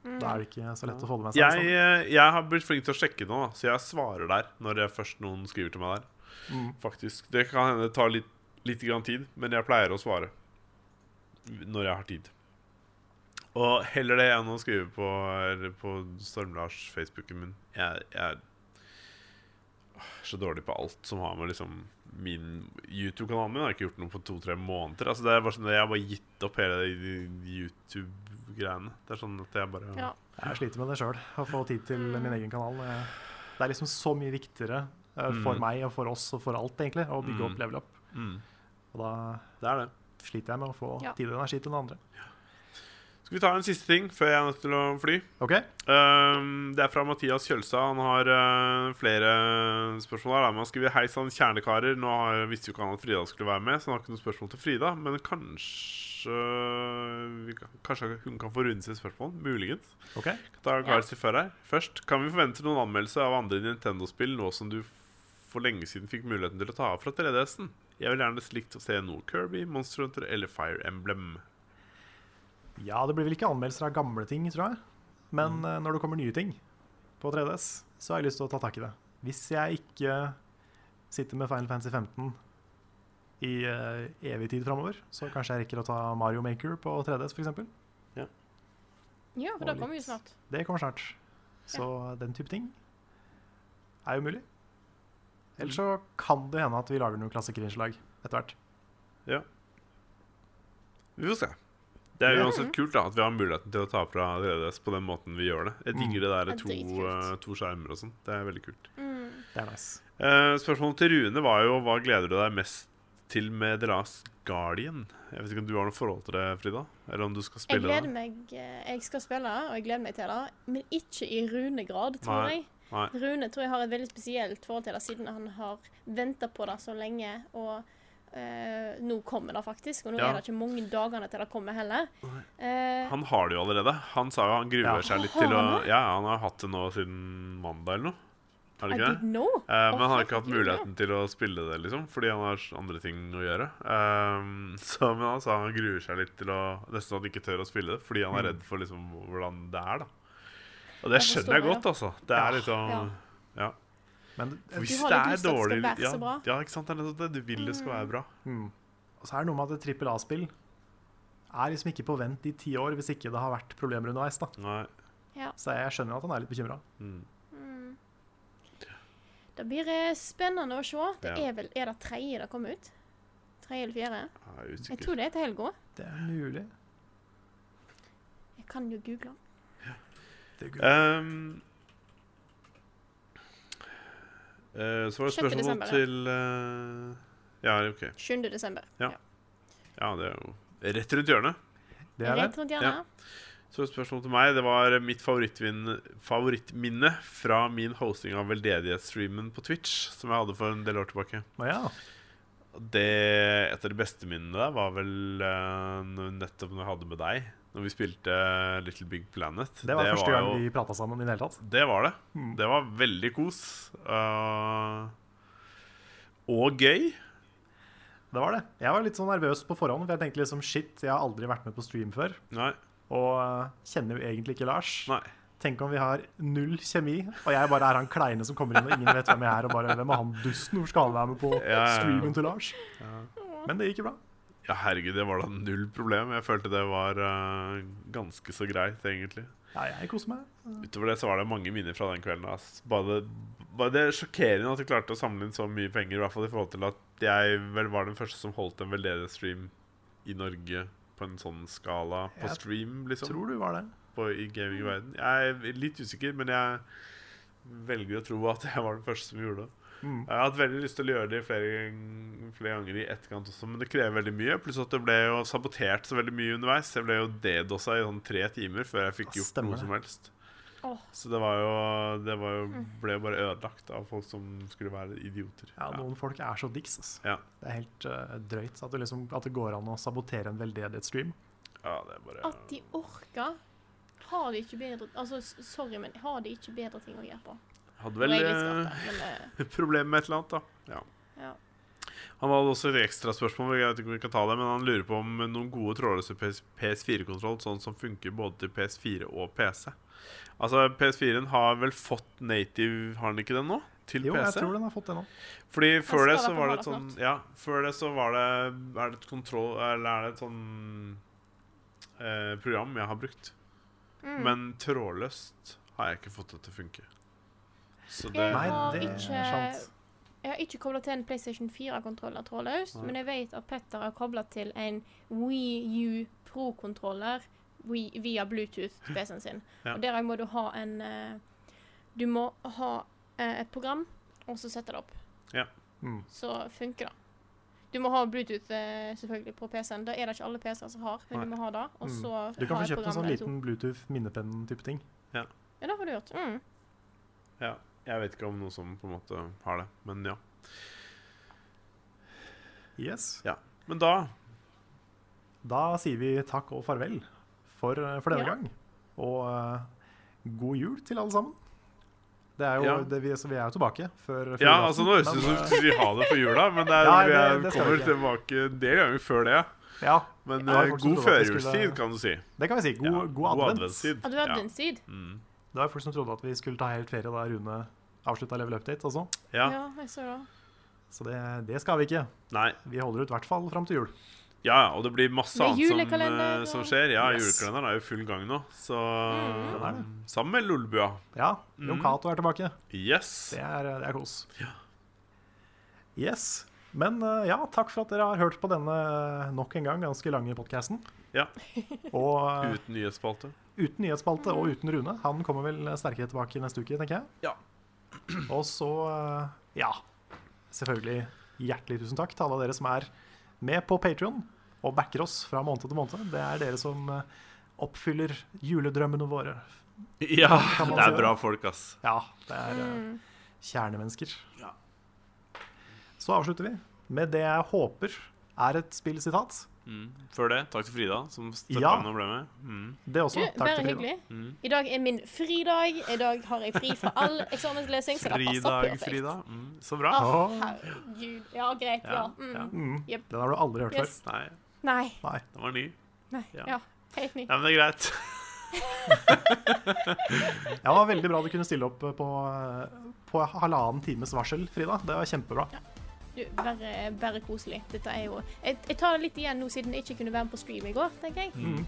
Da er det ikke så lett å få det med seg. Jeg, liksom. eh, jeg har blitt flink til å sjekke nå, da, så jeg svarer der når jeg først noen skriver til meg der. Faktisk. Det kan hende det tar litt, litt grann tid, men jeg pleier å svare når jeg har tid. Og heller det enn å skrive på, eller på Storm-Lars-Facebooken min. Jeg, jeg er så dårlig på alt som har med liksom min YouTube-kanalen min. Jeg har ikke gjort noe på to-tre måneder. Altså, det er bare sånn at Jeg har bare gitt opp hele de YouTube-greiene. Det er sånn at jeg bare Ja. Jeg sliter med det sjøl, å få tid til min egen kanal. Eh, Det er liksom så mye viktigere eh, Mm. for meg og for oss og for alt, egentlig, å bygge opp level up. Og da Det er det. sliter jeg med å få Ja. tid og energi til den andre. Skal vi ta en siste ting før jeg er nødt til å fly? OK? Ehm, det er fra Mathias Kjølstad. Han har eh, flere spørsmål. her da. Men Han skriver Hei sann, kjernekarer. Nå har- visste jo ikke han at Frida skulle være med, så han har ikke noe spørsmål til Frida. Men kanskje vi kan, Kanskje hun kan få runde sitt spørsmål? Muligens. ok. Da Kari sier før her. Først, kan vi forvente noen anmeldelse av andre Nintendo-spill nå som du f- for lenge siden fikk muligheten til å ta av fra 3DS-en? Jeg vil gjerne slikt å se noe Kirby, Monster Hunter eller Fire Emblem. Ja, det blir vel ikke anmeldelser av gamle ting, tror jeg. Men eh, når det kommer nye ting på 3DS, så har jeg lyst til å ta tak i det. Hvis jeg ikke sitter med Final Fantasy 15 i eh, evig tid framover, så kanskje jeg rekker å ta Mario Maker på 3DS, f.eks. Ja, for Og det kommer jo litt. snart. Det kommer snart. Så den type ting er jo mulig. Ellers så kan det hende at vi lager noen klassikerinnslag etter hvert. Ja. Vi får se. Det er uansett kult da at vi har muligheten til å ta fra 3DS på den måten vi gjør det. Jeg digger det der Mm. Det er to, dritkult. eh, to skjermer og sånn. Det er veldig kult. Det er nice. Eh, spørsmålet til Rune var jo hva gleder du deg mest til med The Last Guardian? Jeg vet ikke om du har noe forhold til det, Frida? Eller om du skal Jeg spille gleder det? meg eh, Jeg skal spille, og jeg gleder meg til det. Men ikke i runegrad, tror Nei. jeg. Nei. Rune tror jeg har et veldig spesielt forhold til det, siden han har venta på det så lenge. Og eh, nå kommer det faktisk. Og nå Ja. er det ikke mange dagene til det kommer heller. Eh, Han har det jo allerede. Han sa jo han gruer Ja. seg litt Har til å han [LAUGHS] det? Ja, han har hatt det nå siden mandag eller noe. Har I det ikke det? didn't know. Eh, men Å, han har ikke hatt herregud, ja. muligheten til å spille det, liksom, fordi han har andre ting å gjøre. Ehm, [LAUGHS] så, men han sa han gruer seg litt til å Nesten at han ikke tør å spille det, fordi han Mm. er redd for liksom, hvordan det er. da Og det Jeg forstår skjønner jeg det, godt, altså. Det er liksom Ja. Ja. Men Du Hvis har det er litt lyst til at det skal dårlig være ja, så bra. ja, ikke sant? Det er nettopp det. Du vil det skal Mm. være bra. Og så er det noe med at et trippel A-spill er liksom ikke på vent i ti år hvis ikke det har vært problemer underveis. da. Nei. Så jeg skjønner at han er litt bekymra. Det blir eh, spennende å se. Det Ja. er vel Er det tredje det kom ut? Tredje eller fjerde? Jeg er Jeg usikker. tror det er til helga. Det er mulig. Jeg kan jo google. Ehm, eh, så var det 6. spørsmål desember, ja. til eh, Ja, OK. 7. desember. Ja. Ja, det er jo rett rundt hjørnet. Det er det. Rett rundt hjørnet. Så spørsmålet til meg, det var mitt favorittvin- favorittminne fra min hosting av veldedighetsstreamen på Twitch, som jeg hadde for en del år tilbake. Å ja. Det, et av de beste minnene der var vel eh, når- nettopp når jeg hadde med deg, når vi spilte eh, Little Big Planet. Det var første gang jo- vi Mm. prata sammen i det hele tatt. Det var det. Det var veldig kos. eh, og gøy. Det var det. Jeg var litt sånn nervøs på forhånd, for jeg tenkte liksom shit, jeg har aldri vært med på stream før. Nei. Og eh, kjenner jo egentlig ikke Lars. Nei. Tenk om vi har null kjemi, og jeg bare er han kleine som kommer inn, og ingen vet hvem jeg er, og bare hvem er han dusten? Hvorfor skal han være med på ja, ja. streamen til Lars? Men det gikk jo bra. Ja, herregud, det var da null problem. Jeg følte det var eh, ganske så greit, egentlig. Ja, jeg koser meg. Utover det så var det mange minner fra den kvelden. Ass. Bare, det, bare det er sjokkerende at du klarte å samle inn så mye penger, i hvert fall i forhold til at jeg vel var den første som holdt en veldedighetsstream i Norge på en sånn skala på Jeg stream, liksom. Tror du var det. på, i gamingverden. Jeg er litt usikker, men jeg velger å tro at jeg var den første som gjorde det. Mm. Jeg har hatt veldig lyst til å gjøre det flere, gang- flere ganger i etterkant også, men det krever veldig mye. Pluss at det ble jo sabotert så veldig mye underveis. Jeg ble jo dedosa i sånn tre timer før jeg fikk Ja, gjort stemmer noe det. som helst. Åh. Så det var jo Det var jo, Mm. ble jo bare ødelagt av folk som skulle være idioter. Ja, noen folk er så dicks, ass. ja. Det er helt eh, drøyt at det, liksom, at det går an å sabotere en veldedighetsstream. ja det er bare At de orker. Har de ikke bedre Altså, s- sorry, men har de ikke bedre ting å gjøre på? Hadde Nå vel er jeg litt eh, skarp, men eh, [LAUGHS] problem med et eller annet, da. Ja. Ja. Han hadde også et ekstraspørsmål, jeg vet ikke om vi kan ta det, men han lurer på om noen gode trådløse PS4-kontroll, sånn som funker både til PS4 og PC. Altså, PS4-en har vel fått native, har den ikke den nå? Til Jo, PC? jeg tror den har fått det nå. Fordi før skal det i så hvert fall var ha det et det sånn snart. Ja, før det så var det Er det et kontroll Eller er det et sånn eh, program jeg har brukt? Mm. Men trådløst har jeg ikke fått det til å funke. Så det Jeg har det er ikke sant. Jeg har ikke kobla til en PlayStation 4-kontroller trådløst, men jeg vet at Petter har kobla til en Wii U Pro-kontroller Wii- via [LAUGHS] Bluetooth til PC-en sin. Ja. Og der må du ha en eh, Du må ha eh, et program, og så sette det opp. Ja. Mm. Så funker det. Du må ha Bluetooth eh, selvfølgelig på PC-en. Det er det ikke alle PC-er som har, men Nei. du må ha det. Og Mm. så Du kan få ha et kjøpt en program sånn der to- liten Bluetooth-minnepenn-type ting. Ja, det får du gjort. Mm. Ja, jeg vet ikke om noen som på en måte har det, men ja. Yes. Men da Da sier vi takk og farvel for, eh, for denne Ja. gang. Og eh, god jul til alle sammen. Det er jo, Ja. det vi, så vi er jo tilbake før før Ja, julaften, altså nå høres det men, ut som vi sier ha det for jula, men det er, Nei, vi det- er, det skal vi kommer ikke. tilbake en del ganger før det. eh, ja, Men Ja, eh, folk som god trodde at vi skulle- førjulstid, kan du si. det kan vi si. God, Ja, god advent. Ja, du har adventstid? Det var jo folk som trodde at vi skulle ta helt ferie da Rune avslutta Level Update. Altså. Ja. ja. Ja, jeg så det. Så det, det skal vi ikke. Nei. Vi holder ut i hvert fall fram til jul. Ja, ja, og det blir masse Med annet som, julekalender eh, som og- skjer. Ja, Yes. julekalenderen er jo i full gang nå, så um, Den er det. Sammen med Lolbua. Ja, Jon Cato er tilbake. Yes. Det er, det er kos. Yes. Men eh, ja, takk for at dere har hørt på denne eh, nok en gang ganske lange podkasten. Ja. Og eh, Uten nyhetsspalte. Uten nyhetsspalte og uten Rune. Han kommer vel sterkere tilbake neste uke, tenker jeg. Ja. [CLEARS THROAT] Og så, eh, ja Selvfølgelig hjertelig tusen takk til alle dere som er med på Patrion og backer oss fra måned til måned. Det er dere som eh, oppfyller juledrømmene våre. Ja, man det si er det? bra folk, ass. Ja, det er Mm. eh, kjernemennesker. Så avslutter vi med det jeg håper er et spillsitat. Før det, takk til Frida, som steppa Ja. inn og ble med. Mm. Det Du, også. Takk bare til Frida. hyggelig. I dag er min fridag. I dag har jeg fri fra all eksamenslesing, så det passer Fridag, perfekt. Frida. Mm, så bra. Å, Åh. herregud. Ja, greit. Ja. Mm. Den har du aldri hørt Yes. Nei, Nei. før. Nei. den var ny. Nei. Ja. Ja. Helt ny. Ja, men det er greit. Ja, det var veldig bra du kunne stille opp eh, på, eh, på halvannen times varsel, Frida. Det var kjempebra. Du, bare, bare koselig. Dette er jo jeg, jeg tar det litt igjen nå siden jeg ikke kunne være med på stream i går, tenker jeg. Mm.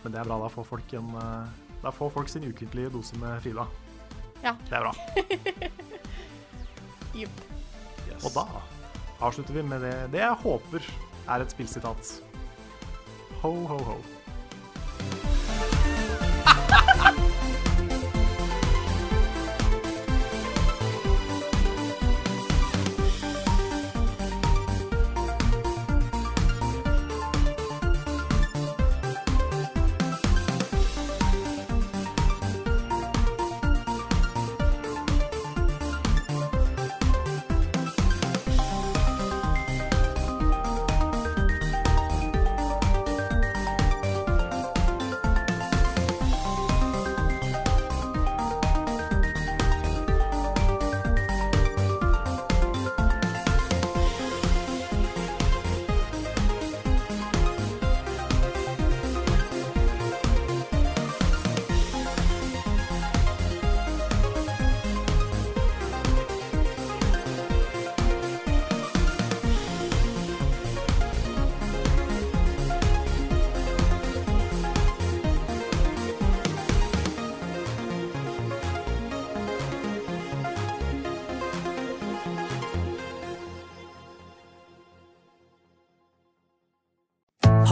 Men det er bra. Da får folk, en, eh, da får folk sin ukentlige dose med Frida. Ja. Det er bra. Jupp. Og da avslutter vi med det, det jeg håper er et spillsitat. Ho, ho, ho.